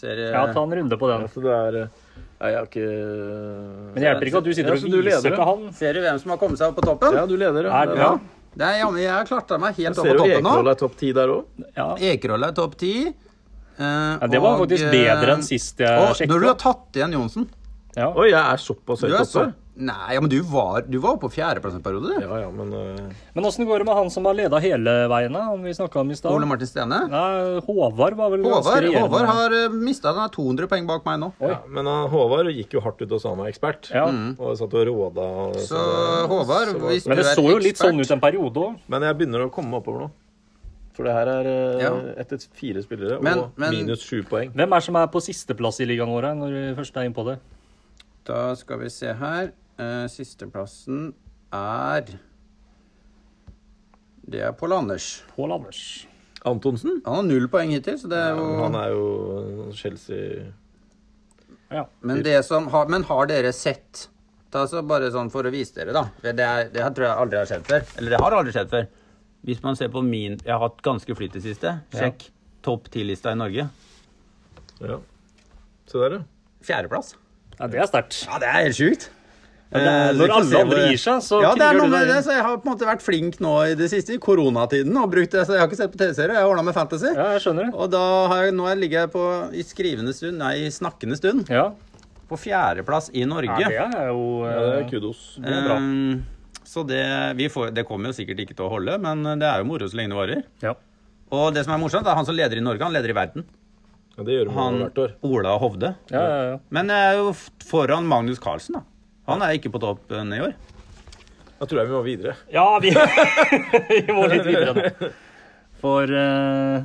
Speaker 4: Ser,
Speaker 2: Ja, ta en runde på den.
Speaker 1: Altså, det er eh, Nei, jeg har ikke
Speaker 2: Men det hjelper ikke at du sitter
Speaker 1: Ja,
Speaker 2: og
Speaker 1: så du
Speaker 2: viser
Speaker 1: leder,
Speaker 2: til
Speaker 1: ja.
Speaker 2: han.
Speaker 4: ser du hvem som har kommet seg opp på toppen?
Speaker 1: Ja, du leder,
Speaker 2: Er, ja.
Speaker 4: Det er jammen, jeg har klatra meg helt opp
Speaker 1: Ser
Speaker 4: på
Speaker 1: du
Speaker 4: toppen
Speaker 1: Ekerhol
Speaker 4: nå.
Speaker 1: er topp ti der òg?
Speaker 2: Ja.
Speaker 4: Ekerhol er topp ti. Eh,
Speaker 2: ja, det var faktisk bedre
Speaker 3: eh,
Speaker 2: enn sist jeg
Speaker 4: Og når du har
Speaker 2: sjekket.
Speaker 4: tatt igjen Johnsen
Speaker 2: Ja.
Speaker 1: Oi, jeg er såpass
Speaker 4: du
Speaker 1: høyt
Speaker 4: er
Speaker 1: oppe.
Speaker 4: så, Nei, ja, men du var, du var oppe på fjerdeplass en periode, du.
Speaker 1: Ja, ja, men eh,
Speaker 2: Men åssen går det med han som har leda hele veien, da, om vi snakka om i stad?
Speaker 4: Ole Martin Stene.
Speaker 2: Nei, Håvard var vel ganske
Speaker 4: Håvard,
Speaker 2: regjerende.
Speaker 4: Håvard har eh, mista 200 poeng bak meg nå.
Speaker 1: ja, Men han, Håvard gikk jo hardt ut og sa han var ekspert.
Speaker 2: Ja.
Speaker 4: Mm.
Speaker 1: Og satt og råda. og
Speaker 4: Så
Speaker 1: sånn.
Speaker 4: Håvard, hvis du
Speaker 2: Men
Speaker 4: er
Speaker 2: det så jo litt
Speaker 4: ekspert-
Speaker 2: sånn ut en periode òg.
Speaker 1: Men jeg begynner å komme meg oppover nå. For det her er eh,
Speaker 4: Ja.
Speaker 1: etter fire spillere
Speaker 4: Men-
Speaker 1: og
Speaker 4: men-
Speaker 1: minus sju poeng.
Speaker 2: Hvem er som er på sisteplass i ligaen vår her, når vi først er inne på det?
Speaker 4: Da skal vi se her. Eh, Sisteplassen er Det er Pål Anders.
Speaker 2: Pål Anders.
Speaker 1: Antonsen?
Speaker 4: Han har null poeng hittil, så det er jo
Speaker 1: Han er jo Chelsea
Speaker 2: Ja.
Speaker 4: Men, det som har, men har dere sett Ta så Bare sånn for å vise dere, da. For Det, er, det her tror jeg aldri har skjedd før. Eller det har aldri skjedd før. Hvis man ser på min Jeg har hatt ganske flyt i siste. Sjekk topp ti-lista i Norge.
Speaker 1: Ja. Se der, ja.
Speaker 4: Fjerdeplass.
Speaker 2: ja, det er sterkt.
Speaker 4: Ja, det er helt sjukt.
Speaker 2: Men det er- Når
Speaker 4: Eh, vi får se
Speaker 2: alle andre
Speaker 4: hvor-
Speaker 2: gir seg, så
Speaker 4: ja, det er
Speaker 2: kriger
Speaker 4: noe
Speaker 2: du deg
Speaker 4: med det,
Speaker 2: inn.
Speaker 4: så jeg har på en måte vært flink nå i det siste, i koronatiden. og brukt det, så Jeg har ikke sett på TV-serier, jeg har ordna med Fantasy.
Speaker 2: Ja, jeg skjønner det.
Speaker 4: Og da har jeg, nå ligger jeg på i skrivende stund, nei, i snakkende stund,
Speaker 2: Ja.
Speaker 4: på fjerdeplass i
Speaker 2: ja,
Speaker 4: Norge.
Speaker 2: det er jo
Speaker 1: ja det
Speaker 2: eh,
Speaker 1: er kudos.
Speaker 2: er bra.
Speaker 4: Ehm, så det, vi får, det kommer jo sikkert ikke til å holde, men det er jo moro så lenge det varer.
Speaker 2: ja.
Speaker 4: Og det som er morsomt, er han som leder i Norge, han leder i verden.
Speaker 1: Ja, det gjør man
Speaker 4: Han,
Speaker 1: hvert år.
Speaker 4: Ola Hovde.
Speaker 2: Ja, ja, ja.
Speaker 4: Men jeg er jo f- foran Magnus Carlsen, da. Han er ikke på toppen i år.
Speaker 1: Da tror jeg vi må videre.
Speaker 2: ja vi, vi må litt videre nå. For eh,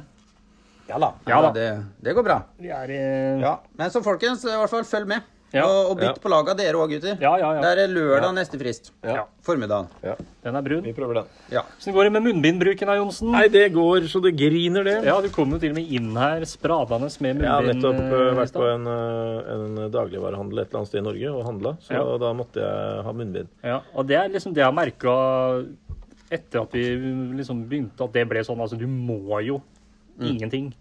Speaker 4: Ja da.
Speaker 2: Ja da.
Speaker 4: Det, det går bra.
Speaker 2: vi er i
Speaker 4: Ja. Men så folkens, i hvert fall følg med.
Speaker 2: Ja.
Speaker 4: Og, og
Speaker 1: Ja.
Speaker 4: bytt på laget, dere òg, gutter.
Speaker 2: Ja, ja, ja.
Speaker 4: Det er lørdag neste frist.
Speaker 2: Ja.
Speaker 4: Formiddagen.
Speaker 2: Den er brun.
Speaker 1: Vi prøver den.
Speaker 4: Ja.
Speaker 2: Åssen går det med munnbindbruken da, Johnsen?
Speaker 1: Nei, det går så det griner, det.
Speaker 2: Ja, du kom jo til og med inn her spradende med
Speaker 1: Jeg har
Speaker 2: munnbind.
Speaker 1: nettopp eh,
Speaker 2: eh, i
Speaker 1: vært på
Speaker 2: stad.
Speaker 1: en, eh, en dagligvarehandel et eller annet sted i Norge og handla, så
Speaker 2: Ja.
Speaker 1: da måtte jeg ha munnbind.
Speaker 2: Ja, og det er liksom det jeg har merka etter at vi liksom begynte at det ble sånn. Altså, du må jo ingenting.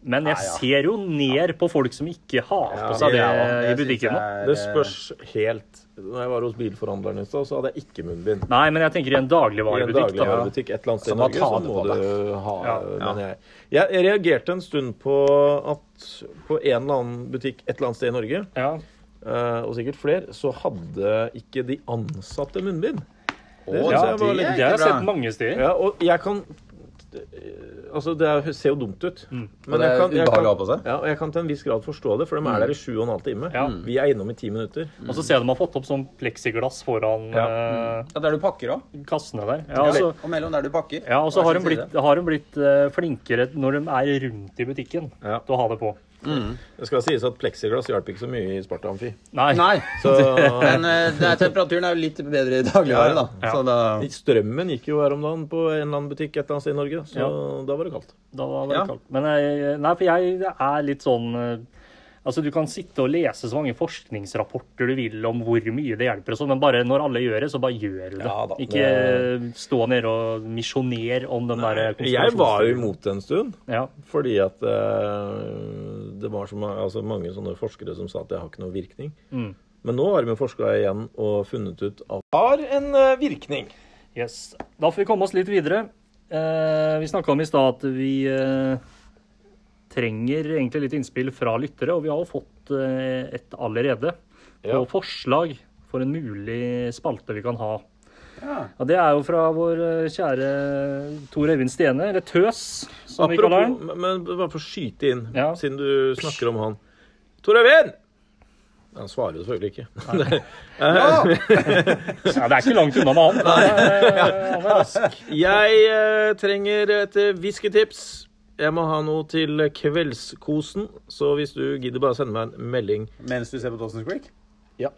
Speaker 2: Men jeg ser jo ned på folk som ikke har på seg det
Speaker 3: Ja, ja,
Speaker 2: i
Speaker 3: det synes jeg
Speaker 2: butikken. nå.
Speaker 3: er,
Speaker 1: Det spørs helt Når jeg var hos bilforhandleren i stad, så hadde jeg ikke munnbind.
Speaker 2: Nei, men jeg tenker i
Speaker 1: I
Speaker 2: en
Speaker 1: en
Speaker 2: dagligvarebutikk. da.
Speaker 1: dagligvarebutikk et eller annet sted i
Speaker 3: Så må
Speaker 1: Norge,
Speaker 3: ta
Speaker 1: så
Speaker 3: det
Speaker 1: må
Speaker 3: på deg.
Speaker 1: du ha
Speaker 2: Ja.
Speaker 1: Men jeg, jeg, jeg reagerte en stund på at på en eller annen butikk et eller annet sted i Norge,
Speaker 2: Ja.
Speaker 1: eh, og sikkert flere, så hadde ikke de ansatte munnbind. Det
Speaker 3: Å,
Speaker 1: synes jeg var
Speaker 3: det
Speaker 1: litt
Speaker 2: Det har jeg
Speaker 3: bra.
Speaker 2: sett mange steder.
Speaker 1: Ja, og jeg kan Altså, det ser jo dumt ut. Men
Speaker 3: Og det er ubehagelig å ha på seg. Mm.
Speaker 1: ja, og jeg kan til en viss grad forstå det, for de er der i sju og en halv time.
Speaker 2: Ja.
Speaker 1: Vi er innom i ti minutter.
Speaker 2: Og så ser jeg de har fått opp sånn pleksiglass foran eh,
Speaker 4: Ja, der du pakker òg.
Speaker 2: kassene der. Ja, altså,
Speaker 4: og mellom der du pakker.
Speaker 2: ja, og så har
Speaker 4: Hver
Speaker 2: de
Speaker 4: sin
Speaker 2: blitt, har de blitt eh, flinkere når de er rundt i butikken
Speaker 1: Ja.
Speaker 2: til å ha det på.
Speaker 1: Det skal sies at pleksiglass hjalp ikke så mye i Sparta Amfi.
Speaker 2: Nei.
Speaker 4: Nei,
Speaker 1: Så
Speaker 4: men eh, det er, temperaturen er jo litt bedre i dagligvare, da.
Speaker 2: Ja.
Speaker 4: Så da
Speaker 1: strømmen gikk jo her om dagen på en eller annen butikk et eller annet sted i Norge, så da var det kaldt.
Speaker 2: Da var det
Speaker 4: Ja.
Speaker 2: kaldt. Men jeg, nei, for jeg er litt sånn eh, Altså, Du kan sitte og lese så mange forskningsrapporter du vil om hvor mye det hjelper, og sånn, men bare når alle gjør det, så bare gjør du det.
Speaker 1: Ja da,
Speaker 2: Ikke stå nede og misjonere om den der
Speaker 1: Jeg var jo imot det en stund,
Speaker 2: Ja.
Speaker 1: fordi at eh, det var så ma altså mange sånne forskere som sa at det har ikke noe virkning.
Speaker 2: Mm.
Speaker 1: Men nå har vi forska igjen og funnet ut at det har en eh, virkning.
Speaker 2: Yes. Da får vi komme oss litt videre. Eh, vi snakka om i stad at vi eh, trenger egentlig litt innspill fra lyttere, og vi har jo fått eh, et allerede.
Speaker 1: Ja.
Speaker 2: Og forslag for en mulig spalte vi kan ha.
Speaker 3: Ja.
Speaker 2: Og det er jo fra vår eh, kjære Tor Øyvind Stene, eller Tøs, som vi kaller
Speaker 1: Apropos,
Speaker 2: han.
Speaker 1: men men bare for å skyte inn,
Speaker 2: Ja.
Speaker 1: siden du snakker om han. Tor Øyvind! Han svarer jo selvfølgelig ikke.
Speaker 2: Ja, det er ikke langt unna med han. Han er, han er rask.
Speaker 1: Jeg eh, trenger et eh, whiskytips. Jeg må ha noe til kveldskosen, så hvis du gidder bare sende meg en melding
Speaker 3: Mens du ser på Dawson's Creek?
Speaker 1: Ja.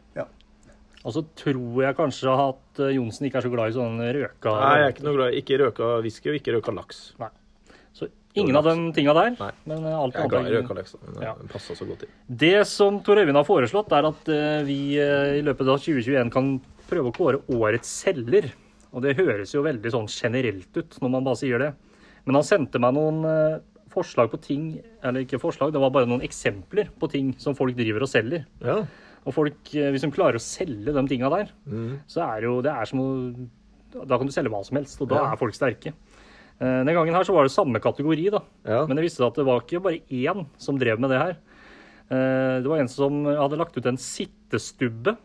Speaker 2: Og så tror jeg kanskje at eh, Johnsen ikke er så glad i sånn røka
Speaker 1: Nei, jeg er ikke noe glad i ikke røka whisky og ikke røka laks.
Speaker 2: Så ingen av de tinga der.
Speaker 1: Nei.
Speaker 2: Men eh, alt
Speaker 1: Jeg er glad i
Speaker 2: annet
Speaker 1: røka laks, da, men
Speaker 2: Ja.
Speaker 1: den passer så godt inn.
Speaker 2: Det som Tor Øyvind har foreslått, er at eh, vi eh, i løpet av 2021 kan prøve å kåre årets selger. Og det høres jo veldig sånn generelt ut når man bare sier det. Men han sendte meg noen eh, forslag på ting, eller ikke forslag, det var bare noen eksempler på ting som folk driver og selger.
Speaker 1: Ja.
Speaker 2: Og folk, eh, hvis de klarer å selge de tinga der,
Speaker 1: Mm.
Speaker 2: så er jo det er som å Da kan du selge hva som helst, og da
Speaker 1: Ja.
Speaker 2: er folk sterke. Eh, Den gangen her så var det samme kategori, da.
Speaker 1: Ja.
Speaker 2: Men det viste seg at det var ikke bare én som drev med det her. Eh, Det var en som hadde lagt ut en sittestubbe,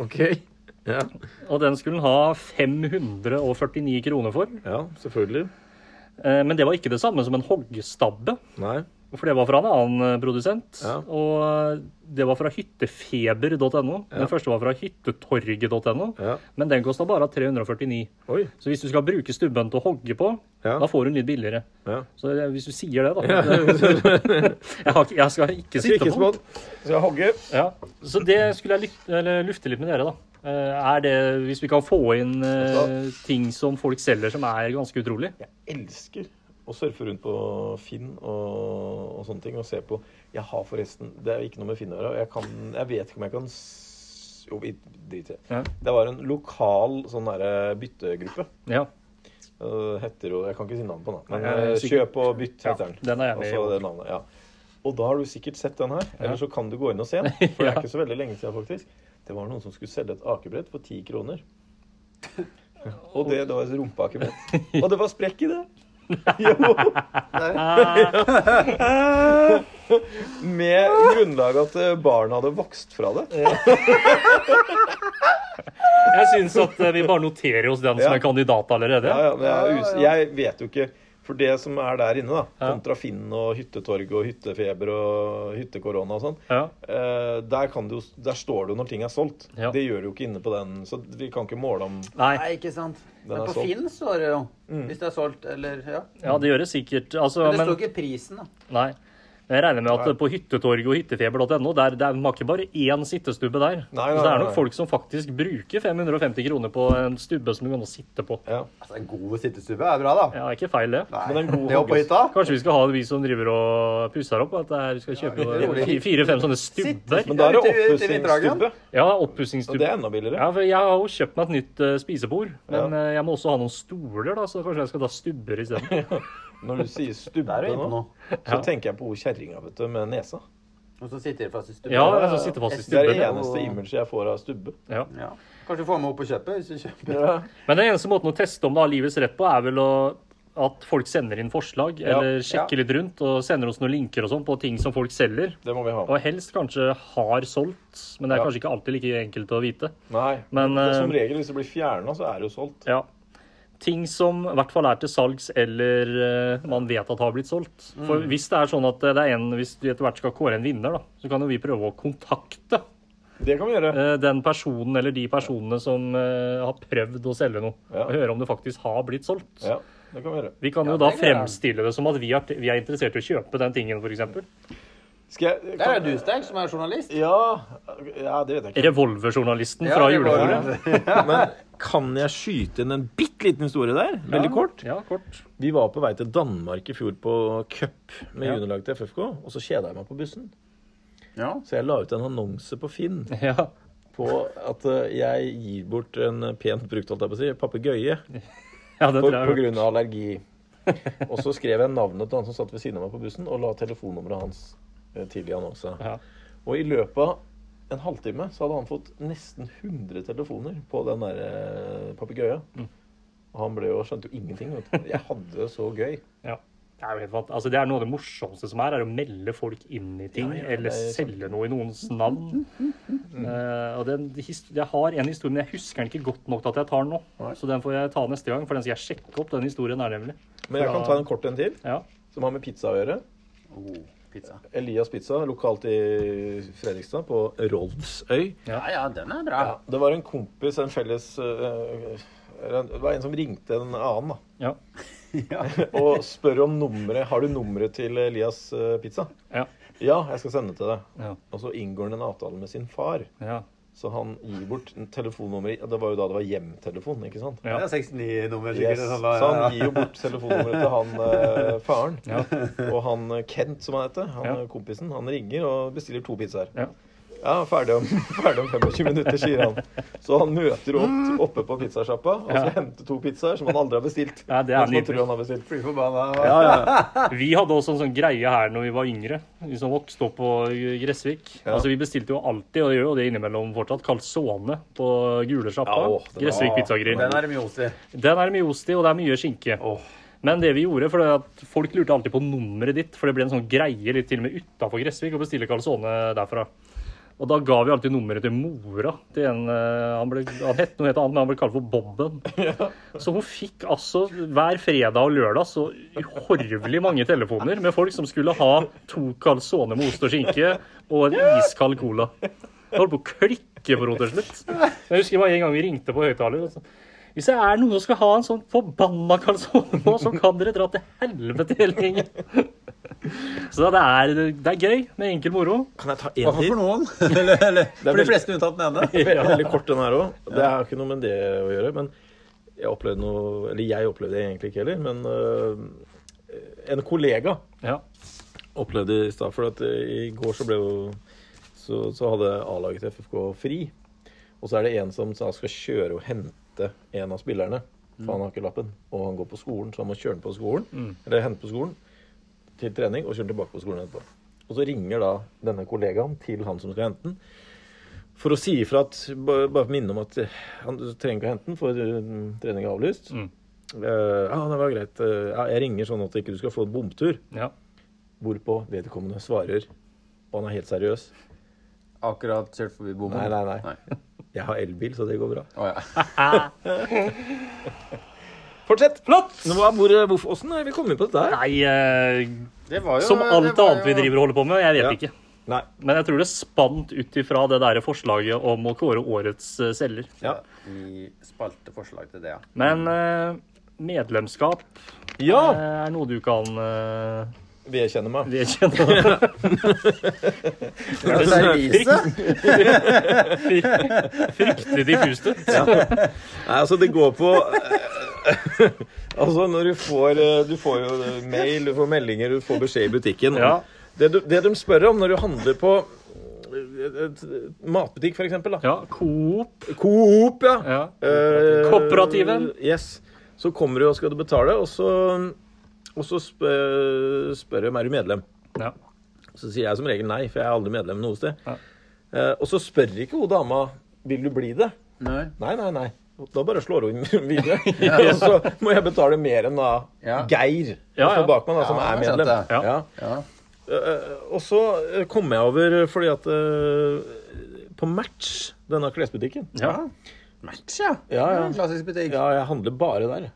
Speaker 1: OK. Ja.
Speaker 2: og den skulle han ha 549 kroner for.
Speaker 1: ja, selvfølgelig.
Speaker 2: Eh, Men det var ikke det samme som en hoggstabbe,
Speaker 1: Nei.
Speaker 2: for det var fra en annen eh, produsent.
Speaker 1: Ja.
Speaker 2: Og eh, det var fra hyttefeber.no.
Speaker 1: Ja.
Speaker 2: Den første var fra hyttetorget.no.
Speaker 1: Ja.
Speaker 2: Men den kosta bare 349.
Speaker 1: Oi.
Speaker 2: Så hvis du skal bruke stubben til å hogge på,
Speaker 1: Ja.
Speaker 2: da får du den litt billigere.
Speaker 1: Ja.
Speaker 2: Så det- hvis du sier det, da jeg, har, ikke- jeg skal ikke sitte
Speaker 1: Ikke
Speaker 2: på.
Speaker 1: smått. Skal jeg hogge?
Speaker 2: Ja. Så det skulle jeg lyt- eller, lufte litt med dere, da. Eh, Er det, hvis vi kan få inn eh, ting som folk selger som er ganske utrolig?
Speaker 1: elsker å surfe rundt på Finn og, og sånne ting og se på. Jeg har forresten Det er jo ikke noe med Finn å gjøre. Jeg, kan, jeg vet ikke om jeg kan s- Jo, vi driter i det.
Speaker 2: Ja.
Speaker 1: Det var en lokal sånn derre byttegruppe.
Speaker 2: Ja.
Speaker 1: Eh, heter jo Jeg kan ikke si navnet på den. Men
Speaker 2: Nei, jeg er
Speaker 1: eh,
Speaker 2: sikker-
Speaker 1: Kjøp og bytt
Speaker 2: Ja,
Speaker 1: heter den.
Speaker 2: den er jeg med i.
Speaker 1: Også det navnet, ja. Og da har du sikkert sett den her. Eller så kan du gå inn og se den. For det er ikke så veldig lenge siden, faktisk. Det var noen som skulle selge et akebrett for ti kroner. Og det, det var et rumpeakebrett. Og det var sprekk i det! Jo! Ja. Med grunnlag at eh, barna hadde vokst fra det.
Speaker 2: Jeg syns at eh, vi bare noterer oss den som
Speaker 1: Ja.
Speaker 2: en kandidat allerede.
Speaker 1: Ja, ja, men jeg, er us- jeg vet jo ikke For det som er der inne, da, kontra Finn og hyttetorg og hyttefeber og hyttekorona og sånn,
Speaker 2: Ja.
Speaker 1: eh, der, kan det jo, der står det jo når ting er solgt.
Speaker 2: Ja.
Speaker 1: Det gjør det jo ikke inne på den, så vi kan ikke måle om
Speaker 2: Nei,
Speaker 3: Nei, ikke sant. Men
Speaker 1: er
Speaker 3: på
Speaker 1: solgt.
Speaker 3: Finn står det jo. Hvis det er solgt, eller ja.
Speaker 2: ja, det gjør det sikkert. Altså,
Speaker 3: Men det
Speaker 2: men,
Speaker 3: står ikke prisen, da.
Speaker 2: nei. Jeg regner med at eh, på hyttetorget og hyttefeber.no, der det er man har ikke bare én sittestubbe der.
Speaker 1: Nei, nei,
Speaker 2: så det er
Speaker 1: nei,
Speaker 2: nok
Speaker 1: nei.
Speaker 2: folk som faktisk bruker 550 kroner på en stubbe som du kan sitte på.
Speaker 1: ja.
Speaker 3: Altså, En god sittestubbe er bra, da.
Speaker 2: Ja, det er ikke feil, det.
Speaker 3: Nei,
Speaker 1: Men en god
Speaker 3: det å på
Speaker 1: hogges-
Speaker 3: hytta
Speaker 2: Kanskje vi skal ha vi som driver og pusser opp, at det er- vi skal
Speaker 3: rolig.
Speaker 2: kjøpe fire-fem sånne stubber.
Speaker 1: Men da er det
Speaker 3: Ut i- ut i vinterhagen.
Speaker 1: oppussingsstubbe,
Speaker 2: Ja,
Speaker 1: og det
Speaker 2: oppussingsstubber.
Speaker 1: er enda billigere.
Speaker 2: Ja, for jeg har jo kjøpt meg et nytt eh, spisebord, men eh, jeg må også ha noen stoler, da, så kanskje jeg skal ta stubber isteden.
Speaker 1: Når du sier
Speaker 3: Der er
Speaker 1: stubbe
Speaker 3: vi på
Speaker 1: nå,
Speaker 3: noe.
Speaker 1: så tenker jeg på hun kjerringa vet du, med nesa.
Speaker 3: Og så sitter de fast i stubben.
Speaker 2: Ja, jeg som sitter fast i
Speaker 1: Det er det
Speaker 2: stubben.
Speaker 1: eneste imaget jeg får av stubbe.
Speaker 2: Ja.
Speaker 3: Ja. Kanskje få med opp på kjøpet hvis du kjøper.
Speaker 2: Men den eneste måten å teste om det har livets rett på, er vel å at folk sender inn forslag, eller sjekker litt rundt og sender oss noen linker og sånn på ting som folk selger.
Speaker 1: Det må vi ha.
Speaker 2: Og helst kanskje har solgt, men det er
Speaker 1: Ja.
Speaker 2: kanskje ikke alltid like enkelt å vite.
Speaker 1: Nei.
Speaker 2: Men,
Speaker 1: det,
Speaker 2: eh,
Speaker 1: som regel, hvis det blir fjerna, så er det jo solgt.
Speaker 2: Ja. Ting som i hvert fall er til salgs eller eh, man vet at har blitt solgt. For
Speaker 1: Mm.
Speaker 2: hvis det er sånn at det er en, hvis du etter hvert skal kåre en vinner, da, så kan jo vi prøve å kontakte
Speaker 1: Det kan vi gjøre.
Speaker 2: eh, den personen eller de personene som eh, har prøvd å selge noe,
Speaker 1: Ja.
Speaker 2: og høre om det faktisk har blitt solgt.
Speaker 1: Ja, det kan vi gjøre.
Speaker 2: Vi kan jo
Speaker 3: Ja,
Speaker 2: da
Speaker 3: det er-
Speaker 2: fremstille det som at vi er, vi er interessert i å kjøpe den tingen, f.eks.
Speaker 1: Skal jeg
Speaker 3: Der er du, Stein, som er journalist.
Speaker 1: Ja, ja, det vet jeg ikke.
Speaker 2: Revolverjournalisten
Speaker 3: Ja,
Speaker 2: fra
Speaker 3: det går jo.
Speaker 2: julebordet.
Speaker 1: Men kan jeg skyte inn en bitte liten historie der? Veldig kort.
Speaker 2: Ja, kort.
Speaker 1: Vi var på vei til Danmark i fjor på cup med
Speaker 2: Ja.
Speaker 1: juniorlag til FFK, og så kjeda jeg meg på bussen.
Speaker 3: Ja.
Speaker 1: Så jeg la ut en annonse på Finn
Speaker 2: Ja.
Speaker 1: på at eh, jeg gir bort en pent brukt, holdt jeg på å si, papegøye
Speaker 2: ja, det
Speaker 1: på,
Speaker 2: tror jeg.
Speaker 1: på grunn av allergi. Og så skrev jeg navnet til han som satt ved siden av meg på bussen, og la telefonnummeret hans eh, til i annonsa.
Speaker 2: Ja.
Speaker 1: Og i løpet av en halvtime så hadde han fått nesten 100 telefoner på den der eh, papegøyen. Og han ble jo, skjønte jo ingenting. Vet du. Jeg hadde det så gøy.
Speaker 2: Ja. Det er, jo helt fant- altså, det er noe av det morsomste som er, er å melde folk inn i ting,
Speaker 1: Ja, ja,
Speaker 2: eller
Speaker 1: det er sånn.
Speaker 2: selge noe i noens navn.
Speaker 3: Mm.
Speaker 2: Eh, og den, his- jeg har en historie, men jeg husker den ikke godt nok til at jeg tar den nå. Så den får jeg ta neste gang, for den skal jeg sjekke opp, den historien er nemlig.
Speaker 1: Men jeg kan ta en kort en til,
Speaker 2: Ja.
Speaker 1: som har med pizza å gjøre.
Speaker 3: Oh, pizza.
Speaker 1: Elias Pizza, lokalt i Fredrikstad, på Rolvsøy.
Speaker 3: Ja, ja, den er bra.
Speaker 1: Det var en kompis, en felles øh, eller en- Det var en som ringte en annen, da.
Speaker 2: Ja.
Speaker 1: Og spør om nummeret. Har du nummeret til Elias øh, Pizza?
Speaker 2: Ja.
Speaker 1: Ja, jeg skal sende det til deg.
Speaker 2: Ja.
Speaker 1: Og så inngår han en avtale med sin far.
Speaker 2: ja.
Speaker 1: Så han gir bort telefonnummeret Det var jo da det var hjemtelefon, ikke sant?
Speaker 2: Ja.
Speaker 3: Det er 69-nummer,
Speaker 1: Yes.
Speaker 3: sikkert.
Speaker 1: Så
Speaker 3: sånn da, ja.
Speaker 1: han gir jo bort telefonnummeret til han øh, faren.
Speaker 2: Ja.
Speaker 1: Og han øh, Kent, som han heter, han
Speaker 2: Ja.
Speaker 1: øh, kompisen, han ringer og bestiller to pizzaer.
Speaker 2: Ja.
Speaker 1: Ja, ferdig om, ferdig om 25 minutter, sier han. Så han møter opp oppe på pizzasjappa og skal hente to pizzaer som han aldri har bestilt.
Speaker 2: Ja,
Speaker 1: men
Speaker 2: det er
Speaker 1: som han
Speaker 2: nydelig.
Speaker 1: tror han har bestilt.
Speaker 3: Blir forbanna.
Speaker 1: Ja, ja.
Speaker 2: Vi hadde også en sånn greie her når vi var yngre, vi som vokste opp på Gressvik.
Speaker 1: Ja.
Speaker 2: Altså, vi bestilte jo alltid, og gjør jo det innimellom fortsatt, calzone på gule sjappa.
Speaker 1: Ja, åh, den er-
Speaker 2: Gressvik pizzagrill.
Speaker 3: Den er det mye ost i.
Speaker 2: Den er mye ost i, og det er mye skinke.
Speaker 3: Åh.
Speaker 2: Men det vi gjorde, for det at folk lurte alltid på nummeret ditt, for det ble en sånn greie litt til og med utafor Gressvik å bestille calzone derfra. Og da ga vi alltid nummeret til mora til en eh, Han, ble, han het noe helt annet, men han ble kalt for Bobben. Så hun fikk altså hver fredag og lørdag så uhorvelig mange telefoner med folk som skulle ha to calzone med ost og skinke og en iskald cola. Det holdt på å klikke for henne til slutt. Jeg husker det var en gang vi ringte på høyttaler. og så- Hvis det er noen som skal ha en sånn forbanna calzone nå, så kan dere dra til helvete hele gjengen. Så det er, det er gøy med enkel moro.
Speaker 1: Kan jeg ta
Speaker 3: Hva
Speaker 1: én
Speaker 3: for
Speaker 1: til?
Speaker 3: noen? eller, eller, for de
Speaker 1: veldig-
Speaker 3: fleste unntatt den ene.
Speaker 1: Veldig, veldig kort den her òg. Det har ikke noe med det å gjøre. Men jeg opplevde noe Eller jeg opplevde det egentlig ikke heller, men øh, en kollega
Speaker 2: Ja.
Speaker 1: opplevde i stad. For at eh, i går så ble jo Så, så hadde A-laget til FFK fri. Og så er det en som da skal kjøre og hente en av spillerne. For han har ikke lappen. Og han går på skolen, så han må kjøre den på skolen. Eller hente på skolen til trening og kjøre den tilbake på skolen etterpå. Og så ringer da denne kollegaen til han som skal hente den. For å si ifra at ba- Bare minne om at eh, han du trenger ikke å hente den, for eh, trening er avlyst. Eh, ja, det var greit. Eh, ja, jeg ringer sånn at ikke du skal få en bomtur.
Speaker 2: ja.
Speaker 1: Hvorpå vedkommende svarer, og han er helt seriøs
Speaker 3: Akkurat kjørt forbi bommen.
Speaker 1: Nei, nei, nei. Jeg har elbil, så det går bra.
Speaker 3: Å, ja.
Speaker 1: Fortsett!
Speaker 2: Flott!
Speaker 1: Nå, hva- hvor, hvorfor, hvordan er vi kommet på dette her?
Speaker 2: Nei, eh,
Speaker 3: Det var jo,
Speaker 2: som alt
Speaker 3: det var
Speaker 2: annet vi
Speaker 3: jo-
Speaker 2: driver og holder på med, jeg vet
Speaker 1: Ja.
Speaker 2: ikke.
Speaker 1: Nei.
Speaker 2: Men jeg tror det spant ut ifra det der forslaget om å kåre årets eh, selger.
Speaker 1: Ja.
Speaker 3: I spalte forslag til det, ja.
Speaker 2: Men eh, medlemskap eh,
Speaker 1: ja!
Speaker 2: er noe du kan eh,
Speaker 1: Vedkjenner meg.
Speaker 2: vedkjenne.
Speaker 3: Serviset?
Speaker 2: Fryktelig diffust ut.
Speaker 1: Nei, altså, det går på Altså, når du får eh, Du får jo mail, du får meldinger, du får beskjed i butikken.
Speaker 2: Ja.
Speaker 1: Det, du, det de spør om når du handler på eh, et matbutikk, for eksempel, da.
Speaker 2: Ja, Coop.
Speaker 1: Coop, ja.
Speaker 2: Ja.
Speaker 1: Eh,
Speaker 2: Kooperativet.
Speaker 1: Yes. Så kommer du og skal du betale, og så Og så spør, spør de er du medlem.
Speaker 2: Ja.
Speaker 1: Så sier jeg som regel nei, for jeg er aldri medlem noe sted.
Speaker 2: Ja.
Speaker 1: Eh, og så spør ikke hun dama vil du bli det.
Speaker 3: Nei.
Speaker 1: Nei, nei, nei. Da bare slår hun videre. Og så må jeg betale mer enn da
Speaker 3: Ja.
Speaker 1: Geir
Speaker 2: Ja, ja.
Speaker 1: også bak meg, da, som
Speaker 3: Ja,
Speaker 1: er
Speaker 3: jeg skjønte
Speaker 1: medlem.
Speaker 3: det.
Speaker 2: Ja.
Speaker 3: Ja.
Speaker 1: Og så eh, kom jeg over eh, fordi at eh, På Match, denne klesbutikken
Speaker 2: Ja.
Speaker 3: Match, ja.
Speaker 1: Ja, ja.
Speaker 3: En Klassisk butikk.
Speaker 1: Ja, jeg handler bare der.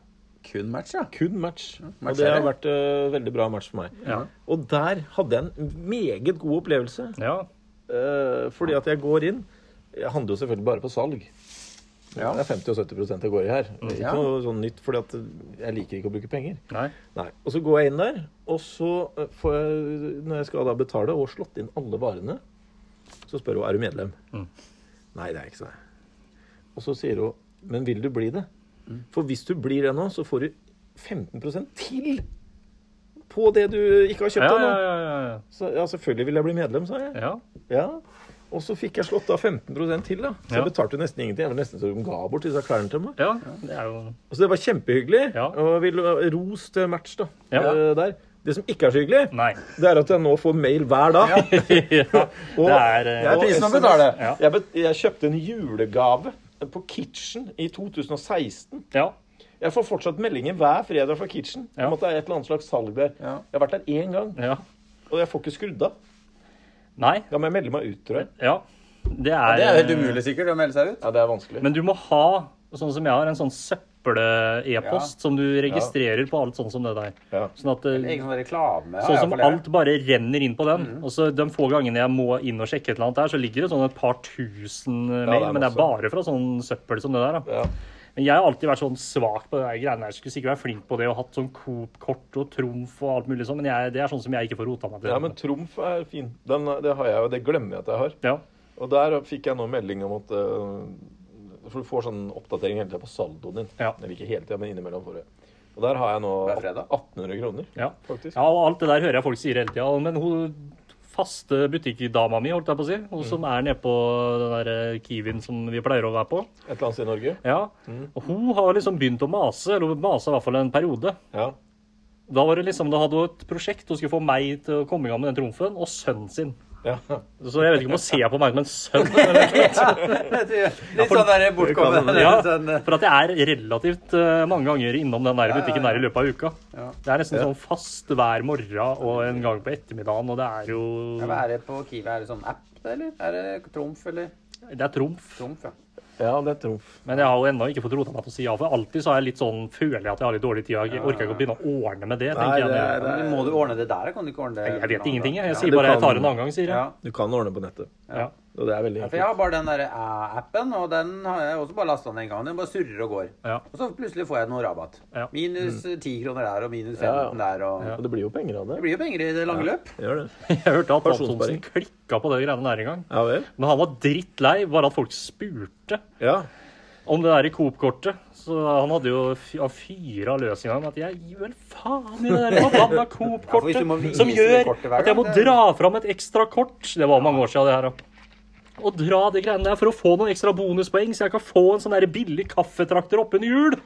Speaker 3: Kun match, ja.
Speaker 1: Kun match. Og
Speaker 3: match
Speaker 1: det
Speaker 3: er
Speaker 1: har
Speaker 3: det.
Speaker 1: vært eh, veldig bra match for meg.
Speaker 2: Ja.
Speaker 1: Og der hadde jeg en meget god opplevelse.
Speaker 2: ja.
Speaker 1: eh, fordi at jeg går inn Jeg handler jo selvfølgelig bare på salg.
Speaker 3: Ja.
Speaker 1: Det er 50 og 70 jeg går i her. Ikke
Speaker 3: Ja.
Speaker 1: noe sånn nytt, fordi at jeg liker ikke å bruke penger.
Speaker 2: Nei.
Speaker 1: Nei. Og så går jeg inn der, og så eh, får jeg, når jeg skal da betale og slått inn alle varene, så spør hun er du medlem.
Speaker 2: Mm.
Speaker 1: Nei, det er jeg ikke, sa jeg. Og så sier hun men vil du bli det?
Speaker 2: Mm.
Speaker 1: For hvis du blir det nå, så får du 15 til på det du ikke har
Speaker 2: Ja,
Speaker 1: kjøpt
Speaker 2: ja,
Speaker 1: ennå.
Speaker 2: ja, ja, ja.
Speaker 1: Så, ja, selvfølgelig vil jeg bli medlem, sa jeg.
Speaker 2: ja.
Speaker 1: Ja. Og så fikk jeg slått av 15 til, da. Så
Speaker 2: Ja.
Speaker 1: jeg betalte nesten ingenting. Det var nesten så de ga bort disse klærne til meg.
Speaker 2: Ja, det er jo
Speaker 1: Og så det var kjempehyggelig.
Speaker 2: Ja.
Speaker 1: Og jeg vil eh, ros til match, da.
Speaker 2: Ja.
Speaker 1: eh, Der. Det som ikke er så hyggelig,
Speaker 2: Nei.
Speaker 1: det er at jeg nå får mail hver dag.
Speaker 2: ja, det er eh,
Speaker 1: Jeg-
Speaker 3: Det er prisen å
Speaker 1: SMS.
Speaker 3: betale.
Speaker 2: Ja.
Speaker 1: Jeg, bet- jeg kjøpte en julegave på Kitchen i 2016.
Speaker 2: Ja.
Speaker 1: Jeg får fortsatt meldinger hver fredag fra Kitchen
Speaker 2: Ja.
Speaker 1: om at det er et eller annet slags salg der.
Speaker 3: Ja.
Speaker 1: Jeg har vært der én gang,
Speaker 2: ja.
Speaker 1: og jeg får ikke skrudd av.
Speaker 2: Nei.
Speaker 1: Da må jeg melde meg ut, tror jeg.
Speaker 2: Ja. Det er,
Speaker 3: Det er jo helt
Speaker 2: eh,
Speaker 3: umulig sikkert å melde seg ut.
Speaker 1: Ja, det er vanskelig.
Speaker 2: Men du må ha, sånn som jeg har, en sånn søppel-e-post som du registrerer på alt sånn som det der.
Speaker 1: Ja.
Speaker 2: Sånn at eh,
Speaker 3: Egen sånn reklame. ja,
Speaker 2: Sånn som
Speaker 3: jeg får det.
Speaker 2: alt bare renner inn på den. Og så De få gangene jeg må inn og sjekke et eller annet der, så ligger det sånn et par tusen eh, mail,
Speaker 1: det er
Speaker 2: men det
Speaker 1: masse.
Speaker 2: er bare fra sånn søppel som det der. da.
Speaker 1: Ja.
Speaker 2: Men jeg har alltid vært sånn svak på det der greiene der. Skulle sikkert vært flink på det og hatt sånn Coop-kort og Trumf og alt mulig sånn, men jeg, det er sånn som jeg ikke får rota meg til.
Speaker 1: Ja, men trumf er fin. Den, det har jeg, og det glemmer jeg at jeg har.
Speaker 2: Ja.
Speaker 1: Og der fikk jeg nå melding om at eh, For du får sånn oppdatering hele tida på saldoen din.
Speaker 2: Ja.
Speaker 1: Eller ikke hele tida, men innimellom. får du. Og der har jeg nå
Speaker 3: Hver fredag?
Speaker 1: 1800 kroner,
Speaker 2: Ja.
Speaker 1: faktisk.
Speaker 2: ja, og alt det der hører jeg folk sier hele tida. Men hun faste butikkdama mi, holdt jeg på å si,
Speaker 3: Mm.
Speaker 2: hun som er nede på den der eh, Kiwien som vi pleier å være på,
Speaker 1: Et eller annet sted i Norge.
Speaker 2: ja, og hun har liksom begynt å mase, eller hun masa i hvert fall en periode.
Speaker 1: Ja.
Speaker 2: Da var det liksom, da hadde hun et prosjekt hun skulle få meg til å komme i gang med den trumfen, og sønnen sin.
Speaker 1: ja.
Speaker 2: Så jeg vet ikke om hun ser på meg som en sønn. Eller,
Speaker 3: Litt sånn der bortkommet.
Speaker 1: Det
Speaker 2: ja,
Speaker 3: litt sånn, eh,
Speaker 2: for at jeg er relativt eh, mange ganger innom den der butikken der i løpet av uka.
Speaker 3: Ja.
Speaker 2: Det er nesten sånn fast hver morgen og en gang på ettermiddagen, og det er jo
Speaker 3: ja, men Er det på Kiwi er det sånn app, eller? Er det Trumf, eller?
Speaker 2: Det er trumf.
Speaker 3: Trumf, ja.
Speaker 1: ja, det er trumf.
Speaker 2: Men jeg har jo ennå ikke fått rota meg til å si ja, for alltid så er jeg litt sånn, føler jeg at jeg har litt dårlig tid. Jeg orker ikke å begynne å ordne med det.
Speaker 1: Nei,
Speaker 2: tenker jeg.
Speaker 1: det er-
Speaker 2: når-
Speaker 3: Ja, men Må du ordne det der? Kan du ikke ordne det?
Speaker 2: Jeg vet ingenting, jeg. Jeg
Speaker 3: Ja.
Speaker 2: sier bare jeg
Speaker 1: kan-
Speaker 2: tar en annen gang, sier jeg.
Speaker 3: Ja.
Speaker 1: Du kan ordne på nettet.
Speaker 2: Ja.
Speaker 1: Og det er veldig
Speaker 3: For jeg har bare den der eh, appen, og den har jeg også bare lasta ned en gang. Den bare surrer og går.
Speaker 2: Ja.
Speaker 3: Og så plutselig får jeg noe rabatt.
Speaker 2: Ja.
Speaker 3: Minus eh, 10 kroner der, og minus 15
Speaker 1: Ja, ja.
Speaker 3: der, og
Speaker 1: Og det blir jo penger av det.
Speaker 3: Det blir jo penger i det lange løp.
Speaker 1: Gjør det.
Speaker 2: Jeg hørte at Antonsen
Speaker 1: Pensjonssparing.
Speaker 2: klikka på det greiene der en gang.
Speaker 1: Ja vel?
Speaker 2: Men han var drittlei bare at folk spurte
Speaker 1: Ja.
Speaker 2: om det der i Coop-kortet. Så han hadde jo fy- han fyra løs en gang med at jeg gir vel faen i det der forbanna
Speaker 3: Ja, for hvis du må
Speaker 2: Coop-kortet
Speaker 3: vise
Speaker 2: som
Speaker 3: det
Speaker 2: gjør
Speaker 3: kortet hver
Speaker 2: at jeg må
Speaker 3: gang, det-
Speaker 2: dra fram et ekstra kort. Det var mange år siden, det her. da. Å dra de greiene der for å få noen ekstra bonuspoeng, så jeg kan få en sånn der billig kaffetrakter oppunder jul.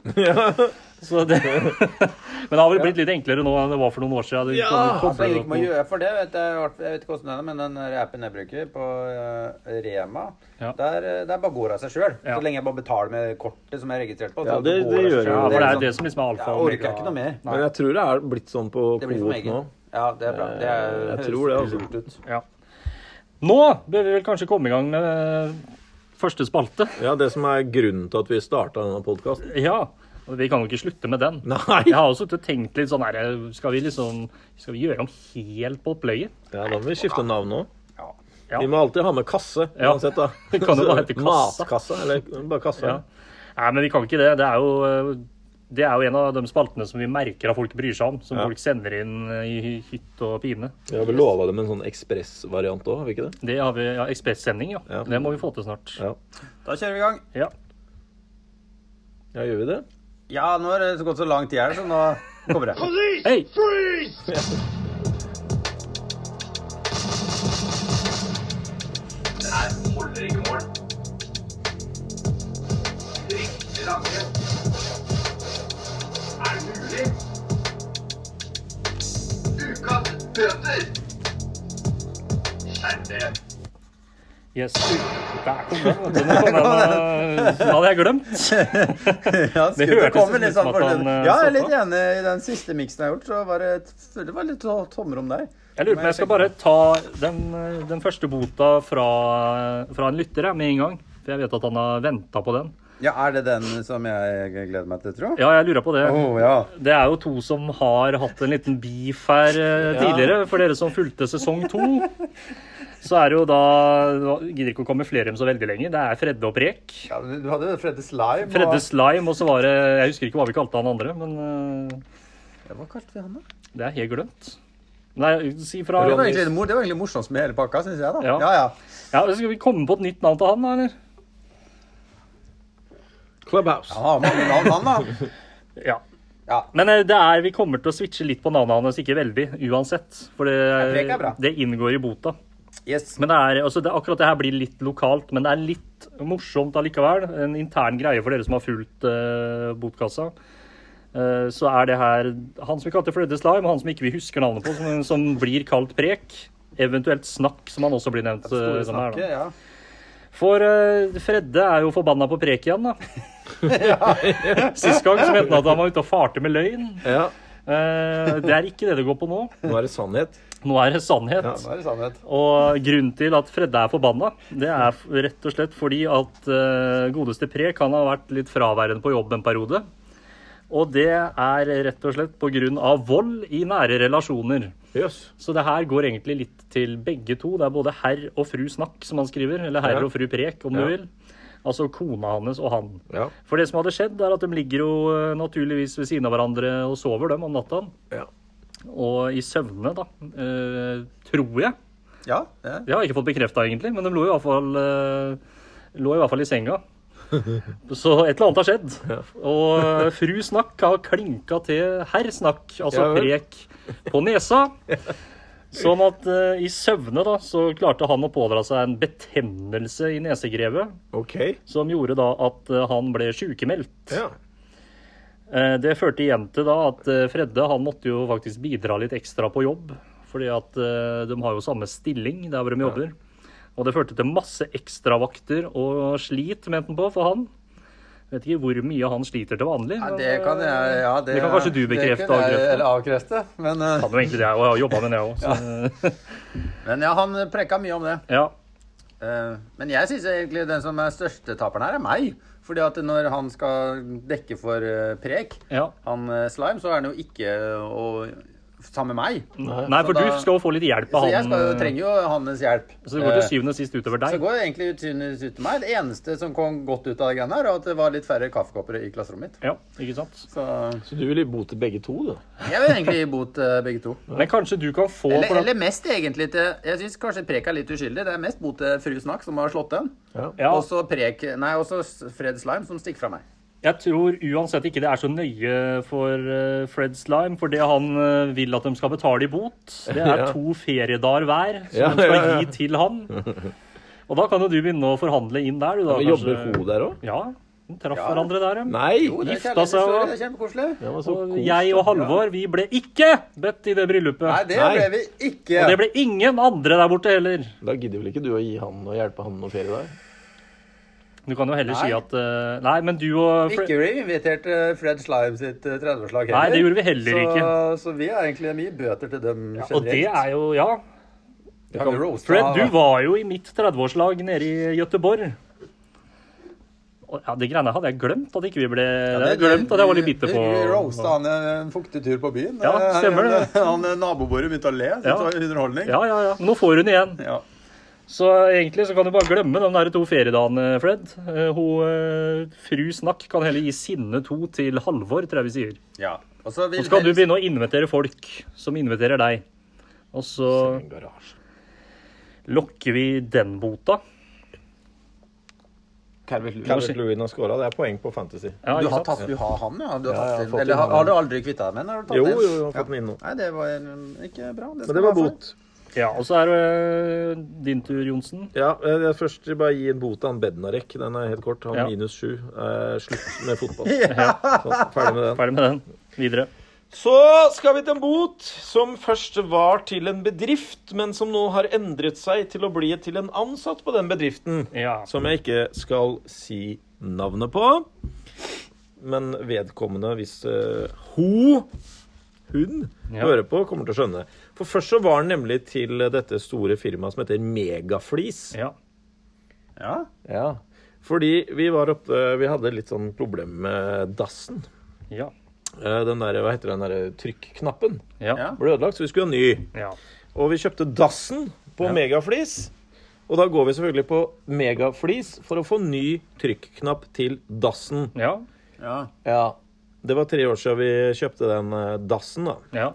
Speaker 2: Så det Men det har vel blitt litt enklere nå enn det var for noen år siden. Du
Speaker 1: Ja,
Speaker 2: kan jo
Speaker 3: Altså,
Speaker 2: koble
Speaker 3: jeg
Speaker 2: det
Speaker 3: ikke må
Speaker 2: på-
Speaker 3: gjøre for det, vet jeg, i hvert fall- jeg vet ikke hvordan det er, men den der appen jeg bruker på eh, Rema,
Speaker 2: Ja.
Speaker 3: der, eh, der bare går av seg sjøl.
Speaker 2: Ja.
Speaker 3: Så lenge jeg bare betaler med kortet som jeg er registrert på.
Speaker 1: Ja,
Speaker 3: så
Speaker 1: det-
Speaker 3: går
Speaker 1: det
Speaker 3: av seg
Speaker 1: gjør
Speaker 3: selv.
Speaker 2: Ja, for det er jo det
Speaker 3: liksom-
Speaker 2: som liksom er alfa
Speaker 3: Jeg
Speaker 2: og
Speaker 3: orker ikke
Speaker 2: omega.
Speaker 3: noe mer.
Speaker 1: Men jeg tror det er blitt sånn på
Speaker 3: Det blir for
Speaker 1: Coop nå.
Speaker 3: meget. Ja, det er bra. Det er,
Speaker 1: Jeg tror det, altså.
Speaker 3: høres lurt ut.
Speaker 2: Ja. Nå bør vi vel kanskje komme i gang med eh, første spalte.
Speaker 1: Ja, det som er grunnen til at vi starta denne podkasten.
Speaker 2: Ja. og Vi kan jo ikke slutte med den.
Speaker 1: Nei!
Speaker 2: Jeg
Speaker 1: Ja,
Speaker 2: har også suttet og tenkt litt sånn her Skal vi liksom Skal vi gjøre om helt på opplegget?
Speaker 1: da må vi skifte navn nå.
Speaker 3: Ja.
Speaker 2: Ja.
Speaker 1: Vi må alltid ha med kasse
Speaker 2: Ja.
Speaker 1: uansett, da.
Speaker 2: Det kan jo bare hete kassa.
Speaker 1: Matkasse, eller bare kasse.
Speaker 2: Ja. Nei, men vi kan ikke det. Det er jo eh, det er jo en av de spaltene som vi merker at folk bryr seg om. Som
Speaker 1: Ja.
Speaker 2: folk sender inn eh, i hytt og pine.
Speaker 1: Vi har vel lova dem en sånn ekspressvariant òg, har vi ikke det?
Speaker 2: Det har vi ja, Ekspressending, ja.
Speaker 1: Ja.
Speaker 2: Det må vi få til snart.
Speaker 1: Ja.
Speaker 3: Da kjører vi i gang.
Speaker 2: Ja.
Speaker 1: ja, gjør vi det?
Speaker 3: Ja, nå er det så gått så lang tid her, så nå kommer det.
Speaker 2: Hei!
Speaker 5: Er det mulig? bøter! Skjerp dere!
Speaker 2: Yes. Der kom den. Den kom den, eh, Den hadde jeg glemt.
Speaker 3: Ja,
Speaker 2: Det hørtes
Speaker 3: skuddet
Speaker 2: ut
Speaker 3: kommer litt
Speaker 2: som
Speaker 3: sånn
Speaker 2: at
Speaker 3: for-
Speaker 2: han, eh,
Speaker 3: Ja, jeg er
Speaker 2: stoppa.
Speaker 3: litt enig i den siste miksen jeg har gjort. Så var det, et- det var litt to- tomrom der.
Speaker 2: Jeg lurer på om jeg skal bare ta den, den første bota fra, fra en lytter jeg, med en gang. For jeg vet at han har venta på den.
Speaker 3: Ja, Er det den som jeg gleder meg til, tro?
Speaker 2: Ja, jeg lurer på det.
Speaker 3: Å ja.
Speaker 2: Det er jo to som har hatt en liten beef her eh, tidligere. For dere som fulgte sesong to, så er det jo da nå Gidder ikke å komme flere om så veldig lenge. Det er Fredde og Prek.
Speaker 6: Ja, du du hadde Fredde Slime.
Speaker 2: Fredde Slime, og så var det Jeg husker ikke hva vi kalte han andre, men eh,
Speaker 3: Hva kalte vi han, da?
Speaker 2: det er helt glemt. Nei, si fra
Speaker 3: Det var
Speaker 2: Ja,
Speaker 3: egentlig det, mor- det var egentlig morsomst med hele pakka, syns jeg. da.
Speaker 2: Ja.
Speaker 3: ja. ja.
Speaker 2: Skal vi komme på et nytt navn til han, da, eller?
Speaker 1: Clubhouse.
Speaker 3: Han har mange navn, han, da.
Speaker 2: Ja.
Speaker 3: Ja.
Speaker 2: Men eh, det er, vi kommer til å switche litt på navnet hans, ikke veldig, uansett. For det,
Speaker 3: Prek er bra.
Speaker 2: det inngår i bota.
Speaker 3: Yes.
Speaker 2: Men det er, altså det, akkurat det her blir litt lokalt, men det er litt morsomt allikevel. En intern greie for dere som har fulgt eh, botkassa. Eh, så er det her han som vi kalte Flødde Slime, han som ikke vi husker navnet på, som, som blir kalt Prek. Eventuelt Snakk, som han også blir nevnt. eh, som her, da.
Speaker 6: ja.
Speaker 2: For eh, Fredde er jo forbanna på prek igjen, da. Sist gang så mente han at han var ute og farte med løgn.
Speaker 1: Ja.
Speaker 2: Eh, det er ikke det det går på nå.
Speaker 1: Nå er det sannhet.
Speaker 2: Nå er det sannhet.
Speaker 1: Ja.
Speaker 6: Nå er det sannhet.
Speaker 2: Og grunnen til at Fredde er forbanna, det er f- rett og slett fordi at eh, godeste Prek han har vært litt fraværende på jobb en periode. Og det er rett og slett pga. vold i nære relasjoner.
Speaker 1: Jøss.
Speaker 2: Så det her går egentlig litt til begge to. Det er både herr og fru Snakk, som han skriver. Eller herr
Speaker 1: Ja.
Speaker 2: og fru Prek, om
Speaker 1: Ja.
Speaker 2: du vil. Altså kona hans og han.
Speaker 1: Ja.
Speaker 2: For det som hadde skjedd, er at de ligger jo eh, naturligvis ved siden av hverandre og sover, dem, om natta.
Speaker 1: Ja.
Speaker 2: Og i søvne, da. Eh, tror jeg.
Speaker 3: Ja, ja.
Speaker 2: Det har jeg ikke fått bekrefta, egentlig, men de lå i hvert fall, eh, lå i, hvert fall i senga. Så et eller annet har skjedd. Og eh, fru Snakk har klinka til herr Snakk, altså
Speaker 1: Ja vel.
Speaker 2: prek på nesa. Sånn at eh, i søvne da, så klarte han å pådra seg en betennelse i nesegrevet,
Speaker 1: OK.
Speaker 2: som gjorde da at eh, han ble sjukemeldt.
Speaker 1: Ja.
Speaker 2: Eh, Det førte igjen til da at eh, Fredde han måtte jo faktisk bidra litt ekstra på jobb. Fordi at eh, de har jo samme stilling der hvor de jobber. Og det førte til masse ekstravakter og slit, mente han på, for han. Vet ikke hvor mye han sliter til vanlig.
Speaker 3: Ja,
Speaker 2: men,
Speaker 3: det kan jeg ja, det,
Speaker 2: Det kan kanskje du
Speaker 3: det
Speaker 2: bekrefte,
Speaker 3: kunne jeg-
Speaker 2: avkrefte.
Speaker 3: Eller avkrefte. Men, eh,
Speaker 2: eh, Kan jo egentlig det, og jeg har jobba med det òg. Ja.
Speaker 3: men ja, han preka mye om det.
Speaker 2: ja.
Speaker 3: Eh, Men jeg syns egentlig den som er største taperen her, er meg. Fordi at når han skal dekke for eh, prek,
Speaker 2: ja.
Speaker 3: han eh, slime, så er han jo ikke eh, å, sammen med meg.
Speaker 2: Nei, for
Speaker 3: Så da-
Speaker 2: du skal jo få litt hjelp
Speaker 3: Så
Speaker 2: av
Speaker 3: jeg
Speaker 2: han.
Speaker 3: skal jo,
Speaker 2: eh,
Speaker 3: trenger jo hans hjelp.
Speaker 2: Så det går til
Speaker 3: Eh,
Speaker 2: syvende og sist utover
Speaker 3: Så
Speaker 2: deg.
Speaker 3: går jo egentlig ut, ut til meg. Det eneste som kom godt ut av det greiene her, var at det var litt færre kaffekopper i klasserommet mitt.
Speaker 2: Ja, ikke sant?
Speaker 3: Så
Speaker 1: Så du ville bo til begge to, du?
Speaker 3: jeg vil egentlig gi bot eh, begge to.
Speaker 2: Men kanskje du kan få
Speaker 3: Eller,
Speaker 2: for at-
Speaker 3: eller mest egentlig til Jeg syns kanskje Prek er litt uskyldig. Det er mest mot eh, fru Snakk som har slått den.
Speaker 2: ja.
Speaker 3: Og så Prek Nei, også Fred Slime som stikker fra meg.
Speaker 2: Jeg tror uansett ikke det er så nøye for eh, Fred Slime, for det han eh, vil at de skal betale i bot, det er
Speaker 1: Ja.
Speaker 2: to feriedager hver som
Speaker 1: Ja,
Speaker 2: de skal
Speaker 1: ja, ja.
Speaker 2: gi til han. Og da kan jo du begynne å forhandle inn der, du da.
Speaker 1: Men
Speaker 2: kanskje.
Speaker 1: Jobber hun der òg?
Speaker 2: Ja, de traff hverandre der, ja.
Speaker 1: Nei!
Speaker 3: Jo, det er
Speaker 2: Gifta seg
Speaker 3: kjærlighetshistorie.
Speaker 2: og-
Speaker 3: Det er kjempekoselig.
Speaker 1: Det var så
Speaker 2: Og
Speaker 1: kos.
Speaker 2: jeg og Halvor, vi ble ikke bedt i det bryllupet.
Speaker 3: Nei, det
Speaker 1: Nei.
Speaker 3: ble vi ikke.
Speaker 2: Og det ble ingen andre der borte heller.
Speaker 1: Da gidder vel ikke du å gi han og hjelpe han noe ferie der?
Speaker 2: Du kan jo heller si
Speaker 3: Nei.
Speaker 2: at eh, Nei, men du og Fred
Speaker 3: Ikke ble vi invitert til Fred Slime sitt eh, 30-årslag
Speaker 2: Nei, det gjorde vi heller
Speaker 3: Så, så vi er egentlig mye bøter til dem generelt.
Speaker 2: Og det er jo Ja.
Speaker 3: Kan vi roaste
Speaker 2: Fred,
Speaker 3: han, da?
Speaker 2: du var jo i mitt 30-årslag nede i Gøteborg. Og ja, det greiene hadde jeg glemt at ikke vi ble Jeg hadde glemt at jeg var litt bitter på
Speaker 3: Vi roasta han en fuktig tur på byen.
Speaker 2: Ja, stemmer det.
Speaker 3: Han, han nabobordet begynte å le. Så det
Speaker 2: Ja.
Speaker 3: var underholdning.
Speaker 2: Ja, ja, ja. Men Nå får hun igjen.
Speaker 3: Ja.
Speaker 2: Så egentlig så kan du bare glemme de der to feriedagene, Fred. Eh, Hun eh, fru Snakk kan heller gi sinne to til Halvor, tror jeg vi sier.
Speaker 3: Ja. Og så vil
Speaker 2: Så skal du begynne å invitere folk som inviterer deg. Og så
Speaker 1: En garasje.
Speaker 2: lokker vi den bota.
Speaker 1: Calvert Lewin har scora. Det er poeng på Fantasy.
Speaker 2: Ja,
Speaker 3: Du
Speaker 2: ikke
Speaker 3: har
Speaker 2: sant?
Speaker 3: tatt, du har han, ja? Du
Speaker 1: Ja,
Speaker 3: har
Speaker 1: jeg har
Speaker 3: tatt inn.
Speaker 1: fått inn
Speaker 3: Eller har,
Speaker 1: han.
Speaker 3: har du aldri kvitta deg med den? Har du tatt
Speaker 1: Jo,
Speaker 3: den?
Speaker 1: jo, jeg har fått den inn nå.
Speaker 3: Nei, det var eh, ikke bra. skal
Speaker 1: Men det var
Speaker 3: være
Speaker 1: bot.
Speaker 2: Ja, og så er det eh, din tur, Johnsen.
Speaker 1: Ja, eh, jeg først vil jeg bare gi en bot til han Bednarek. Den er helt kort. Han
Speaker 2: Ja.
Speaker 1: minus sju. Eh, slutt med fotball. Sånn, ferdig med den.
Speaker 2: Ferdig med den. Videre.
Speaker 1: Så skal vi til en bot som først var til en bedrift, men som nå har endret seg til å bli til en ansatt på den bedriften.
Speaker 2: Ja.
Speaker 1: Som jeg ikke skal si navnet på. Men vedkommende, hvis eh, ho, hun,
Speaker 2: Ja.
Speaker 1: hører på, kommer til å skjønne. For først så var den nemlig til dette store firmaet som heter Megaflis.
Speaker 2: ja.
Speaker 4: Ja.
Speaker 1: Ja. Fordi vi var oppe Vi hadde litt sånn problem med dassen.
Speaker 2: Ja.
Speaker 1: Eh, Den der, hva heter den der trykknappen?
Speaker 2: Ja.
Speaker 4: Ja.
Speaker 1: Ble ødelagt, så vi skulle ha ny.
Speaker 2: ja.
Speaker 1: Og vi kjøpte dassen på
Speaker 2: Ja.
Speaker 1: Megaflis. Og da går vi selvfølgelig på Megaflis for å få ny trykknapp til dassen.
Speaker 2: ja.
Speaker 4: ja.
Speaker 1: Ja. Det var tre år siden vi kjøpte den eh, dassen, da.
Speaker 2: ja.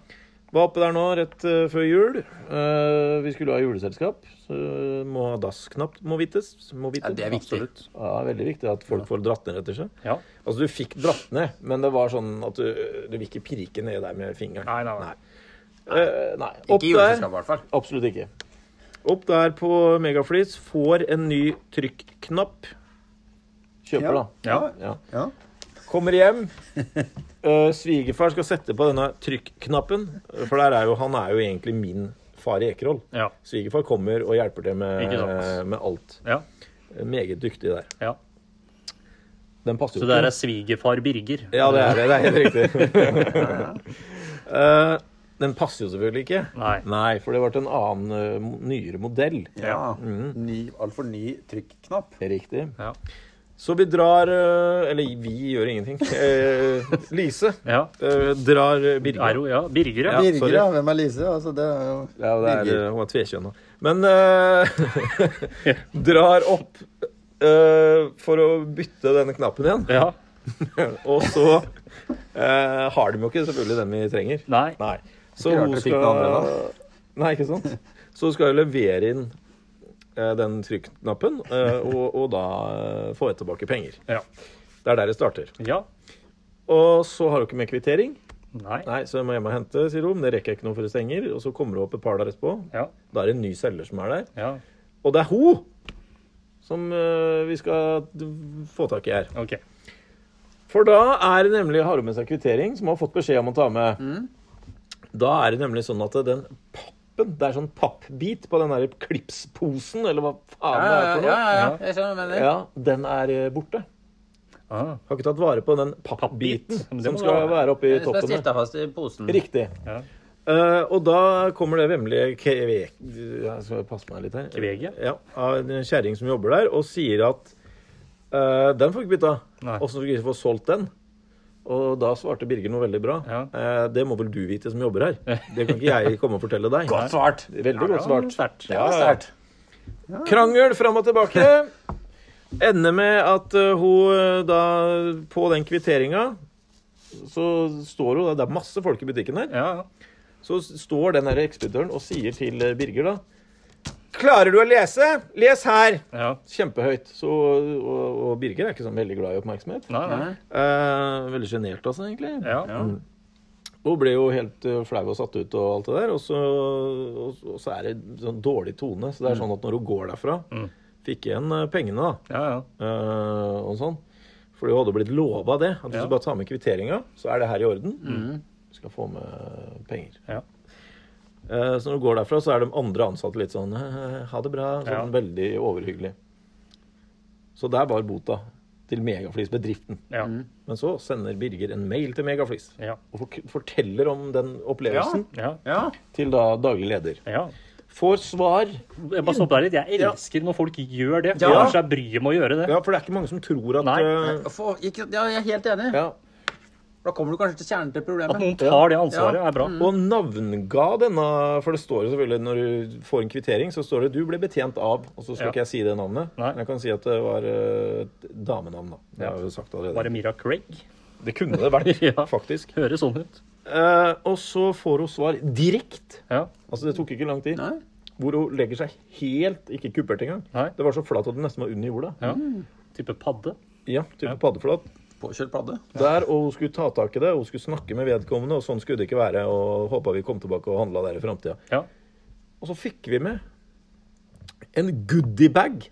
Speaker 1: Var oppe der nå rett eh, før jul. Eh, vi skulle ha juleselskap. Så eh, må ha dassknapp, må vites. Må vite.
Speaker 3: Ja, det er viktig.
Speaker 2: Absolutt.
Speaker 1: Ja, veldig viktig at folk får dratt ned etter seg.
Speaker 2: Ja.
Speaker 1: Altså, du fikk dratt ned, men det var sånn at du, du vil ikke pirke ned der med fingeren.
Speaker 2: Nei, nei, nei.
Speaker 1: Eh, nei. Opp
Speaker 3: Ikke i
Speaker 1: der.
Speaker 3: juleselskap, i hvert fall.
Speaker 1: Absolutt ikke. Opp der på Megaflis, får en ny trykknapp. Kjøper,
Speaker 3: Ja.
Speaker 1: da.
Speaker 2: Ja.
Speaker 1: Ja.
Speaker 4: Ja.
Speaker 1: Kommer hjem. Eh, svigerfar skal sette på denne trykknappen, for der er jo, han er jo egentlig min far i Ekerhol.
Speaker 2: Ja.
Speaker 1: Svigerfar kommer og hjelper til med,
Speaker 2: Ikke sant.
Speaker 1: med alt.
Speaker 2: ja.
Speaker 1: Meget dyktig der.
Speaker 2: ja.
Speaker 1: Den passer
Speaker 2: Så
Speaker 1: jo
Speaker 2: det
Speaker 1: ikke.
Speaker 2: her er svigerfar Birger.
Speaker 1: Ja, det er det. Det er helt riktig. Eh, den passer jo selvfølgelig ikke.
Speaker 2: Nei.
Speaker 1: Nei, for det ble en annen, eh, mo- nyere modell.
Speaker 2: Ja.
Speaker 3: Mm.
Speaker 4: Ny, altfor ny trykknapp.
Speaker 1: Riktig.
Speaker 2: Ja.
Speaker 1: Så vi drar eh, Eller vi gjør ingenting. Eh, Lise
Speaker 2: Ja.
Speaker 1: eh, drar Birger.
Speaker 2: Ero, ja. Birger, ja.
Speaker 1: Ja.
Speaker 4: Birger,
Speaker 1: sorry.
Speaker 4: ja. Hvem er Lise? Altså, det er jo
Speaker 1: Ja, det er,
Speaker 4: Birger.
Speaker 1: eh, hun er tvekjønna. Men eh, drar opp eh, for å bytte denne knappen igjen.
Speaker 2: ja.
Speaker 1: Og så eh, har de jo ikke selvfølgelig den vi trenger.
Speaker 2: Nei.
Speaker 1: Nei. Så
Speaker 4: Ikke rart
Speaker 1: hun
Speaker 4: dere fikk
Speaker 1: skal
Speaker 4: den andre,
Speaker 1: Nei, ikke sant? Så hun skal jo levere inn eh, den trykknappen, eh, og, og da eh, få tilbake penger.
Speaker 2: Ja.
Speaker 1: Det er der det starter.
Speaker 2: Ja.
Speaker 1: Og så har hun ikke med kvittering.
Speaker 2: Nei.
Speaker 1: Nei, så jeg må hjem og hente, sier hun. Det rekker jeg ikke noe for det stenger. Og så kommer hun opp et par dager etterpå.
Speaker 2: Ja.
Speaker 1: Da er det en ny selger som er der.
Speaker 2: Ja.
Speaker 1: Og det er hun som eh, vi skal d- få tak i her.
Speaker 2: OK.
Speaker 1: For da er det nemlig har hun med seg kvittering, som hun har fått beskjed om å ta med. Da er det nemlig sånn at den pappen Det er sånn pappbit på den der klipsposen, eller hva faen
Speaker 3: Ja,
Speaker 1: det er for
Speaker 3: ja, ja,
Speaker 1: noe.
Speaker 3: ja, ja. Jeg skjønner hva du mener.
Speaker 1: Ja, den er eh, borte.
Speaker 2: Ah.
Speaker 1: Har ikke tatt vare på den pappbiten
Speaker 2: Pappbit? Men det
Speaker 1: som
Speaker 2: må
Speaker 1: skal
Speaker 2: være-
Speaker 1: være oppi
Speaker 3: Det er Som er
Speaker 1: toppen. der.
Speaker 3: stifta fast i posen.
Speaker 1: Riktig.
Speaker 2: Mm. Ja.
Speaker 1: Eh, og da kommer det vemmelige kveg... Jeg skal passe meg litt her.
Speaker 2: Kveget?
Speaker 1: Ja, av en kjerring som jobber der, og sier at eh, den får vi ikke bytta.
Speaker 2: Nei.
Speaker 1: Åssen skal vi få solgt den? Og da svarte Birger noe veldig bra.
Speaker 2: Ja.
Speaker 1: Eh, det må vel du vite som jobber her. Det kan ikke jeg komme og fortelle deg.
Speaker 4: Godt svart!
Speaker 1: Veldig godt
Speaker 2: Ja,
Speaker 1: svart.
Speaker 2: sterkt.
Speaker 1: Ja, ja. Krangel fram og tilbake. Ender med at eh, hun eh, da På den kvitteringa så står hun Det er masse folk i butikken her.
Speaker 2: Ja, ja.
Speaker 1: Så står den her ekspeditøren og sier til eh, Birger da Klarer du å lese? Les her!
Speaker 2: ja.
Speaker 1: Kjempehøyt. Så, og, og Birger er ikke sånn veldig glad i oppmerksomhet.
Speaker 2: Nei, nei.
Speaker 1: Eh, veldig sjenert, altså, egentlig.
Speaker 2: Ja.
Speaker 1: Hun ble jo helt eh, flau og satt ut og alt det der. Og så, og, og så er det sånn dårlig tone. Så det er sånn at når hun går derfra Fikk igjen eh, pengene, da.
Speaker 2: Ja, ja.
Speaker 1: Eh, og sånn. For hun hadde blitt lova det. At hvis
Speaker 2: Ja. Mm.
Speaker 1: du bare tar med kvitteringa, så er det her i orden. Du skal få med penger.
Speaker 2: Ja.
Speaker 1: Eh, så når du går derfra, så er de andre ansatte litt sånn «Eh, Ha det bra. Sånn
Speaker 2: Ja.
Speaker 1: veldig overhyggelig. Så der var bota til Megaflis-bedriften.
Speaker 2: Ja.
Speaker 1: Men så sender Birger en mail til Megaflis
Speaker 2: Ja.
Speaker 1: og fork- forteller om den opplevelsen
Speaker 2: Ja.
Speaker 4: Ja.
Speaker 1: til da daglig leder.
Speaker 2: ja.
Speaker 1: Får svar
Speaker 2: Jeg bare stopp der litt. Jeg elsker når folk gjør det. For
Speaker 1: Ja.
Speaker 2: Ellers er bryet med å gjøre det.
Speaker 1: Ja, for det er ikke mange som tror at
Speaker 2: Nei.
Speaker 1: eh,
Speaker 3: For, ikke, ja, jeg er helt enig.
Speaker 1: ja.
Speaker 3: Da kommer du kanskje til kjernen til
Speaker 2: At
Speaker 3: problemet.
Speaker 2: noen tar det ansvaret,
Speaker 3: Ja.
Speaker 2: er bra.
Speaker 1: Og navnga denne For det står jo selvfølgelig når du får en kvittering, så står det 'du ble betjent av', og så skal
Speaker 2: Ja.
Speaker 1: ikke jeg si det navnet.
Speaker 2: Nei.
Speaker 1: Men jeg kan si at det var eh, et damenavn, da. Det har jeg jo sagt
Speaker 2: Bare
Speaker 1: allerede.
Speaker 2: Mira Craig.
Speaker 1: Det kunne det vært,
Speaker 2: Ja.
Speaker 1: faktisk.
Speaker 2: Høres sånn ut.
Speaker 1: Eh, og så får hun svar direkte.
Speaker 2: Ja.
Speaker 1: Altså, det tok ikke lang tid.
Speaker 3: Nei.
Speaker 1: Hvor hun legger seg helt Ikke kuppert engang.
Speaker 2: Nei.
Speaker 1: Det var så flat at det nesten var under jorda.
Speaker 2: ja. Type padde.
Speaker 1: Ja, type paddeflat.
Speaker 3: Påkjørt padde.
Speaker 1: Der, og hun skulle ta tak i det, hun skulle snakke med vedkommende, og sånn skulle det ikke være, og håpa vi kom tilbake og handla der i framtida.
Speaker 2: Ja.
Speaker 1: Og så fikk vi med en goodiebag.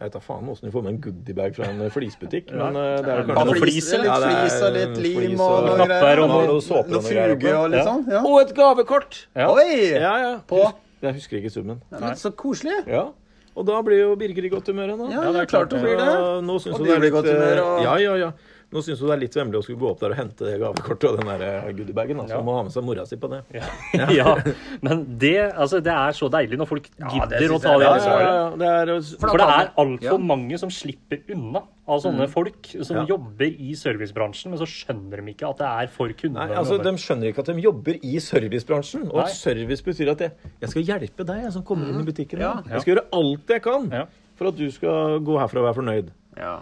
Speaker 1: Jeg tar faen åssen du får med en goodiebag fra en flisbutikk,
Speaker 2: Ja.
Speaker 1: men eh, det er
Speaker 2: Ja,
Speaker 1: kanskje
Speaker 2: noe
Speaker 1: noe
Speaker 2: flis,
Speaker 5: flis, litt
Speaker 1: Ja, det er
Speaker 5: flis og litt
Speaker 1: flis
Speaker 5: lim
Speaker 1: og
Speaker 5: og noe
Speaker 2: knapper
Speaker 5: greier.
Speaker 2: og noe-
Speaker 1: noe såpe og noe greier
Speaker 5: fuge og litt
Speaker 2: Ja.
Speaker 5: sånn. Ja.
Speaker 1: Og et gavekort!
Speaker 2: Ja.
Speaker 5: Oi!
Speaker 1: Ja, ja.
Speaker 5: På?
Speaker 1: Jeg husker ikke summen.
Speaker 5: Ja, men så koselig.
Speaker 1: Ja. Og da blir jo Birger i godt humør ennå.
Speaker 5: Ja,
Speaker 2: det er
Speaker 5: det er klart
Speaker 2: klart
Speaker 5: hun blir det.
Speaker 1: Nå syns
Speaker 5: Og
Speaker 1: hun
Speaker 5: de
Speaker 1: det er
Speaker 5: blir i
Speaker 1: litt,
Speaker 5: godt humør, og-
Speaker 1: eh, Ja, ja, ja. Nå syns hun det er litt vemmelig å skulle gå opp der og hente det gavekortet og den der eh, goodiebagen. Altså.
Speaker 2: Ja.
Speaker 1: Hun Må ha med seg mora si på det.
Speaker 2: ja, men det, altså, det er så deilig når folk gidder å
Speaker 5: synes
Speaker 2: ta
Speaker 5: jeg
Speaker 2: det
Speaker 5: er
Speaker 1: Ja,
Speaker 5: bra.
Speaker 1: ja,
Speaker 2: ansvaret.
Speaker 1: ja. Det er,
Speaker 2: For det er altfor
Speaker 5: Ja.
Speaker 2: mange som slipper unna av sånne folk som
Speaker 1: Ja.
Speaker 2: jobber i servicebransjen, men så skjønner de ikke at det er for kundene.
Speaker 1: Nei, altså,
Speaker 2: de
Speaker 1: De skjønner ikke at de jobber i servicebransjen. Og
Speaker 2: Nei. Mm.
Speaker 1: at service betyr at jeg, jeg skal hjelpe deg jeg, som kommer inn i butikken.
Speaker 5: Ja.
Speaker 1: nå. Jeg skal gjøre alt jeg kan
Speaker 2: Ja.
Speaker 1: for at du skal gå herfra og være fornøyd.
Speaker 5: Ja.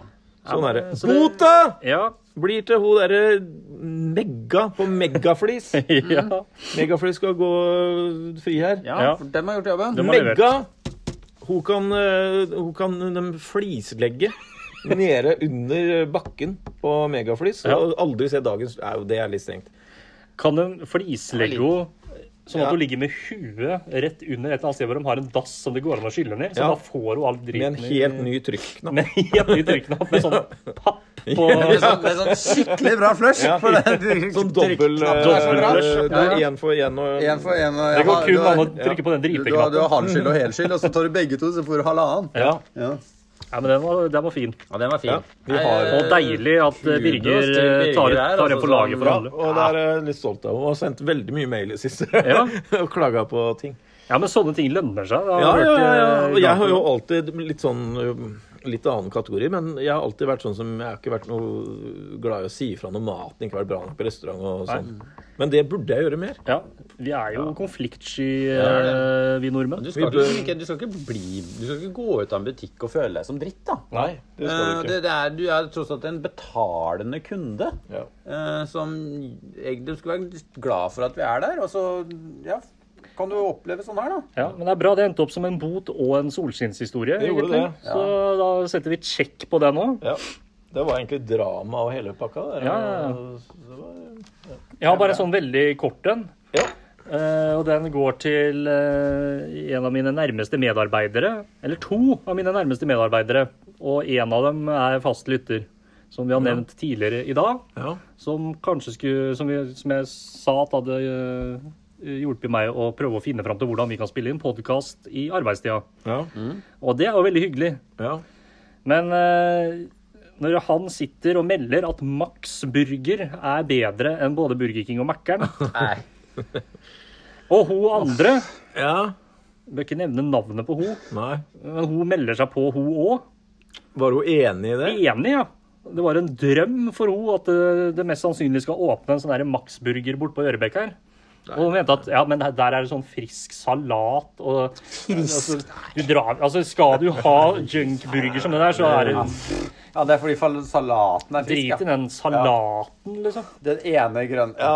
Speaker 1: Sånn er det.
Speaker 2: så det-
Speaker 1: Bota
Speaker 2: ja,
Speaker 1: blir til hun derre Megga på Megaflis.
Speaker 2: ja.
Speaker 1: Megaflis skal gå fri her.
Speaker 5: Ja,
Speaker 2: Ja.
Speaker 5: for dem har gjort jobben.
Speaker 2: De har levert.
Speaker 1: Megga hun kan, eh, hun kan dem flislegge nede under bakken på megaflis.
Speaker 2: Ja.
Speaker 1: Og aldri se dagens Au, det er litt strengt.
Speaker 2: Kan en flislegge henne sånn at
Speaker 1: Ja.
Speaker 2: hun ligger med huet rett under et eller annet sted hvor de har en dass som det går an å skylle ned? Så
Speaker 1: Ja.
Speaker 2: da får hun all
Speaker 1: Med en
Speaker 2: driten i-
Speaker 1: helt ny trykknapp.
Speaker 2: Med en helt ny trykknapp med sånn papp på
Speaker 5: Med sånn, med sånn skikkelig bra flush.
Speaker 1: Ja.
Speaker 5: For det,
Speaker 1: Sånn dobbel eh,
Speaker 5: Trykknapp er så bra.
Speaker 1: eh, Det er
Speaker 5: Ja.
Speaker 1: én for én og
Speaker 5: En for en, og
Speaker 2: Det går
Speaker 5: du
Speaker 2: kun
Speaker 5: har-
Speaker 2: an å trykke på den
Speaker 5: Du, du, har- du
Speaker 2: dripeknappen.
Speaker 5: har halv skyld og hel skyld, og så tar du begge to, så får du halvannen.
Speaker 1: Ja.
Speaker 5: Ja.
Speaker 2: Ja, men den var, den var fin.
Speaker 4: Ja, den var fin.
Speaker 1: ja. Vi har
Speaker 2: Og deilig at eh, Birger
Speaker 4: kudos til
Speaker 2: eh, tar,
Speaker 4: Birger her,
Speaker 2: tar en
Speaker 4: altså,
Speaker 2: på laget for
Speaker 1: ja,
Speaker 2: alle.
Speaker 1: og det er jeg litt stolt av. Hun har sendt veldig mye mail i det siste
Speaker 2: Ja.
Speaker 1: og klaga på ting.
Speaker 2: Ja, men sånne ting lønner seg. da.
Speaker 1: Ja,
Speaker 2: Har
Speaker 1: ja,
Speaker 2: vært,
Speaker 1: ja, ja.
Speaker 2: eh,
Speaker 1: Og jeg har jo
Speaker 2: glad for-
Speaker 1: alltid litt sånn ø, Litt annen kategori, men jeg har alltid vært sånn som Jeg har ikke vært noe glad i å si ifra når maten ikke har vært bra nok på restaurant og sånn. Men det burde jeg gjøre mer.
Speaker 2: Ja, Vi er jo konfliktsky, eh, vi nordmenn.
Speaker 4: Du skal, ikke, liksom ikke, du, skal ikke bli, du skal ikke gå ut av en butikk og føle deg som dritt, da.
Speaker 1: Nei, det skal
Speaker 4: Eh,
Speaker 1: du
Speaker 4: det,
Speaker 1: ikke.
Speaker 4: det er, du er tross alt en betalende kunde
Speaker 1: Ja.
Speaker 4: eh, som egentlig skulle være glad for at vi er der. Og så ja,
Speaker 5: Kan du oppleve sånn her, da?
Speaker 2: Ja, Men det er bra det endte opp som en bot og en solskinnshistorie.
Speaker 1: Det gjorde
Speaker 2: egentlig. Så da setter vi check på det nå.
Speaker 1: ja. Det var egentlig drama og hele pakka. Der.
Speaker 2: Ja, ja, ja.
Speaker 1: Det var,
Speaker 2: Jeg har bare en sånn veldig kort en.
Speaker 1: ja.
Speaker 2: eh, Og den går til eh, en av mine nærmeste medarbeidere. Eller to av mine nærmeste medarbeidere. Og en av dem er fast lytter, som vi har nevnt tidligere i dag.
Speaker 1: Ja.
Speaker 2: som kanskje skulle Som, vi, som jeg sa at hadde øh, hjulpet meg å prøve å finne fram til hvordan vi kan spille inn podkast i arbeidstida.
Speaker 1: Ja.
Speaker 2: Og det er jo veldig hyggelig.
Speaker 1: ja.
Speaker 2: Men øh, når han sitter og melder at Max Burger er bedre enn både Burger King og Mækkern
Speaker 4: Nei.
Speaker 2: Og hun andre
Speaker 1: ja.
Speaker 2: Bør ikke nevne navnet på hun,
Speaker 1: Nei.
Speaker 2: men hun melder seg på, hun òg.
Speaker 1: Var hun enig i det?
Speaker 2: Enig, ja. Det var en drøm for henne at det, det mest sannsynlig skal åpne en sånn der Max-burger borte på Ørebekk her. Og hun mente at ja, men der er det sånn frisk salat og altså, du drar, altså Skal du ha junkburger som det der, så er det
Speaker 5: Ja, det er fordi fal- salaten er
Speaker 2: drit
Speaker 5: frisk.
Speaker 2: i
Speaker 5: Ja.
Speaker 2: den salaten, liksom.
Speaker 5: Den ene grønne ja.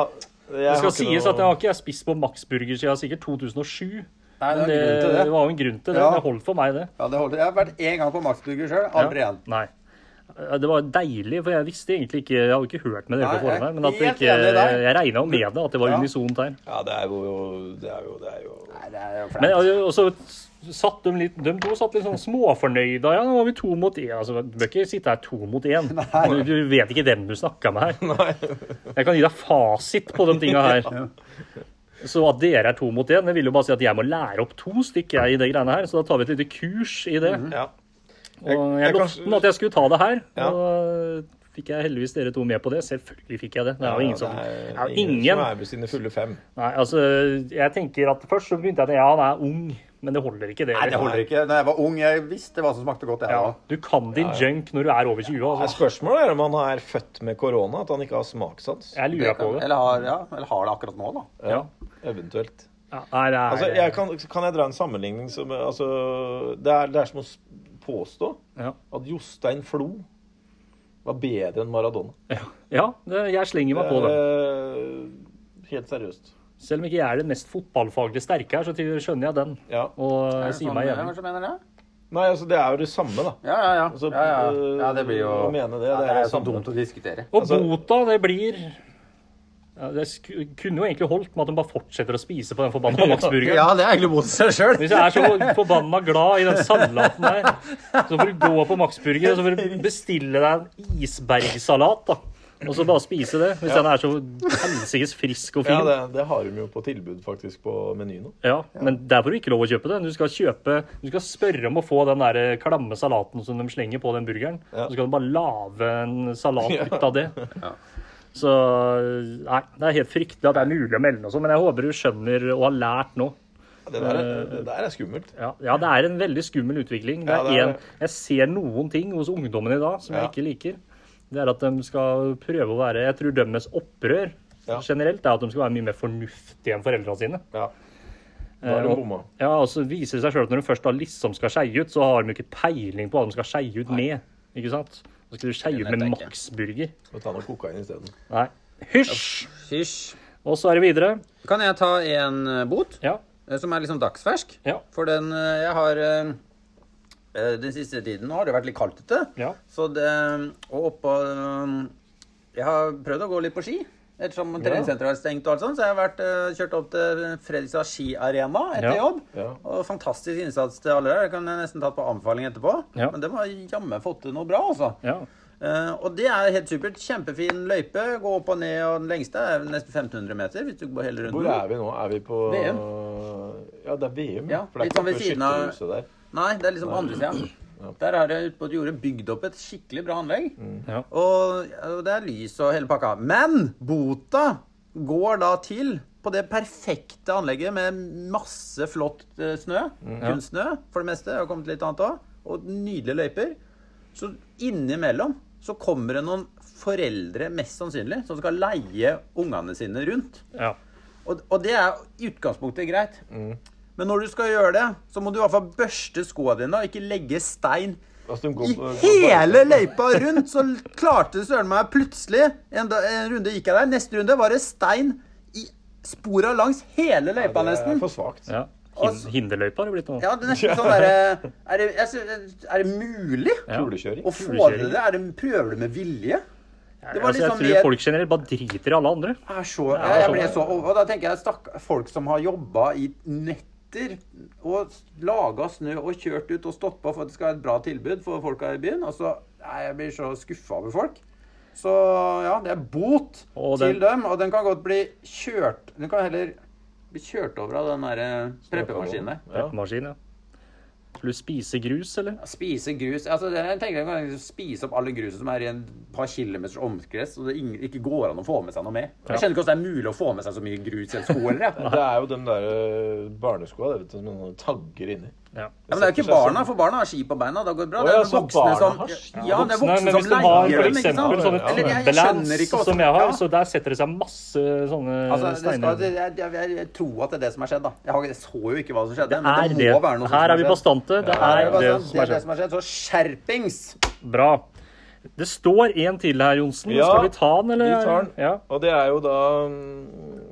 Speaker 2: Det skal sies at jeg har ikke jeg spist på Max-burger siden sikkert 2007.
Speaker 5: Nei, det
Speaker 2: Men eh, det, det
Speaker 5: er en grunn til det.
Speaker 2: var jo en grunn til det.
Speaker 5: Ja.
Speaker 2: Det holdt for meg, det.
Speaker 5: Ja, det holder. Jeg har vært én gang på Maxburger sjøl. Aldri igjen.
Speaker 2: Nei. Eh, Det var deilig, for jeg visste egentlig ikke Jeg hadde ikke hørt med dere
Speaker 5: Nei,
Speaker 2: på forhånd her, men at det
Speaker 5: jeg er
Speaker 2: ikke,
Speaker 5: helt enig i deg.
Speaker 2: jeg regna jo med det, at det var
Speaker 5: Ja.
Speaker 2: unisont her.
Speaker 1: Ja, det er jo Det er jo, det er jo.
Speaker 5: Nei, det er jo flaut.
Speaker 2: Men ja, og så satt de litt De to satt litt sånn småfornøyda. Ja, nå var vi to mot én. Altså, du bør ikke sitte her to mot én. Du, du vet ikke hvem du snakka med her. Jeg kan gi deg fasit på de tinga her. Så at dere er to mot én, det vil jo bare si at jeg må lære opp to stykker jeg, i det greiene her. Så da tar vi et lite kurs i
Speaker 5: Mhm.
Speaker 2: det.
Speaker 1: Ja. jeg
Speaker 2: Og jeg
Speaker 1: kan-
Speaker 2: lovte at jeg skulle ta det her.
Speaker 1: Ja.
Speaker 2: Og eh, fikk jeg heldigvis dere to med på det. Selvfølgelig fikk jeg det. Det er jo ingen som det er jo
Speaker 1: som
Speaker 2: ingen
Speaker 1: er ved sine fulle fem.
Speaker 2: Nei, altså, jeg tenker at først så begynte jeg at ja, han er ung, men det holder ikke det.
Speaker 5: Nei, det holder ikke. Da jeg var ung, jeg visste hva som smakte godt, jeg
Speaker 2: Ja,
Speaker 5: òg.
Speaker 2: du kan din junk når du er over 20.
Speaker 1: Ja,
Speaker 2: Altså.
Speaker 1: Spørsmålet er om han er født med korona, at han ikke har smakssans.
Speaker 2: Jeg lurer på det.
Speaker 5: Eller, har- ja, eller har det akkurat nå, da.
Speaker 2: Ja.
Speaker 1: Eventuelt.
Speaker 2: Ja, Nei, det
Speaker 1: Altså,
Speaker 2: er
Speaker 1: jeg kan, kan jeg dra en sammenligning som altså, det, er, det er som å s- påstå
Speaker 2: Ja.
Speaker 1: at Jostein Flo var bedre enn Maradona.
Speaker 2: Ja, det- jeg slenger meg på det.
Speaker 1: Eh, helt seriøst.
Speaker 2: Selv om ikke jeg er den mest fotballfaglig sterke her, så til- skjønner jeg den.
Speaker 1: Ja.
Speaker 2: Og
Speaker 5: Er
Speaker 2: eh,
Speaker 5: det
Speaker 2: sier
Speaker 5: sånn
Speaker 2: meg
Speaker 5: dere
Speaker 2: enig.
Speaker 5: kanskje mener det?
Speaker 1: Nei, altså, det er jo det samme, da.
Speaker 5: Ja, ja, ja.
Speaker 1: Altså,
Speaker 5: ja, ja.
Speaker 1: øh,
Speaker 2: eh,
Speaker 5: ja det blir jo
Speaker 1: å mene det,
Speaker 5: ja,
Speaker 1: det
Speaker 5: det
Speaker 1: er
Speaker 5: er
Speaker 1: jo
Speaker 5: så
Speaker 1: samme.
Speaker 5: dumt å diskutere.
Speaker 2: Og
Speaker 1: Altså-
Speaker 2: bota, det blir Ja, det sk kunne jo egentlig holdt med at de bare fortsetter å spise på den forbanna Max-burgeren.
Speaker 3: Ja, det er egentlig mot seg sjøl.
Speaker 2: Hvis jeg er så forbanna glad i den salaten her, så får du gå på Max-burger og så får du bestille deg en isbergsalat. da. Og så bare spise det, hvis den er så helsikes frisk og
Speaker 1: Ja,
Speaker 2: fin.
Speaker 1: det, det har de jo på tilbud faktisk på Meny nå.
Speaker 2: Ja, Men der får du ikke lov å kjøpe den. Du skal kjøpe, du skal spørre om å få den der klamme salaten som de slenger på den burgeren.
Speaker 1: Ja.
Speaker 2: Så skal du bare lage en salat ut av det. Så nei, det er helt fryktelig at det er mulig å melde noe sånt. Men jeg håper du skjønner og har lært nå.
Speaker 1: Det der, er- det der er skummelt.
Speaker 2: Ja, ja, det er en veldig skummel utvikling. Det
Speaker 1: Ja,
Speaker 2: er
Speaker 1: det er
Speaker 2: en, jeg ser noen ting hos ungdommene i dag som jeg
Speaker 1: Ja.
Speaker 2: ikke liker. Det er at de skal prøve å være Jeg tror deres opprør
Speaker 1: Ja.
Speaker 2: generelt er at de skal være mye mer fornuftige enn foreldrene sine.
Speaker 1: Ja. Da er
Speaker 2: Eh,
Speaker 1: de
Speaker 2: og-
Speaker 1: bomma.
Speaker 2: Ja, og så viser det seg sjøl at når de først da liksom skal skeie ut, så har de ikke peiling på hva de skal skeie ut med. Ikke sant? Så skal du skeie ut
Speaker 3: Det
Speaker 2: med
Speaker 3: tenker jeg.
Speaker 2: Max-burger.
Speaker 1: Må ta noe kokain isteden.
Speaker 2: Nei. Hysj!
Speaker 3: Hysj.
Speaker 2: Og så er det videre.
Speaker 3: Kan jeg ta en eh, bot
Speaker 2: Ja.
Speaker 3: eh, som er liksom dagsfersk?
Speaker 2: Ja.
Speaker 3: For den eh, jeg har eh, eh, Den siste tiden nå har det vært litt kaldt ute.
Speaker 2: Ja.
Speaker 3: Så det Og oppå eh, Jeg har prøvd å gå litt på ski. Ettersom treningssenteret har vært stengt, og alt sånt, så jeg har vært, eh, kjørt opp til Fredrikstad skiarena etter
Speaker 2: Ja.
Speaker 3: jobb.
Speaker 1: Ja.
Speaker 3: Og Fantastisk innsats til alle der. Det kan jeg nesten ta på anbefaling etterpå.
Speaker 2: Ja.
Speaker 3: Men de har jammen fått til noe bra, altså.
Speaker 2: ja.
Speaker 3: Eh, og det er helt supert. Kjempefin løype. Gå opp og ned, og den lengste er nesten 1500 meter. Hvis du går hele runden.
Speaker 1: Hvor er vi nå? Er vi på
Speaker 3: VM.
Speaker 1: Ja, det er VM.
Speaker 3: Ja,
Speaker 1: for det er
Speaker 3: litt
Speaker 1: ikke
Speaker 3: sånn ved
Speaker 1: på
Speaker 3: siden av-
Speaker 1: skytterhuset der.
Speaker 3: Nei, det er liksom på andre sida. Der har jeg ute på et jorde bygd opp et skikkelig bra anlegg.
Speaker 2: Ja.
Speaker 3: Og, og det er lys og hele pakka. Men bota går da til på det perfekte anlegget med masse flott eh, snø. Kunstsnø for det meste. Det har kommet litt annet òg. Og nydelige løyper. Så innimellom så kommer det noen foreldre, mest sannsynlig, som skal leie ungene sine rundt.
Speaker 2: ja.
Speaker 3: Og, og det er i utgangspunktet greit. Men når du skal gjøre det, så må du i hvert fall børste skoa dine og ikke legge stein
Speaker 1: Altså, de går
Speaker 3: i
Speaker 1: på- går på-
Speaker 3: hele løypa rundt. Så klarte søren meg plutselig en, da, en runde gikk jeg der. Neste runde var det stein i spora langs hele løypa,
Speaker 1: Det er
Speaker 3: nesten.
Speaker 1: for svakt.
Speaker 2: ja. Hin
Speaker 3: Altså-
Speaker 2: hinderløypa har det blitt nå.
Speaker 3: Ja, det er nesten sånn derre er, det- jeg synes- er det mulig
Speaker 2: Ja.
Speaker 1: Kulekjøring.
Speaker 3: å få til det? Er det, prøver du med vilje? Det var
Speaker 2: altså, jeg
Speaker 1: sånn
Speaker 3: liksom
Speaker 2: tror
Speaker 3: mer-
Speaker 2: folk generelt bare driter i alle andre.
Speaker 3: er så, jeg, jeg ble så over. Og da tenker jeg stakk, folk som har jobba i netter og laga snø og kjørt ut og stått på for at det skal være et bra tilbud for folka i byen. Og så nei, jeg blir så skuffa over folk. Så ja, det er bot
Speaker 2: Og den-
Speaker 3: til dem. Og den kan godt bli kjørt Den kan heller bli kjørt over av den eh, derre preppemaskinen der.
Speaker 1: Ja.
Speaker 2: Maskin, ja. Skulle du spise grus, eller?
Speaker 3: Spise grus altså det, Jeg tenker jeg kan spise opp alle gruset som er i en par kilometers omkrets, og det ing- ikke går an å få med seg noe med. Jeg skjønner ikke hvordan det er mulig å få med seg så mye grus i en sko. Eller, jeg.
Speaker 1: Det er jo de der eh, barneskoa det, vet du, som noen tagger inni.
Speaker 2: Ja.
Speaker 3: Ja, men det er jo ikke barna, for barna har ski på beina. Da går det bra.
Speaker 1: Å,
Speaker 3: Det er
Speaker 1: ja,
Speaker 3: jo
Speaker 1: så
Speaker 3: voksne
Speaker 1: barna
Speaker 3: som
Speaker 1: har ski.
Speaker 3: Ja, det
Speaker 2: Voksne,
Speaker 3: er voksne
Speaker 2: men
Speaker 3: som
Speaker 2: hvis de har
Speaker 3: leier
Speaker 2: for
Speaker 3: dem, ikke sant?
Speaker 2: eksempel sånne
Speaker 3: Eller jeg, jeg skjønner
Speaker 2: trampelands
Speaker 3: ikke
Speaker 2: som jeg har,
Speaker 3: Ja.
Speaker 2: så der setter det seg masse sånne
Speaker 3: Altså, det skal,
Speaker 2: steiner.
Speaker 3: jeg, jeg, jeg, jeg tror at det er det som har skjedd, da. Jeg, har, jeg så jo ikke hva som skjedde, men
Speaker 2: Er
Speaker 3: det,
Speaker 2: det.
Speaker 3: må være noe sånt
Speaker 2: Her
Speaker 3: som
Speaker 2: er vi
Speaker 3: har skjedd.
Speaker 2: bastante. Det er
Speaker 3: Det er bare
Speaker 2: det
Speaker 3: sånn,
Speaker 2: som
Speaker 3: det
Speaker 2: er
Speaker 3: er det
Speaker 2: skjedd.
Speaker 3: som har skjedd. Så skjerpings!
Speaker 2: Bra. Det står en til her, Johnsen.
Speaker 1: Ja,
Speaker 2: Skal vi ta den, eller?
Speaker 1: vi tar den.
Speaker 2: Ja.
Speaker 1: Og det er jo da mm,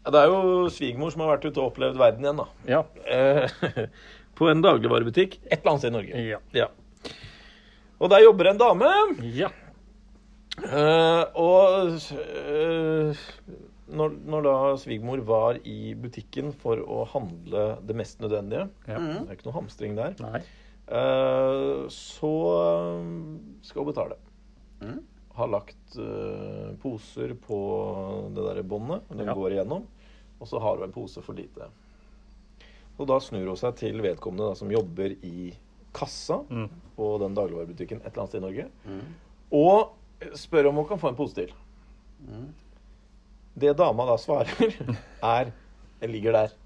Speaker 1: ja, Det er jo svigermor som har vært ute og opplevd verden igjen, da.
Speaker 2: Ja.
Speaker 1: Eh, På en dagligvarebutikk et eller annet sted i Norge.
Speaker 2: Ja.
Speaker 1: Ja. Og der jobber en dame.
Speaker 2: ja.
Speaker 1: Eh, og eh, når, når da svigermor var i butikken for å handle det mest nødvendige
Speaker 2: Ja.
Speaker 1: Det er ikke noe hamstring der.
Speaker 2: Nei.
Speaker 1: Eh, så eh, skal hun betale. Har lagt eh, poser på det derre båndet den
Speaker 2: Ja.
Speaker 1: går igjennom. Og så har hun en pose for lite. Og da snur hun seg til vedkommende da, som jobber i kassa på den dagligvarebutikken et eller annet sted i Norge, og spør om hun kan få en pose til. Det dama da svarer, er Jeg ligger der.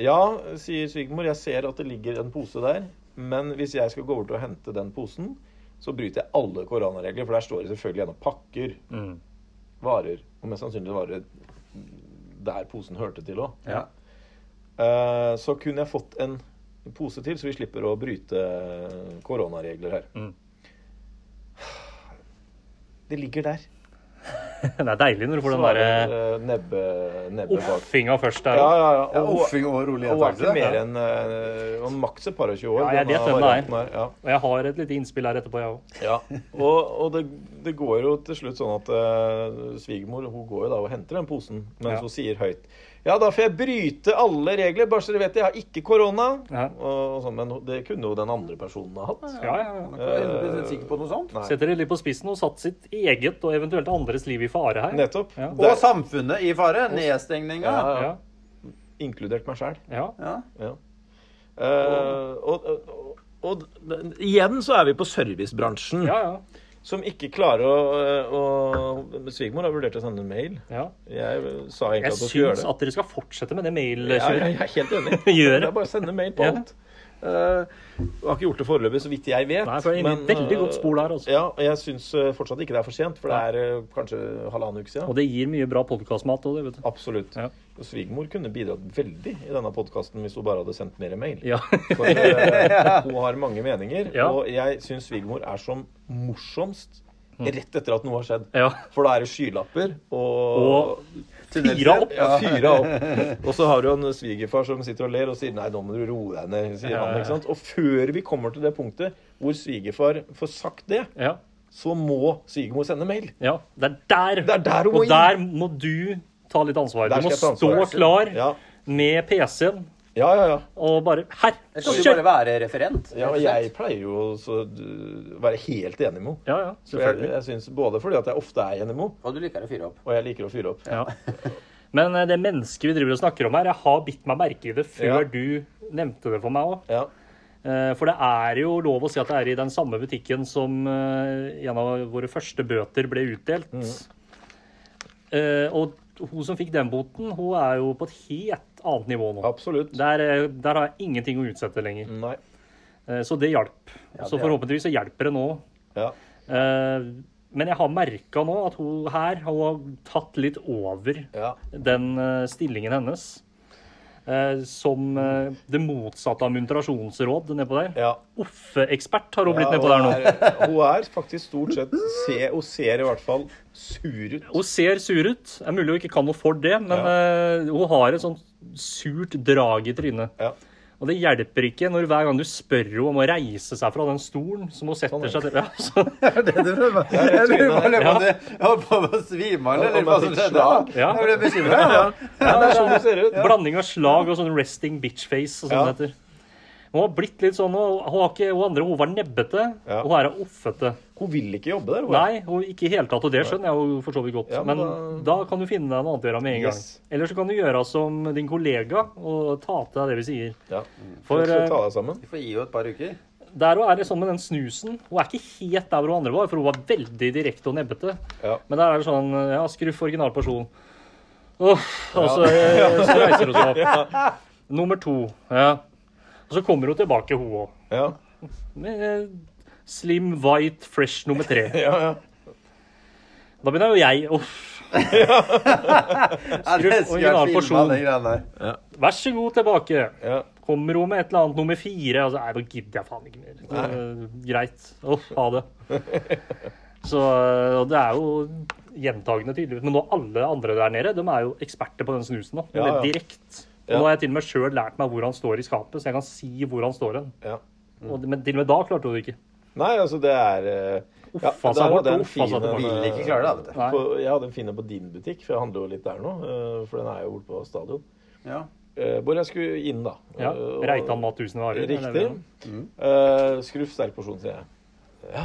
Speaker 1: Ja, sier svigermor, jeg ser at det ligger en pose der, men hvis jeg skal gå bort og hente den posen, så bryter jeg alle koronaregler, for der står det selvfølgelig gjennom pakker,
Speaker 2: Mm.
Speaker 1: varer, og mest sannsynlig varer der posen hørte til òg.
Speaker 2: Ja.
Speaker 1: Eh, så kunne jeg fått en pose til, så vi slipper å bryte koronaregler her.
Speaker 2: Mm.
Speaker 1: Det ligger der.
Speaker 2: Det er deilig når du får den
Speaker 1: Sånn
Speaker 2: der
Speaker 1: der, eh, nebbe, nebbe bak.
Speaker 2: offinga først der.
Speaker 1: Ja, ja, ja.
Speaker 5: Ja,
Speaker 1: Og,
Speaker 5: Offing og rolig
Speaker 1: og er ikke
Speaker 5: Ja.
Speaker 1: mer enn eh, og maks et par og tjue år.
Speaker 2: Ja, jeg
Speaker 1: denne
Speaker 2: vet hvem det
Speaker 1: varianten
Speaker 2: er.
Speaker 1: her, Ja.
Speaker 2: Og jeg har et lite innspill her etterpå, jeg òg.
Speaker 1: Ja, og, og det, det går jo til slutt sånn at eh, svigermor hun går jo da og henter den posen, mens
Speaker 2: Ja.
Speaker 1: hun sier høyt Ja, da får jeg bryte alle regler, bare så dere vet det, jeg har ikke korona.
Speaker 2: Ja.
Speaker 1: Og, og sånn, men det kunne jo den andre personen ha hatt.
Speaker 2: Ja, ja, ja.
Speaker 5: Jeg er 100% sikker på noe sånt.
Speaker 1: Nei.
Speaker 2: Setter det litt på spissen og satt sitt eget og eventuelt andres liv i fare her.
Speaker 1: Nettopp.
Speaker 2: Ja.
Speaker 1: Det
Speaker 5: Og
Speaker 1: er,
Speaker 5: samfunnet i fare. Nedstengninga.
Speaker 1: Ja,
Speaker 2: Ja,
Speaker 1: inkludert meg sjæl.
Speaker 2: ja.
Speaker 5: Ja.
Speaker 1: Ja. Eh, og, og, og, og igjen så er vi på servicebransjen,
Speaker 2: ja, ja.
Speaker 1: som ikke klarer å, eh, å Svigermor har vurdert å sende en mail.
Speaker 2: ja.
Speaker 1: Jeg sa egentlig
Speaker 2: Jeg
Speaker 1: at hun skulle gjøre
Speaker 2: syns
Speaker 1: det.
Speaker 2: at dere skal fortsette med det
Speaker 1: Ja, ja,
Speaker 2: mailkjøret.
Speaker 1: jeg er helt enig.
Speaker 2: Gjør det.
Speaker 1: Det er bare å sende mail på
Speaker 2: Ja.
Speaker 1: alt. Eh, jeg har ikke gjort det foreløpig, så vidt jeg vet.
Speaker 2: Nei, for det er et veldig
Speaker 1: eh,
Speaker 2: godt spor der, altså.
Speaker 1: Ja, og jeg syns eh, fortsatt ikke det er for sent, for det er eh, kanskje halvannen uke siden.
Speaker 2: Og det gir mye bra podkastmat òg, det, vet du.
Speaker 1: Absolutt.
Speaker 2: Ja.
Speaker 1: Og Svigermor kunne bidratt veldig i denne podkasten hvis hun bare hadde sendt mer mail.
Speaker 2: Ja.
Speaker 1: For eh, hun har mange meninger,
Speaker 2: Ja.
Speaker 1: og jeg syns svigermor er som morsomst rett etter at noe har skjedd.
Speaker 2: Mm. ja.
Speaker 1: For da er det skylapper og
Speaker 2: Og fyra opp.
Speaker 1: ja, fyra opp. Og så har du en svigerfar som sitter og ler og sier 'nei, nå må du roe deg ned'. sier han, ikke sant? Og før vi kommer til det punktet hvor svigerfar får sagt det,
Speaker 2: Ja.
Speaker 1: så må svigermor sende mail.
Speaker 2: ja. Det er der.
Speaker 1: Det er der hun må
Speaker 2: og
Speaker 1: inn.
Speaker 2: der må du ta litt ansvar.
Speaker 1: Der
Speaker 2: Du må
Speaker 1: skal jeg ta
Speaker 2: stå
Speaker 1: ansvar.
Speaker 2: klar
Speaker 1: Ja,
Speaker 2: med PC-en
Speaker 1: ja, ja. ja.
Speaker 2: og bare Her!
Speaker 3: Jeg skal jo
Speaker 2: Kjør!
Speaker 3: bare være referent.
Speaker 1: ja
Speaker 3: rett
Speaker 1: og
Speaker 3: og slett.
Speaker 1: jeg pleier jo å være helt enig med henne.
Speaker 2: Ja, ja.
Speaker 1: For Jeg,
Speaker 2: Selvfølgelig.
Speaker 1: jeg synes Både fordi at jeg ofte er enig med henne,
Speaker 3: Og du liker å fyre opp.
Speaker 1: og jeg liker å fyre opp.
Speaker 2: Ja. Men eh, det mennesket vi driver og snakker om her, jeg har bitt meg merke i det før
Speaker 1: Ja.
Speaker 2: du nevnte det for meg òg.
Speaker 1: Ja,
Speaker 2: Eh, For det er jo lov å si at det er i den samme butikken som eh, en av våre første bøter ble utdelt.
Speaker 1: Mm.
Speaker 2: Eh, Og hun som fikk den boten, hun er jo på et helt annet nivå nå.
Speaker 1: absolutt.
Speaker 2: Der, eh, der har jeg ingenting å utsette lenger.
Speaker 1: Nei.
Speaker 2: Eh, Så det hjalp. så
Speaker 1: Mm. det
Speaker 2: forhåpentligvis så hjelper det nå.
Speaker 1: Ja.
Speaker 2: Eh, Men jeg har merka nå at hun her hun har tatt litt over
Speaker 1: Ja.
Speaker 2: den eh, stillingen hennes. eh, Som eh, det motsatte av muntrasjonsråd nedpå der.
Speaker 1: ja.
Speaker 2: Offeekspert har hun blitt
Speaker 1: Ja,
Speaker 2: nedpå der nå.
Speaker 1: er- Hun er faktisk stort sett se, Hun ser i hvert fall sur ut.
Speaker 2: Hun ser sur ut. Det er mulig hun ikke kan noe for det, men eh, hun har et sånt surt drag i trynet.
Speaker 1: Ja.
Speaker 2: Og det hjelper ikke når hver gang du spør henne om å reise seg fra den stolen som hun setter
Speaker 1: Sånn, ja.
Speaker 2: seg til. Ja, så,
Speaker 5: Det er det du prøver. Jeg lurer på- jeg lurer på om du- jeg holdt på å svime av, eller
Speaker 1: Om jeg
Speaker 5: hva som
Speaker 1: fikk
Speaker 5: skjedde.
Speaker 1: slag.
Speaker 2: Ja.
Speaker 5: Jeg ble bekymret. Ja.
Speaker 1: Ja, det er sånn hun ser ut.
Speaker 2: Blanding av slag og sånn resting bitch-face og sånn
Speaker 1: Ja.
Speaker 2: det heter. Hun har blitt litt sånn, og hun, har ikke, hun andre hun var nebbete,
Speaker 1: Ja.
Speaker 2: og hun her er offete.
Speaker 1: Hun vil ikke jobbe der. Hun.
Speaker 2: Nei, og ikke i hele tatt, og det skjønner jeg jo for så vidt godt.
Speaker 1: Ja, men
Speaker 2: men da kan du finne deg noe annet å gjøre med en gang.
Speaker 1: Yes.
Speaker 2: Eller så kan du gjøre som din kollega og ta til deg det vi sier.
Speaker 1: Ja.
Speaker 2: For,
Speaker 1: Skal
Speaker 2: eh,
Speaker 1: ta deg sammen.
Speaker 5: Vi får gi jo et par uker.
Speaker 2: Der også er det sånn med den snusen. Hun er ikke helt der hvor hun andre var, for hun var veldig direkte og nebbete.
Speaker 1: Ja.
Speaker 2: Men der er det sånn Ja, skruff original person. Åh, og så, eh, så reiser hun seg opp. Nummer to. Ja. Og så kommer hun tilbake, hun òg.
Speaker 1: Ja.
Speaker 2: Med eh, slim, white, fresh nummer tre.
Speaker 1: Ja, ja.
Speaker 2: Da begynner jo jeg Uff.
Speaker 5: Ja, det skulle
Speaker 2: original
Speaker 5: jeg
Speaker 2: porsjon.
Speaker 5: filma, de greiene der.
Speaker 2: Vær så god tilbake.
Speaker 1: ja.
Speaker 2: Kommer hun med et eller annet nummer fire, og så Nei, nå gidder jeg faen ikke mer. Eh, greit. Uff, ha det. Så eh, og det er jo gjentagende tydeligvis. Men nå alle andre der nede, de er jo eksperter på den snusen nå.
Speaker 1: Ja, ja.
Speaker 2: Direkte. Og
Speaker 1: Ja.
Speaker 2: nå har jeg til og med sjøl lært meg hvor han står i skapet, så jeg kan si hvor han står hen.
Speaker 1: ja.
Speaker 2: Og, men til og med da klarte hun det ikke.
Speaker 1: Nei, altså, det er eh, ja,
Speaker 2: Uffa seg
Speaker 1: der
Speaker 2: bort,
Speaker 1: hadde jeg en
Speaker 2: uffa seg
Speaker 1: fin en,
Speaker 2: tilbake.
Speaker 5: Vil ikke klare det, vet du.
Speaker 2: Nei.
Speaker 1: på, Jeg hadde en fin en på din butikk, for jeg handler jo litt der nå. eh, For den er jo borte på stadion.
Speaker 5: Ja.
Speaker 1: Eh, Hvor jeg skulle inn, da.
Speaker 2: Ja.
Speaker 1: Eh, og-
Speaker 2: Reitan mat tusen varer.
Speaker 1: Riktig.
Speaker 2: eller-
Speaker 5: Mm.
Speaker 1: Eh, skruff sterk porsjon, sier jeg. Ja.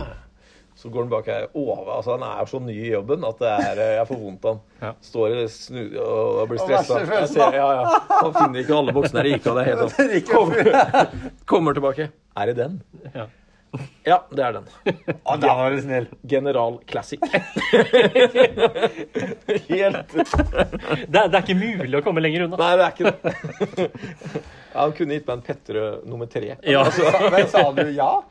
Speaker 1: Så går han bak her. Åh, altså, han er så ny i jobben at det er, eh, jeg får vondt av han.
Speaker 2: Ja.
Speaker 1: Står i snu og og blir
Speaker 5: verste
Speaker 1: stressa. Jeg
Speaker 5: følelsen,
Speaker 1: ser- Ja, ja. Han finner ikke alle boksene her i Ica. Det er helt sånn. Kommer, kommer tilbake. Er det den?
Speaker 2: Ja.
Speaker 1: Ja, det er den.
Speaker 5: Å, da var du snill.
Speaker 1: General Classic. Helt
Speaker 2: Det, er- det er ikke mulig å komme lenger unna.
Speaker 1: Nei, det er ikke det. Ja, han kunne gitt meg en Petterød nummer tre.
Speaker 2: Ja.
Speaker 5: Sa- Men sa du ja?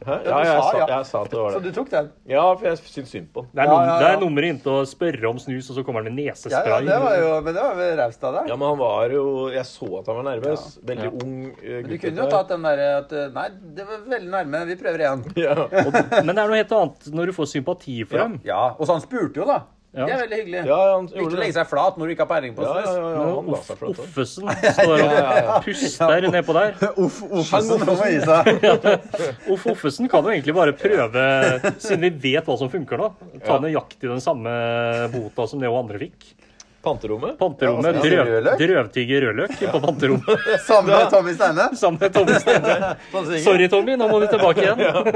Speaker 1: Hæ?
Speaker 5: Ja,
Speaker 1: Ja,
Speaker 5: du
Speaker 1: jeg
Speaker 5: sa
Speaker 1: sa,
Speaker 5: ja.
Speaker 1: jeg sa at det
Speaker 5: Så
Speaker 1: var det.
Speaker 5: du tok den?
Speaker 1: Ja, for jeg syns synd på han.
Speaker 2: Det er,
Speaker 5: Ja,
Speaker 2: num
Speaker 5: ja,
Speaker 2: det
Speaker 5: ja.
Speaker 2: er nummeret inntil å spørre om snus, og så kommer han med
Speaker 5: Ja,
Speaker 2: nesespray.
Speaker 5: ja, det var jo Men det var vel raust av deg.
Speaker 1: Ja, men han var jo Jeg så at han var nervøs. Veldig
Speaker 2: Ja.
Speaker 1: ung eh, gutt.
Speaker 3: Du kunne jo
Speaker 1: dette her.
Speaker 3: tatt den derre at eh, Nei, det var veldig nærme. Vi prøver igjen.
Speaker 1: ja.
Speaker 2: Og, men det er noe helt annet når du får sympati for
Speaker 1: Ja.
Speaker 2: dem.
Speaker 5: Ja, og så han spurte jo, da.
Speaker 2: Ja.
Speaker 3: Det er veldig hyggelig.
Speaker 1: Ja, han
Speaker 3: Ikke
Speaker 1: gjorde det.
Speaker 3: legge seg flat når du ikke har peiling på
Speaker 1: Ja, ja,
Speaker 3: snus.
Speaker 1: ja, ja, han la seg for dette.
Speaker 2: Offesen står og puster nedpå der.
Speaker 5: Uff, uff, han må gi seg.
Speaker 2: Off Offesen kan jo egentlig bare prøve, siden vi vet hva som funker nå, ta nøyaktig den samme bota som det og andre fikk.
Speaker 1: Panterommet?
Speaker 2: Panterommet
Speaker 1: altså,
Speaker 5: Ja,
Speaker 2: drøv,
Speaker 5: rødløk?
Speaker 2: drøvtygge rødløk på panterommet
Speaker 5: Samme med Tommy Steine.
Speaker 2: sammen med Tommy Stene.
Speaker 1: Sånn
Speaker 2: Sorry, Tommy, nå må du tilbake igjen.
Speaker 1: Nei,
Speaker 2: Det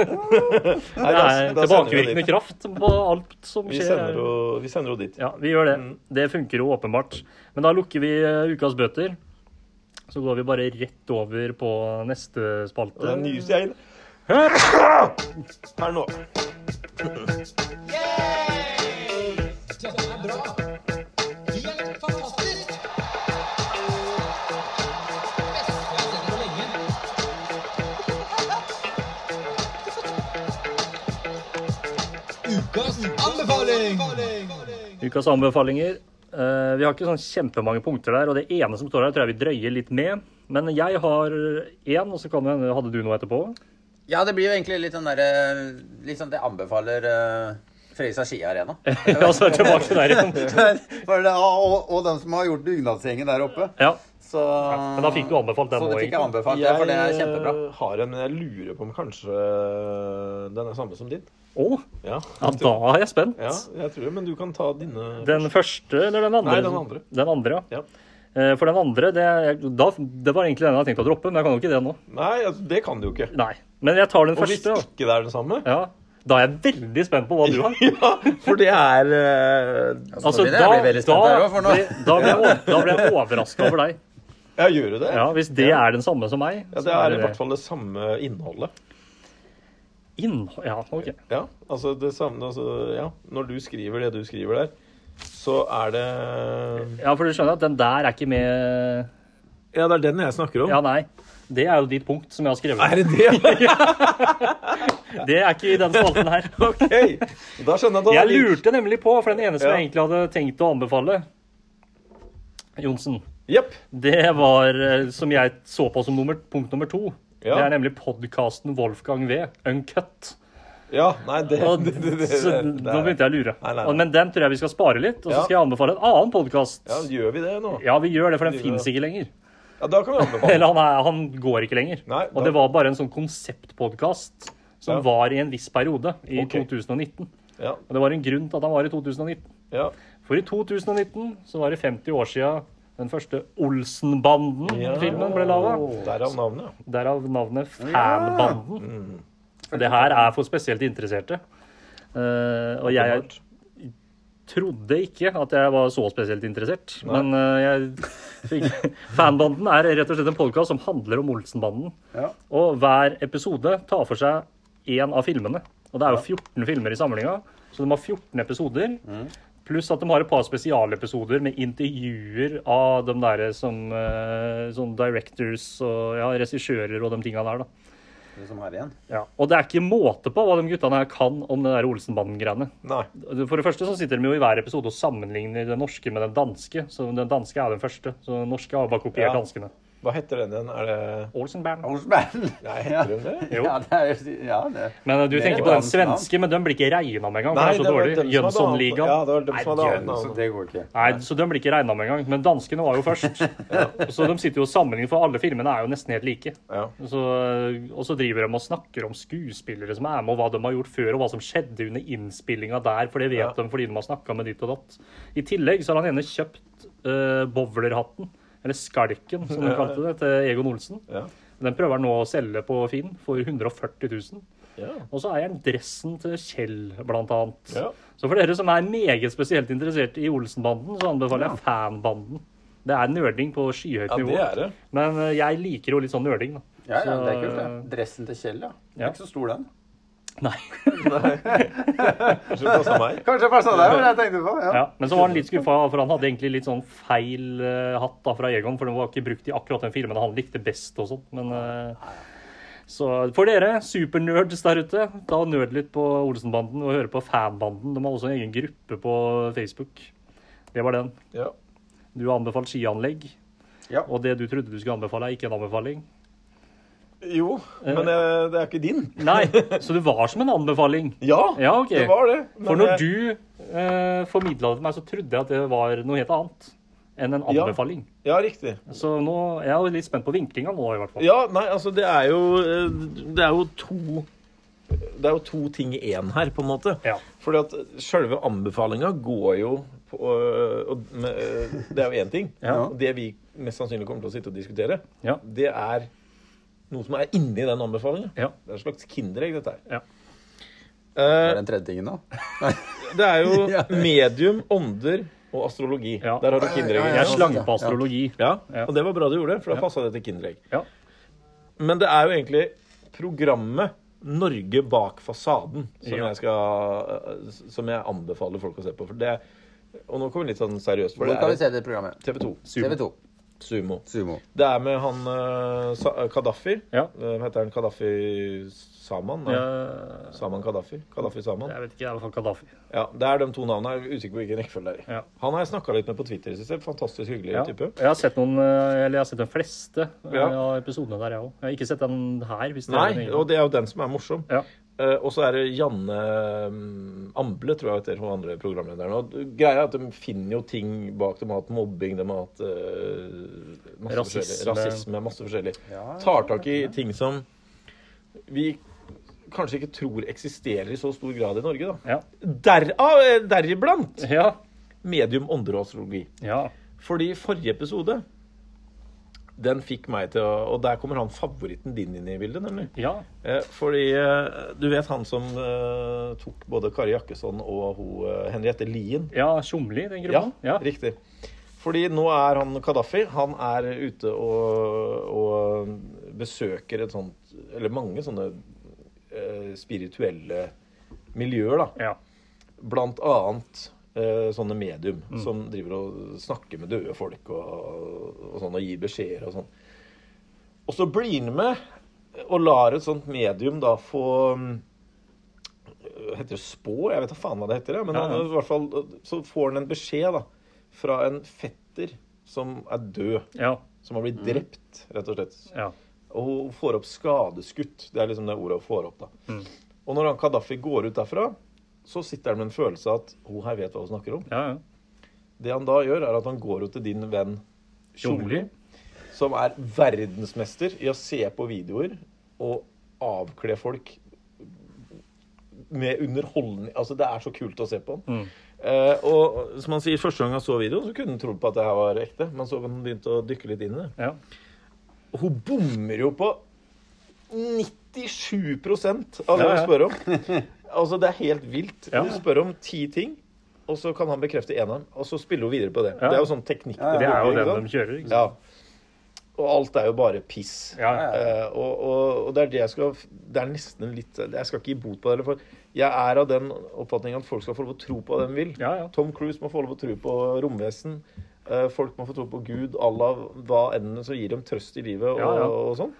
Speaker 1: da-
Speaker 2: er
Speaker 1: da sender vi
Speaker 2: tilbakevirkende
Speaker 1: dit.
Speaker 2: kraft på alt som
Speaker 1: Vi
Speaker 2: skjer.
Speaker 1: sender, jo, vi sender jo dit.
Speaker 2: Ja, vi gjør det.
Speaker 1: Mm.
Speaker 2: Det funker jo åpenbart. Men da lukker vi eh, ukas bøter. Så går vi bare rett over på neste
Speaker 1: Det
Speaker 2: spalte.
Speaker 1: er nys jeg Her nå.
Speaker 2: Ukas anbefalinger. Eh, vi har ikke sånn kjempemange punkter der, og det ene som står her, tror jeg vi drøyer litt med. Men jeg har én, og så kan det hende Hadde du noe etterpå?
Speaker 3: Ja, det blir jo egentlig litt den derre Litt sånn at jeg anbefaler uh, Fredrikstad Ski Arena.
Speaker 2: Ja, så er jeg tilbake til der igjen.
Speaker 5: For det, og, og dem som har gjort dugnadsgjengen der oppe.
Speaker 2: Ja,
Speaker 5: Så
Speaker 2: men da fikk du anbefalt den
Speaker 3: Så
Speaker 2: òg,
Speaker 3: det fikk jeg
Speaker 2: egentlig.
Speaker 3: anbefalt, det, for det er kjempebra.
Speaker 1: eh, har en, men jeg lurer på om kanskje den er samme som din.
Speaker 2: Å,
Speaker 1: Ja,
Speaker 2: ja, da er jeg spent.
Speaker 1: ja jeg tror det. Men du kan ta dine
Speaker 2: Den første eller den andre?
Speaker 1: Nei, den andre.
Speaker 2: Den andre, ja.
Speaker 1: Ja.
Speaker 2: Eh, For den andre, det, da, det var egentlig den jeg hadde tenkt å droppe, men jeg kan jo ikke det nå.
Speaker 1: Nei, altså, det kan du jo ikke.
Speaker 2: Nei. Men jeg tar den
Speaker 1: Og hvis
Speaker 2: første. da.
Speaker 1: ikke det er den samme
Speaker 2: Ja. Da er jeg veldig spent på hva du har.
Speaker 1: Ja, for det er eh,
Speaker 2: Altså,
Speaker 3: blir det-
Speaker 2: da,
Speaker 3: jeg blir veldig spent her
Speaker 2: da,
Speaker 3: også, for nå-
Speaker 2: blir- da blir jeg, o- da blir jeg overraska over deg.
Speaker 1: Ja, gjør du det?
Speaker 2: Ja, Hvis det er den samme som meg.
Speaker 1: Ja,
Speaker 2: så
Speaker 1: det er i hvert fall det samme innholdet.
Speaker 2: innhold- Ja, ok.
Speaker 1: Ja, altså det samme altså, ja. Når du skriver det du skriver der, så er det
Speaker 2: Ja, for du skjønner at den der er ikke med
Speaker 1: Ja, det er den jeg snakker om.
Speaker 2: Ja, nei. Det er jo ditt punkt som jeg har skrevet.
Speaker 1: Er det det?
Speaker 2: Det er ikke i den spalten her.
Speaker 1: OK! Da skjønner jeg at det
Speaker 2: Jeg
Speaker 1: var lik.
Speaker 2: lurte nemlig på, for den eneste
Speaker 1: Ja.
Speaker 2: jeg egentlig hadde tenkt å anbefale Johnsen,
Speaker 1: Jepp.
Speaker 2: det var eh, som jeg så på som nummer, punkt nummer to.
Speaker 1: Ja.
Speaker 2: Det er nemlig podkasten Wolfgang V, Uncut.
Speaker 1: Ja, nei, det,
Speaker 2: Og
Speaker 1: det, det, det,
Speaker 2: så
Speaker 1: det,
Speaker 2: Nå begynte jeg å lure.
Speaker 1: Nei, nei, nei.
Speaker 2: Og- Men den tror jeg vi skal spare litt, og så
Speaker 1: Ja.
Speaker 2: skal jeg anbefale en annen podkast.
Speaker 1: Ja, gjør vi det nå?
Speaker 2: Ja, vi gjør det, for den
Speaker 1: Gjør
Speaker 2: fins ikke lenger.
Speaker 1: Ja, da kan vi anbefale.
Speaker 2: Eller han, er, han går ikke lenger.
Speaker 1: Nei,
Speaker 2: og
Speaker 1: da-
Speaker 2: det var bare en sånn konseptpodkast som
Speaker 1: Ja.
Speaker 2: var i en viss periode, i
Speaker 1: Ok.
Speaker 2: 2019.
Speaker 1: Ja,
Speaker 2: Og det var en grunn til at han var i 2019.
Speaker 1: ja.
Speaker 2: For i 2019 så var det 50 år sia den første Olsenbanden-filmen ble laga.
Speaker 1: Derav navnet.
Speaker 2: Derav navnet Fanbanden. Og Det her er for spesielt interesserte. Eh, og jeg
Speaker 1: Åpenbart.
Speaker 2: trodde ikke at jeg var så spesielt interessert. Men eh, jeg fikk Fanbanden er rett og slett en podkast som handler om Olsenbanden.
Speaker 5: Ja.
Speaker 2: Og hver episode tar for seg én av filmene. Og det er jo 14 filmer i samlinga, så de har 14 episoder. Pluss at de har et par spesialepisoder med intervjuer av de der som eh, sånn directors og ja, regissører og de tinga der, da.
Speaker 5: Du som har igjen.
Speaker 2: Ja. Og det er ikke måte på hva de guttene her kan om det der Olsenbanden-greiene.
Speaker 1: Nei.
Speaker 2: For det første så sitter de jo i hver episode og sammenligner den norske med den danske. Så den danske er den første. Så den norske har bare kopiert
Speaker 1: Ja.
Speaker 2: danskene.
Speaker 1: Hva heter den igjen? Er det
Speaker 2: Olsenband.
Speaker 5: Olsberg.
Speaker 1: Nei, heter den det?
Speaker 2: Jo.
Speaker 5: Ja, det er jo ja, det.
Speaker 2: Men du tenker på
Speaker 5: jo
Speaker 2: den
Speaker 5: hans
Speaker 2: svenske, men den blir ikke regna med engang. for den er så
Speaker 1: var
Speaker 2: dårlig.
Speaker 1: dem som hadde annet- Ja,
Speaker 2: Jönssonligaen.
Speaker 1: det var dem som hadde annet
Speaker 3: altså-
Speaker 5: Så
Speaker 1: navn.
Speaker 5: det går ikke.
Speaker 2: Nei, så den blir ikke regna med engang. Men danskene var jo først. Så de sitter jo og sammenligner, for alle filmene er jo nesten helt like.
Speaker 1: Ja.
Speaker 2: Så, og så driver de og snakker om skuespillere som er med, og hva de har gjort før, og hva som skjedde under innspillinga der, for det vet
Speaker 1: Ja.
Speaker 2: de fordi de har snakka med ditt og datt. I tillegg så har han ene kjøpt eh, bowlerhatten, eller skalken, som de
Speaker 1: Ja, ja.
Speaker 2: kalte det, til Egon Olsen.
Speaker 1: Ja.
Speaker 2: Den prøver han nå å selge på Finn for 140 000.
Speaker 1: Ja.
Speaker 2: Og så eier han dressen til Kjell, blant annet.
Speaker 1: Ja.
Speaker 2: Så for dere som er meget spesielt interessert i Olsenbanden, så anbefaler jeg Fanbanden. Det er nerding på skyhøyt
Speaker 1: Ja,
Speaker 2: nivå.
Speaker 1: det er det.
Speaker 2: Men eh, jeg liker jo litt sånn nerding, da.
Speaker 5: Ja, ja,
Speaker 2: Så-
Speaker 5: det er kult, det. Dressen til Kjell, ja. Den
Speaker 2: Ja.
Speaker 5: er ikke så stor, den.
Speaker 2: Nei.
Speaker 1: Kanskje det passer meg.
Speaker 5: Kanskje jeg passa deg, men jeg tenkte på ja.
Speaker 2: Ja, men så var han litt skuffa, for han hadde egentlig litt sånn feil eh, hatt da fra Egon, for den var ikke brukt i akkurat den filmen han likte best og sånn, men eh, Så for dere, supernerds der ute, ta og nerd litt på Olsenbanden og høre på Fanbanden. De har også en egen gruppe på Facebook. Det var den.
Speaker 1: Ja.
Speaker 2: Du har anbefalt skianlegg,
Speaker 5: Ja.
Speaker 2: og det du trodde du skulle anbefale, er ikke en anbefaling.
Speaker 1: Jo, men eh, det er ikke din.
Speaker 2: Nei, så det var som en anbefaling.
Speaker 1: Ja,
Speaker 2: Ja, ok.
Speaker 1: det var det.
Speaker 2: For
Speaker 1: men,
Speaker 2: når
Speaker 1: eh,
Speaker 2: du eh, formidla det til meg, så trodde jeg at det var noe helt annet enn en
Speaker 1: Ja.
Speaker 2: anbefaling.
Speaker 1: Ja, riktig.
Speaker 2: Så nå jeg er jo litt spent på vinklinga nå, i hvert fall.
Speaker 1: Ja, nei, altså det er jo eh, Det er jo to Det er jo to ting i én her, på en måte.
Speaker 2: Ja.
Speaker 1: Fordi at sjølve anbefalinga går jo på øh, og, med, øh, Det er jo én ting.
Speaker 2: Ja.
Speaker 1: Og Det vi mest sannsynlig kommer til å sitte og diskutere,
Speaker 2: Ja.
Speaker 1: det er noe som er inni den anbefalinga.
Speaker 2: Ja.
Speaker 1: Det er et slags kinderegg, dette her.
Speaker 2: Ja.
Speaker 1: Eh,
Speaker 5: Er den tredje tingen, da?
Speaker 1: det er jo medium, ånder og astrologi.
Speaker 2: Ja.
Speaker 1: Der har du kinderegget.
Speaker 2: Jeg slang på astrologi.
Speaker 1: Ja,
Speaker 2: Ja.
Speaker 1: og det var bra du gjorde det, for da passa det til kinderegg.
Speaker 2: Ja.
Speaker 1: Men det er jo egentlig programmet Norge bak fasaden som,
Speaker 2: Ja.
Speaker 1: jeg, skal, eh, som jeg anbefaler folk å se på. For det, og nå kommer vi litt sånn seriøst, for
Speaker 5: Hvor
Speaker 1: det
Speaker 5: kan vi
Speaker 1: er
Speaker 5: se det programmet?
Speaker 1: TV 2
Speaker 5: TV 2.
Speaker 1: Sumo.
Speaker 5: Sumo.
Speaker 1: Det er med han eh, Sa- Gaddafi.
Speaker 2: Ja.
Speaker 1: Eh, heter han Gaddafi Saman? Nei.
Speaker 2: Eh,
Speaker 1: Saman Gaddafi? Gaddafi Saman?
Speaker 2: Jeg vet ikke, jeg er i hvert fall Kadafi.
Speaker 1: Ja, Det er de to navnene. Jeg er usikker på hvilken rekkefølge det er i.
Speaker 2: Ja.
Speaker 1: Han har jeg snakka litt med på Twitter. Synes jeg. Fantastisk hyggelig
Speaker 2: Ja.
Speaker 1: type.
Speaker 2: Jeg har sett noen, eh, eller jeg har sett de fleste eh,
Speaker 1: Ja.
Speaker 2: av episodene der, jeg òg. Jeg har ikke sett den her. hvis det er
Speaker 1: Nei,
Speaker 2: den egen.
Speaker 1: og det er jo den som er morsom.
Speaker 2: ja.
Speaker 1: Eh, og så er det Janne mm, Amble, tror jeg heter hun andre programlederen. Og du- greia er at de finner jo ting bak. De har hatt mobbing, de har hatt eh, masse forskjellig.
Speaker 2: Rasisme.
Speaker 1: Rasisme, masse forskjellig. Tar tak i ting som vi kanskje ikke tror eksisterer i så stor grad i Norge, da.
Speaker 2: Ja.
Speaker 1: Derav, eh, deriblant
Speaker 2: ja.
Speaker 1: medium ånder og astrologi.
Speaker 2: ja.
Speaker 1: Fordi forrige episode den fikk meg til å Og der kommer han favoritten din inn i bildet, nemlig.
Speaker 2: ja.
Speaker 1: Eh, Fordi eh, du vet han som eh, tok både Kari Jakkesson og hun, eh, Henriette Lien?
Speaker 2: Ja, Tjomli, den gruppa. Ja.
Speaker 1: riktig. Fordi nå er han Kadafi. Han er ute og, og besøker et sånt Eller mange sånne eh, spirituelle miljøer, da.
Speaker 2: Ja.
Speaker 1: Blant annet eh, sånne medium
Speaker 2: Mm.
Speaker 1: som driver og snakker med døde folk og, og sånn, og gir beskjeder og sånn. Og så blir han med og lar et sånt medium da få mm, Heter det spå? Jeg vet da faen hva det heter. Ja. Men
Speaker 2: Ja, ja.
Speaker 1: Han, i hvert fall, så får han en beskjed da, fra en fetter som er død.
Speaker 2: Ja.
Speaker 1: Som har blitt
Speaker 2: Mm.
Speaker 1: drept, rett og slett.
Speaker 2: ja.
Speaker 1: Og hun får opp skadeskutt. Det er liksom det ordet hun får opp. da. Og når han Kadafi går ut derfra, så sitter han med en følelse av at hun her vet hva hun snakker om.
Speaker 2: ja. ja.
Speaker 1: Det han da gjør, er at han går ut til din venn
Speaker 2: Tjomli.
Speaker 1: Tjomli, som er verdensmester i å se på videoer og avkle folk med underholdning Altså, det er så kult å se på han.
Speaker 2: Mm.
Speaker 1: Eh, og som han sier, første gang han så videoen, så kunne han trodd på at det her var ekte. Men så han begynte å dykke litt inn i det.
Speaker 2: Ja.
Speaker 1: Og hun bommer jo på 97 av det
Speaker 2: Ja,
Speaker 1: hun
Speaker 2: ja.
Speaker 1: spør om. Altså, det er helt vilt.
Speaker 2: Ja.
Speaker 1: Hun spør om ti ting, og så kan han bekrefte én av dem. Og så spiller hun videre på det.
Speaker 2: Ja.
Speaker 1: Det er jo sånn teknikk.
Speaker 2: Det er jo
Speaker 1: bruker,
Speaker 2: den
Speaker 1: ikke
Speaker 2: de kjører.
Speaker 1: sant?
Speaker 2: Ikke sant?
Speaker 1: ja. Og alt er jo bare piss.
Speaker 2: Ja. ja.
Speaker 1: Eh, og, og, og det er det jeg skal Det er nesten litt Jeg skal ikke gi bot på det. eller For jeg er av den oppfatning at folk skal få lov å tro på hva de vil.
Speaker 2: Ja, ja.
Speaker 1: Tom Cruise må få lov å tro på romvesen. eh, folk må få tro på Gud, Allah, hva enn som gir dem trøst i livet og,
Speaker 2: Ja, ja.
Speaker 1: og sånn.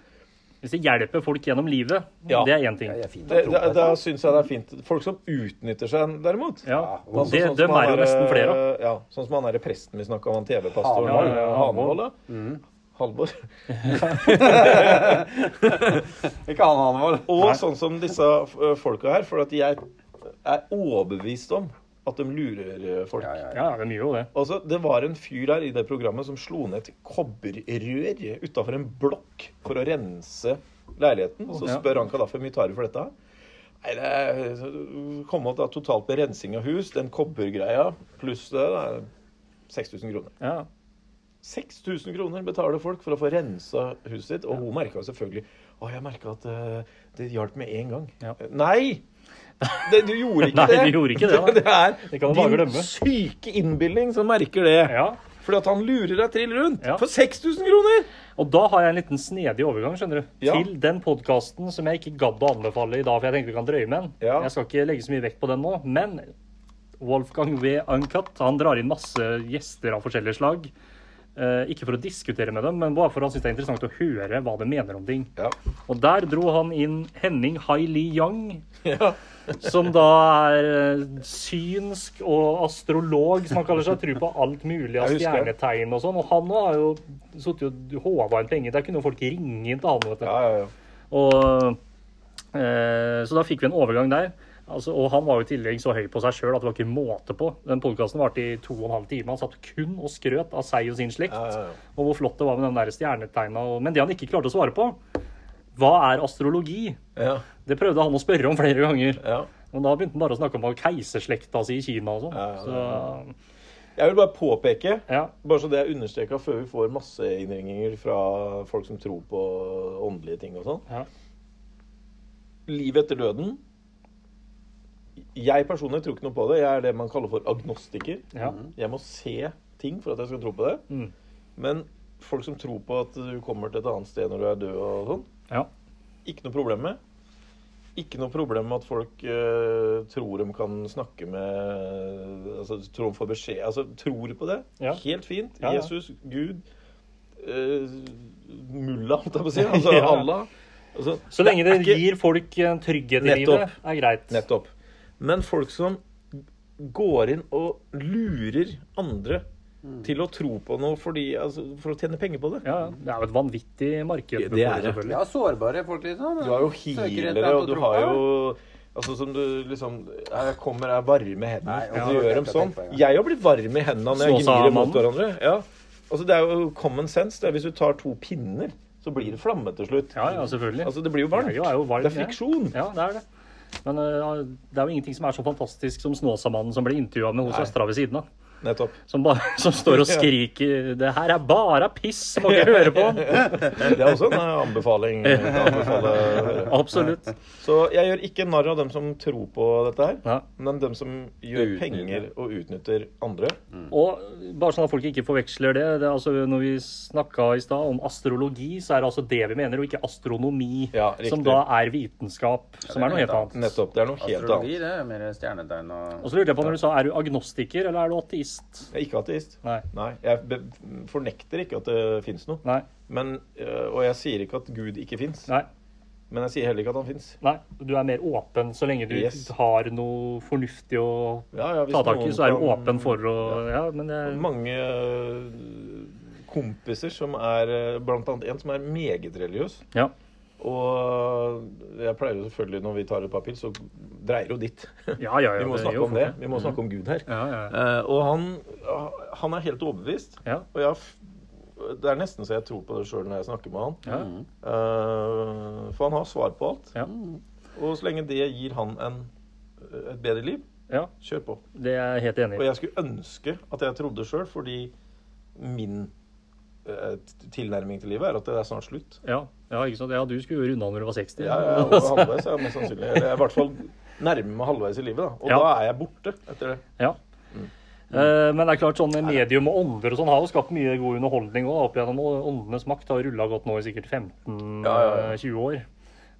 Speaker 2: Hvis det hjelper folk gjennom livet,
Speaker 1: Ja.
Speaker 2: det er én ting.
Speaker 3: Det er fint å
Speaker 1: Det,
Speaker 3: tro
Speaker 1: det,
Speaker 3: på.
Speaker 1: da syns jeg det er fint. Folk som utnytter seg, derimot.
Speaker 2: Ja.
Speaker 1: Altså,
Speaker 2: Det,
Speaker 1: sånn som
Speaker 2: dem
Speaker 1: han
Speaker 2: er jo
Speaker 1: der,
Speaker 2: nesten flere av.
Speaker 1: eh, Ja, sånn som han derre presten vi snakka om, han TV-pastoren
Speaker 2: Ja, ja, ja,
Speaker 1: eh, Hanvold.
Speaker 2: Hanvold.
Speaker 1: da. Halvor.
Speaker 5: Ikke han Hanvold.
Speaker 1: Og sånn som disse eh, folka her, for at jeg er overbevist om at de lurer eh, folk.
Speaker 2: Ja, de gjør jo det.
Speaker 1: Altså, Det var en fyr der i det programmet som slo ned et kobberrør utafor en blokk for å rense leiligheten. Så
Speaker 2: Ja.
Speaker 1: spør han Kadafi hvor mye tar du for dette. Nei, det er- kom opp da totalt med rensing av hus, den kobbergreia pluss det. det er 6000 kroner.
Speaker 2: Ja.
Speaker 1: 6000 kroner betaler folk for å få rensa huset sitt. Og hun merka selvfølgelig Å, jeg merka at eh, det hjalp med en gang.
Speaker 2: Ja.
Speaker 1: Nei! Det, du gjorde ikke
Speaker 2: Nei,
Speaker 1: det.
Speaker 2: du gjorde ikke det, da.
Speaker 1: Det er
Speaker 2: Det kan du bare
Speaker 1: din
Speaker 2: glemme.
Speaker 1: syke innbilning som merker det.
Speaker 2: ja.
Speaker 1: Fordi at han lurer deg trill rundt
Speaker 2: Ja.
Speaker 1: for 6000 kroner!
Speaker 2: Og da har jeg en liten snedig overgang skjønner du,
Speaker 1: Ja.
Speaker 2: til den podkasten som jeg ikke gadd å anbefale i dag, for jeg tenkte vi kan drøye med den.
Speaker 1: Ja.
Speaker 2: Jeg skal ikke legge så mye vekt på den nå. Men Wolfgang V. Uncut han drar inn masse gjester av forskjellige slag. Eh, ikke for å diskutere med dem, men bare for han syns det er interessant å høre hva de mener om ting.
Speaker 1: Ja.
Speaker 2: Og der dro han inn Henning Hai Li Yang. Som da er eh, synsk og astrolog, som han kaller seg. Tror på alt mulig av
Speaker 1: Jeg husker det.
Speaker 2: stjernetegn og sånn. Og han nå har jo sittet og håva inn penger. Det er ikke noe folk ringer inn til han. vet du.
Speaker 1: Ja, ja, ja.
Speaker 2: Og, eh, så da fikk vi en overgang der. Altså, og han var jo i tillegg så høy på seg sjøl at det var ikke måte på. Den podkasten varte i to og en halv time. Han satt kun og skrøt av seg og sin slekt.
Speaker 1: ja, ja.
Speaker 2: Og hvor flott det var med den der stjernetegna. og- Men det han ikke klarte å svare på, hva er astrologi?
Speaker 1: Ja,
Speaker 2: Det prøvde han å spørre om flere ganger.
Speaker 1: ja.
Speaker 2: Men da begynte han bare å snakke om keiserslekta si i Kina og sånn. Så
Speaker 1: Jeg vil bare påpeke,
Speaker 2: ja.
Speaker 1: bare så det er understreka før vi får masse innringninger fra folk som tror på åndelige ting og sånn
Speaker 2: Ja.
Speaker 1: Livet etter døden Jeg personlig tror ikke noe på det. Jeg er det man kaller for agnostiker.
Speaker 2: Ja.
Speaker 1: Jeg må se ting for at jeg skal tro på det.
Speaker 2: Mm.
Speaker 1: Men folk som tror på at du kommer til et annet sted når du er død og sånn,
Speaker 2: ja.
Speaker 1: ikke noe problem med. Ikke noe problem med at folk eh, tror de kan snakke med Altså tror de får beskjed Altså tror på det.
Speaker 2: Ja.
Speaker 1: Helt fint.
Speaker 2: Ja, ja.
Speaker 1: Jesus, Gud, eh, mulla, holdt jeg på å si. Altså
Speaker 2: Ja, ja.
Speaker 1: Allah. Altså,
Speaker 2: Så lenge det
Speaker 1: er ikke-
Speaker 2: gir folk en trygghet i
Speaker 1: Nettopp.
Speaker 2: livet, er greit.
Speaker 1: Nettopp. Men folk som går inn og lurer andre til å tro på noe fordi, altså, for å tjene penger på det.
Speaker 2: Ja, ja. det er jo et vanvittig marked.
Speaker 1: Det- det er det.
Speaker 2: selvfølgelig.
Speaker 3: Ja, sårbare folk, liksom.
Speaker 1: Du har jo
Speaker 3: Søker etter
Speaker 1: healere,
Speaker 3: alt å
Speaker 1: og du
Speaker 3: tro
Speaker 1: har
Speaker 3: på.
Speaker 1: jo Altså som du liksom Jeg kommer, jeg er varm i hendene.
Speaker 3: Nei,
Speaker 1: og
Speaker 3: ja,
Speaker 1: du gjør dem
Speaker 3: jeg
Speaker 1: sånn.
Speaker 3: tenkte på det.
Speaker 1: Jeg har blitt varm i hendene når jeg
Speaker 2: Så sa
Speaker 1: gnir dem mot
Speaker 2: mannen.
Speaker 1: hverandre. Ja. Altså, det er jo common sense. Det er hvis du tar to pinner, så blir det flamme til slutt.
Speaker 2: Ja, ja, selvfølgelig.
Speaker 1: Altså, det blir jo varmt.
Speaker 2: Det er jo varmt,
Speaker 1: Det er
Speaker 2: ja.
Speaker 1: friksjon.
Speaker 2: Ja, det er det. Men eh, det er jo ingenting som er så fantastisk som Snåsamannen som ble intervjua med hos søstera ved siden av.
Speaker 1: Nettopp.
Speaker 2: Som, bare, som står og skriker 'Det her er bare piss! Må ikke høre på!'
Speaker 1: Det er også en eh, anbefaling. Jeg kan anbefale å høre.
Speaker 2: Absolutt.
Speaker 1: Så jeg gjør ikke narr av dem som tror på dette her,
Speaker 2: Ja.
Speaker 1: men dem som gjør
Speaker 4: Utnytter.
Speaker 1: penger og utnytter andre.
Speaker 2: Og bare sånn at folk ikke forveksler det, det er altså Når vi snakka i stad om astrologi, så er det altså det vi mener, og ikke astronomi.
Speaker 1: Ja, riktig.
Speaker 2: som da er vitenskap, som er noe helt annet.
Speaker 1: Nettopp. Det er noe helt
Speaker 4: Astrologi,
Speaker 1: annet.
Speaker 4: det er mer stjernetegn og
Speaker 2: Og så lurte jeg på når du sa er du agnostiker eller er du ateist?
Speaker 1: Jeg er ikke ateist.
Speaker 2: Nei.
Speaker 1: Nei, jeg be- fornekter ikke at det fins noe.
Speaker 2: Nei.
Speaker 1: Men, øh, og jeg sier ikke at Gud ikke fins,
Speaker 2: Nei.
Speaker 1: men jeg sier heller ikke at han fins.
Speaker 2: Nei. Du er mer åpen så lenge du
Speaker 1: Yes.
Speaker 2: har noe fornuftig å
Speaker 1: Ja, ja, hvis
Speaker 2: ta tak i,
Speaker 1: noen
Speaker 2: så er du
Speaker 1: kan-
Speaker 2: åpen for å Ja, men det er
Speaker 1: Mange øh, kompiser som er øh, Blant annet en som er meget religiøs.
Speaker 2: Ja.
Speaker 1: Og jeg pleier jo selvfølgelig, når vi tar et par pils, så dreier jo dit.
Speaker 2: Ja, ja, ja,
Speaker 1: Vi må
Speaker 2: det Mhm. er
Speaker 1: snakke
Speaker 2: jo
Speaker 1: om det.
Speaker 2: folk,
Speaker 1: Vi må snakke om Gud her.
Speaker 2: Ja, ja, ja.
Speaker 1: Eh, og han, han er helt overbevist.
Speaker 2: Ja.
Speaker 1: Og jeg, har f- det er nesten så jeg tror på det sjøl når jeg snakker med han.
Speaker 2: Ja.
Speaker 1: Eh, for han har svar på alt.
Speaker 2: Ja.
Speaker 1: Og så lenge det gir han en, et bedre liv,
Speaker 2: ja.
Speaker 1: kjør på.
Speaker 2: Det er jeg helt enig
Speaker 1: Og
Speaker 2: i.
Speaker 1: jeg skulle ønske at jeg trodde sjøl, fordi min eh, t- tilnærming til livet er at det er snart slutt.
Speaker 2: Ja. ja, ikke sant. Ja, du skulle jo runde av når du var 60.
Speaker 1: Jeg er over halvveis, jeg, mest sannsynlig. Eller jeg er i hvert fall nærmer meg halvveis i livet, da. Og
Speaker 2: Ja.
Speaker 1: da er jeg borte etter det.
Speaker 2: Ja. Eh, Men det er klart sånne medium og ånder og sånn har jo skapt mye god underholdning òg. Opp gjennom og åndenes makt har rulla godt nå i sikkert 15-20
Speaker 1: Ja, ja, ja.
Speaker 2: år.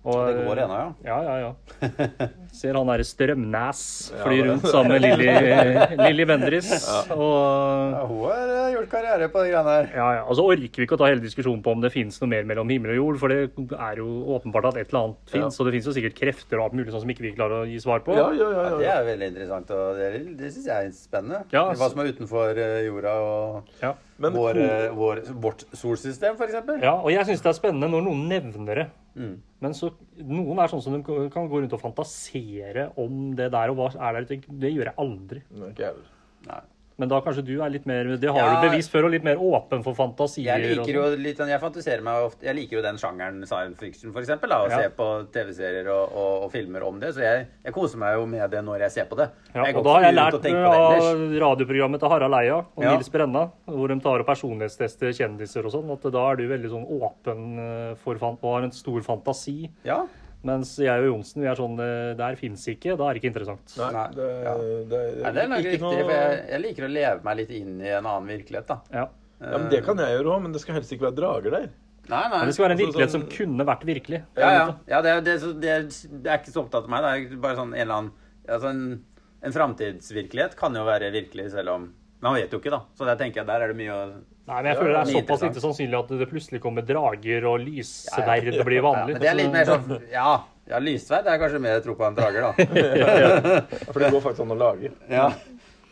Speaker 2: Og,
Speaker 3: Det går ennå, ja.
Speaker 2: Ja, ja, ja. Ser han derre Strømnæs fly rundt sammen med Lilly Lilly Bendriss. Og
Speaker 3: Ja, hun har eh, gjort karriere på de greiene her.
Speaker 2: ja, ja. Altså orker vi ikke å ta hele diskusjonen på om det finnes noe mer mellom himmel og jord, for det er jo åpenbart at et eller annet finnes, og det finnes jo sikkert krefter og alt mulig sånn som ikke vi klarer å gi svar på.
Speaker 1: Ja, ja, ja,
Speaker 3: Ja,
Speaker 1: ja,
Speaker 3: det
Speaker 1: ja.
Speaker 3: er jo veldig interessant, og det, det syns jeg er spennende.
Speaker 2: Ja,
Speaker 3: Hva som er utenfor eh, jorda og
Speaker 2: Ja.
Speaker 1: Men
Speaker 3: vår,
Speaker 1: ko-
Speaker 3: eh, vår, vårt solsystem, for eksempel.
Speaker 2: Ja, og jeg syns det er spennende når noen nevner det.
Speaker 3: Mm.
Speaker 2: Men så, noen er sånn som de kan gå rundt og fantasere om det der og hva er der ute. Det gjør jeg aldri.
Speaker 1: Nei, ikke jeg heller.
Speaker 3: Nei.
Speaker 2: Men da kanskje du er litt mer Det har
Speaker 3: Ja.
Speaker 2: du bevisst før, og litt mer åpen for fantasier.
Speaker 3: Jeg
Speaker 2: og
Speaker 3: liker jo
Speaker 2: sånn.
Speaker 3: litt sånn, jeg fantaserer meg ofte Jeg liker jo den sjangeren science fiction, for eksempel. Da, og
Speaker 2: Ja.
Speaker 3: se på TV-serier og, og, og filmer om det. Så jeg, jeg koser meg jo med det når jeg ser på det.
Speaker 2: ja,
Speaker 3: jeg
Speaker 2: og da har jeg
Speaker 3: ikke
Speaker 2: lært
Speaker 3: rundt og tenker på det
Speaker 2: av
Speaker 3: ellers.
Speaker 2: radioprogrammet til Harald Eia og
Speaker 3: Ja.
Speaker 2: Nils Brenna, hvor de tar og personlighetstester kjendiser og sånn, at da er du veldig sånn åpen eh, for fan og har en stor fantasi.
Speaker 3: Ja.
Speaker 2: Mens jeg og Johnsen, vi er sånn eh, Der fins ikke, da er det ikke interessant.
Speaker 1: Nei,
Speaker 3: Nei,
Speaker 1: det,
Speaker 3: ja.
Speaker 1: det,
Speaker 3: Nei, det er nok
Speaker 1: ikke
Speaker 3: riktig,
Speaker 1: noe-
Speaker 3: for jeg, jeg liker å leve meg litt inn i en annen virkelighet, da.
Speaker 2: Ja.
Speaker 1: Ja, men Det kan jeg gjøre òg, men det skal helst ikke være drager der.
Speaker 3: Nei, nei.
Speaker 2: Men det skal være en
Speaker 1: Altså,
Speaker 2: virkelighet som
Speaker 1: sånn-
Speaker 2: kunne vært virkelig.
Speaker 3: Ja, ja. ja det, er- det, er så- det, er- det er ikke så opptatt av meg. Det er bare sånn en eller annen altså En, en framtidsvirkelighet kan jo være virkelig, selv om Men man vet jo ikke, da. Så der tenker jeg, der er det mye å
Speaker 2: Nei, men jeg føler det er
Speaker 3: mye
Speaker 2: såpass
Speaker 3: interessant.
Speaker 2: lite sannsynlig at det plutselig kommer drager og lysverd
Speaker 3: Ja,
Speaker 2: blir
Speaker 3: ja,
Speaker 2: vanlig.
Speaker 3: Men det er litt mer sånn Ja, ja lyssverd er kanskje mer tro på enn drager, da.
Speaker 1: For det går faktisk an å lage.
Speaker 3: Ja.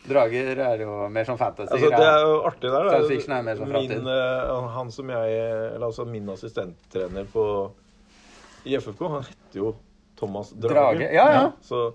Speaker 3: Drager er jo mer sånn fantasy.
Speaker 1: Altså, det er jo artig der. da.
Speaker 3: Science fiction er
Speaker 4: sånn
Speaker 3: mer som
Speaker 1: min,
Speaker 3: framtid.
Speaker 1: eh, han som jeg Eller altså min assistenttrener på i FFK. Han heter jo Thomas Drage.
Speaker 4: Drage, ja, ja.
Speaker 1: Så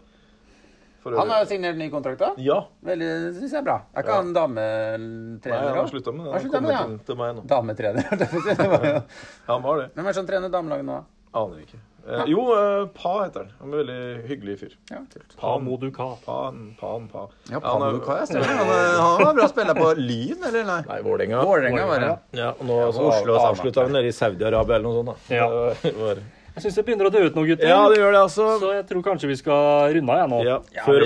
Speaker 1: for
Speaker 4: Han har
Speaker 1: øvrig
Speaker 4: jo signert ny kontrakt, da.
Speaker 1: Ja.
Speaker 4: Veldig, synes jeg er bra. Er ikke han
Speaker 1: Nei,
Speaker 4: dametrener
Speaker 1: han har
Speaker 4: også?
Speaker 1: slutta med det.
Speaker 4: Han
Speaker 1: Han
Speaker 4: sluttet
Speaker 1: kom
Speaker 4: med
Speaker 1: ikke
Speaker 4: det,
Speaker 1: inn til meg nå.
Speaker 4: ja. Dametrener. holdt jeg på å si. Det var jo-
Speaker 1: Han var det.
Speaker 4: Hvem er det som trener damelaget nå?
Speaker 1: Aner ikke. Eh, jo, eh, Pa heter han. Han er en veldig hyggelig fyr.
Speaker 4: Ja.
Speaker 2: Han må du ka.
Speaker 1: Pan, Pan, Pa.
Speaker 3: Ja,
Speaker 1: han er-
Speaker 3: Pablo Kajas. Han, er- han var bra spiller på Lyn, eller? Nei.
Speaker 1: Nei, Vålerenga.
Speaker 3: Vålerenga var det.
Speaker 1: Ja, og nå så
Speaker 3: Oslo og Stavanger.
Speaker 1: avslutta vi nede i Saudi-Arabia eller noe sånt. da.
Speaker 2: Ja.
Speaker 1: Det var-
Speaker 2: Jeg syns det begynner å dø ut nå, gutter.
Speaker 1: ja, det gjør det, altså.
Speaker 2: Så jeg tror kanskje vi skal runde av, jeg nå.
Speaker 1: Ja, før,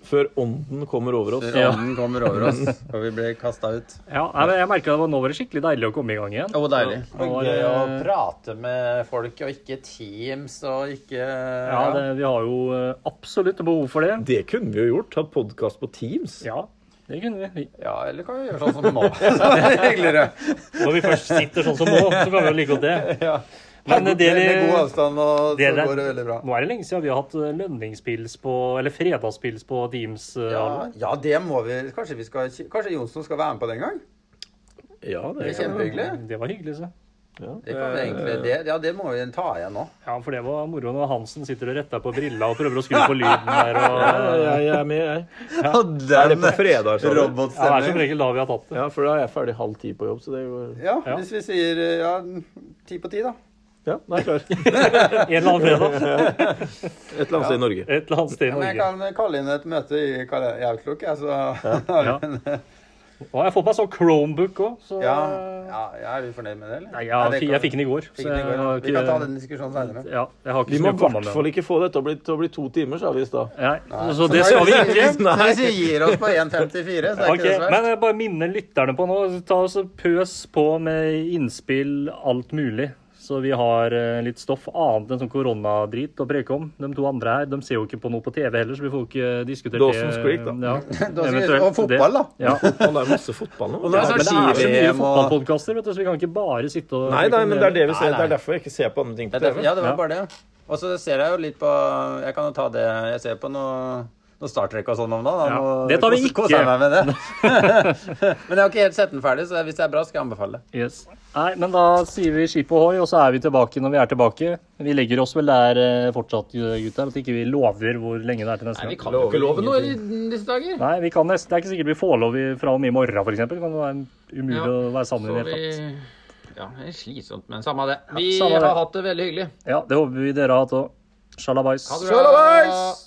Speaker 1: før ånden kommer over oss.
Speaker 2: Ja.
Speaker 3: Ånden kommer over oss, og vi blir kasta ut.
Speaker 2: Ja, nei, men jeg merket det var nå var det skikkelig deilig å komme i gang igjen.
Speaker 3: Å, deilig.
Speaker 2: Nå var eh,
Speaker 7: Gøy
Speaker 2: det-
Speaker 7: å prate med folk, og ikke Teams, og ikke
Speaker 2: Ja, det, vi har jo eh, absolutt behov for det.
Speaker 1: Det kunne vi jo gjort. Hatt podkast på Teams.
Speaker 2: Ja, det kunne vi.
Speaker 7: Ja, eller kan vi gjøre sånn som nå? Så er det hyggeligere.
Speaker 2: Når vi først sitter sånn som nå, så kan vi jo like godt det. Men eh, det vi
Speaker 3: Med god avstand, og
Speaker 2: det
Speaker 3: så
Speaker 2: er det.
Speaker 3: går det veldig bra.
Speaker 2: Nå er det lenge siden vi har hatt eh, lønningspils på Eller fredagspils på Teams. eh,
Speaker 3: Ja,
Speaker 2: Allan.
Speaker 3: ja, det må vi Kanskje, vi skal, kanskje Jonsson skal være med på den gang?
Speaker 1: Ja, det
Speaker 3: Det er kjempehyggelig.
Speaker 2: Det var hyggelig, så.
Speaker 3: Det kan vi egentlig, det, ja, det må vi ta igjen nå.
Speaker 2: Ja, for det var moro når Hansen sitter og retter på brilla og prøver å skru på lyden der. Og, ja,
Speaker 1: Jeg, jeg er med, jeg.
Speaker 3: Og
Speaker 1: Er det på fredag? sa du?
Speaker 2: det er som
Speaker 3: robotstemning.
Speaker 2: regel da vi har tatt det.
Speaker 1: Ja, for da er jeg ferdig halv ti på jobb, så det går
Speaker 3: Ja,
Speaker 2: Ja.
Speaker 3: hvis vi sier eh, ja, ti på ti, da.
Speaker 1: Ja, da er jeg klar. Et
Speaker 2: En eller annen fredag.
Speaker 1: eller annet sted i Norge.
Speaker 2: Et eller annet sted i
Speaker 3: Men jeg
Speaker 2: Norge.
Speaker 3: kan kalle inn et møte i kal- i Outlook, jeg, så har
Speaker 2: Ja.
Speaker 3: vi en
Speaker 2: Og jeg har fått meg sånn Chromebook òg, så
Speaker 3: Ja, ja, ja, er vi fornøyd med det, eller?
Speaker 2: Nei, jeg,
Speaker 3: det
Speaker 2: fikk-
Speaker 3: kan-
Speaker 2: jeg fikk den i går.
Speaker 3: fikk den i går, ja.
Speaker 2: har
Speaker 3: Vi kan ta den diskusjonen senere.
Speaker 2: Ja, jeg har ikke
Speaker 1: Vi
Speaker 2: så
Speaker 1: må
Speaker 2: mye
Speaker 1: i
Speaker 2: å komme
Speaker 1: hvert
Speaker 2: med.
Speaker 1: fall ikke få dette til å bli, til å bli to timer, sa vi i stad.
Speaker 2: Nei, så det skal vi ikke.
Speaker 3: Nei. Hvis vi gir oss på 1,54, så er
Speaker 2: Ok,
Speaker 3: ikke det
Speaker 2: men
Speaker 3: så verst.
Speaker 2: jeg bare minner lytterne på nå. Ta oss og Pøs på med innspill, alt mulig. Så vi har eh, litt stoff annet enn sånn koronadrit å preke om. De to andre her de ser jo ikke på noe på TV heller, så vi får jo ikke diskutert
Speaker 1: Dawson's Creek, da.
Speaker 2: Ja,
Speaker 3: Da skal vi-
Speaker 2: eventuelt
Speaker 3: Og fotball, da.
Speaker 2: det. Ja.
Speaker 1: Og det er masse fotball nå.
Speaker 3: nå er det
Speaker 2: Men det er så mye
Speaker 3: Ski-VM og-
Speaker 2: fotballpodkaster, vet du, så vi kan ikke bare sitte og
Speaker 1: Nei, nei, men det er det vi ser.
Speaker 3: Nei, nei.
Speaker 1: Det er derfor jeg ikke ser på andre ting på
Speaker 3: Ja, det,
Speaker 1: TV.
Speaker 3: ja, det var bare det. Og så ser jeg jo litt på Jeg kan jo ta det Jeg ser på noe, noe Star Trek og sånn om dagen. da.
Speaker 2: Ja,
Speaker 3: Nå
Speaker 2: det tar vi
Speaker 3: kos-
Speaker 2: ikke.
Speaker 3: koser jeg meg med det. Men jeg har ikke helt sett den ferdig, så hvis det er bra, skal jeg anbefale.
Speaker 2: Yes. Nei, men da sier vi skip ohoi, og så er vi tilbake når vi er tilbake. Vi legger oss vel der eh, fortsatt, gutter, at ikke vi lover hvor lenge det er til neste gang.
Speaker 4: kan jo ikke love noe i disse dager.
Speaker 2: Nei, vi kan nesten. Det er ikke sikkert vi får lov i- fra og med i morgen, f.eks. Det kan være umulig
Speaker 4: Ja,
Speaker 2: å være sammen i
Speaker 4: Så
Speaker 2: det hele tatt.
Speaker 4: vi Ja, det er slitsomt, men samme det.
Speaker 2: Ja,
Speaker 4: Vi
Speaker 2: samme det.
Speaker 4: har hatt det veldig hyggelig.
Speaker 2: Ja, det håper vi dere har hatt òg. Sjalabais.
Speaker 4: Ha det bra.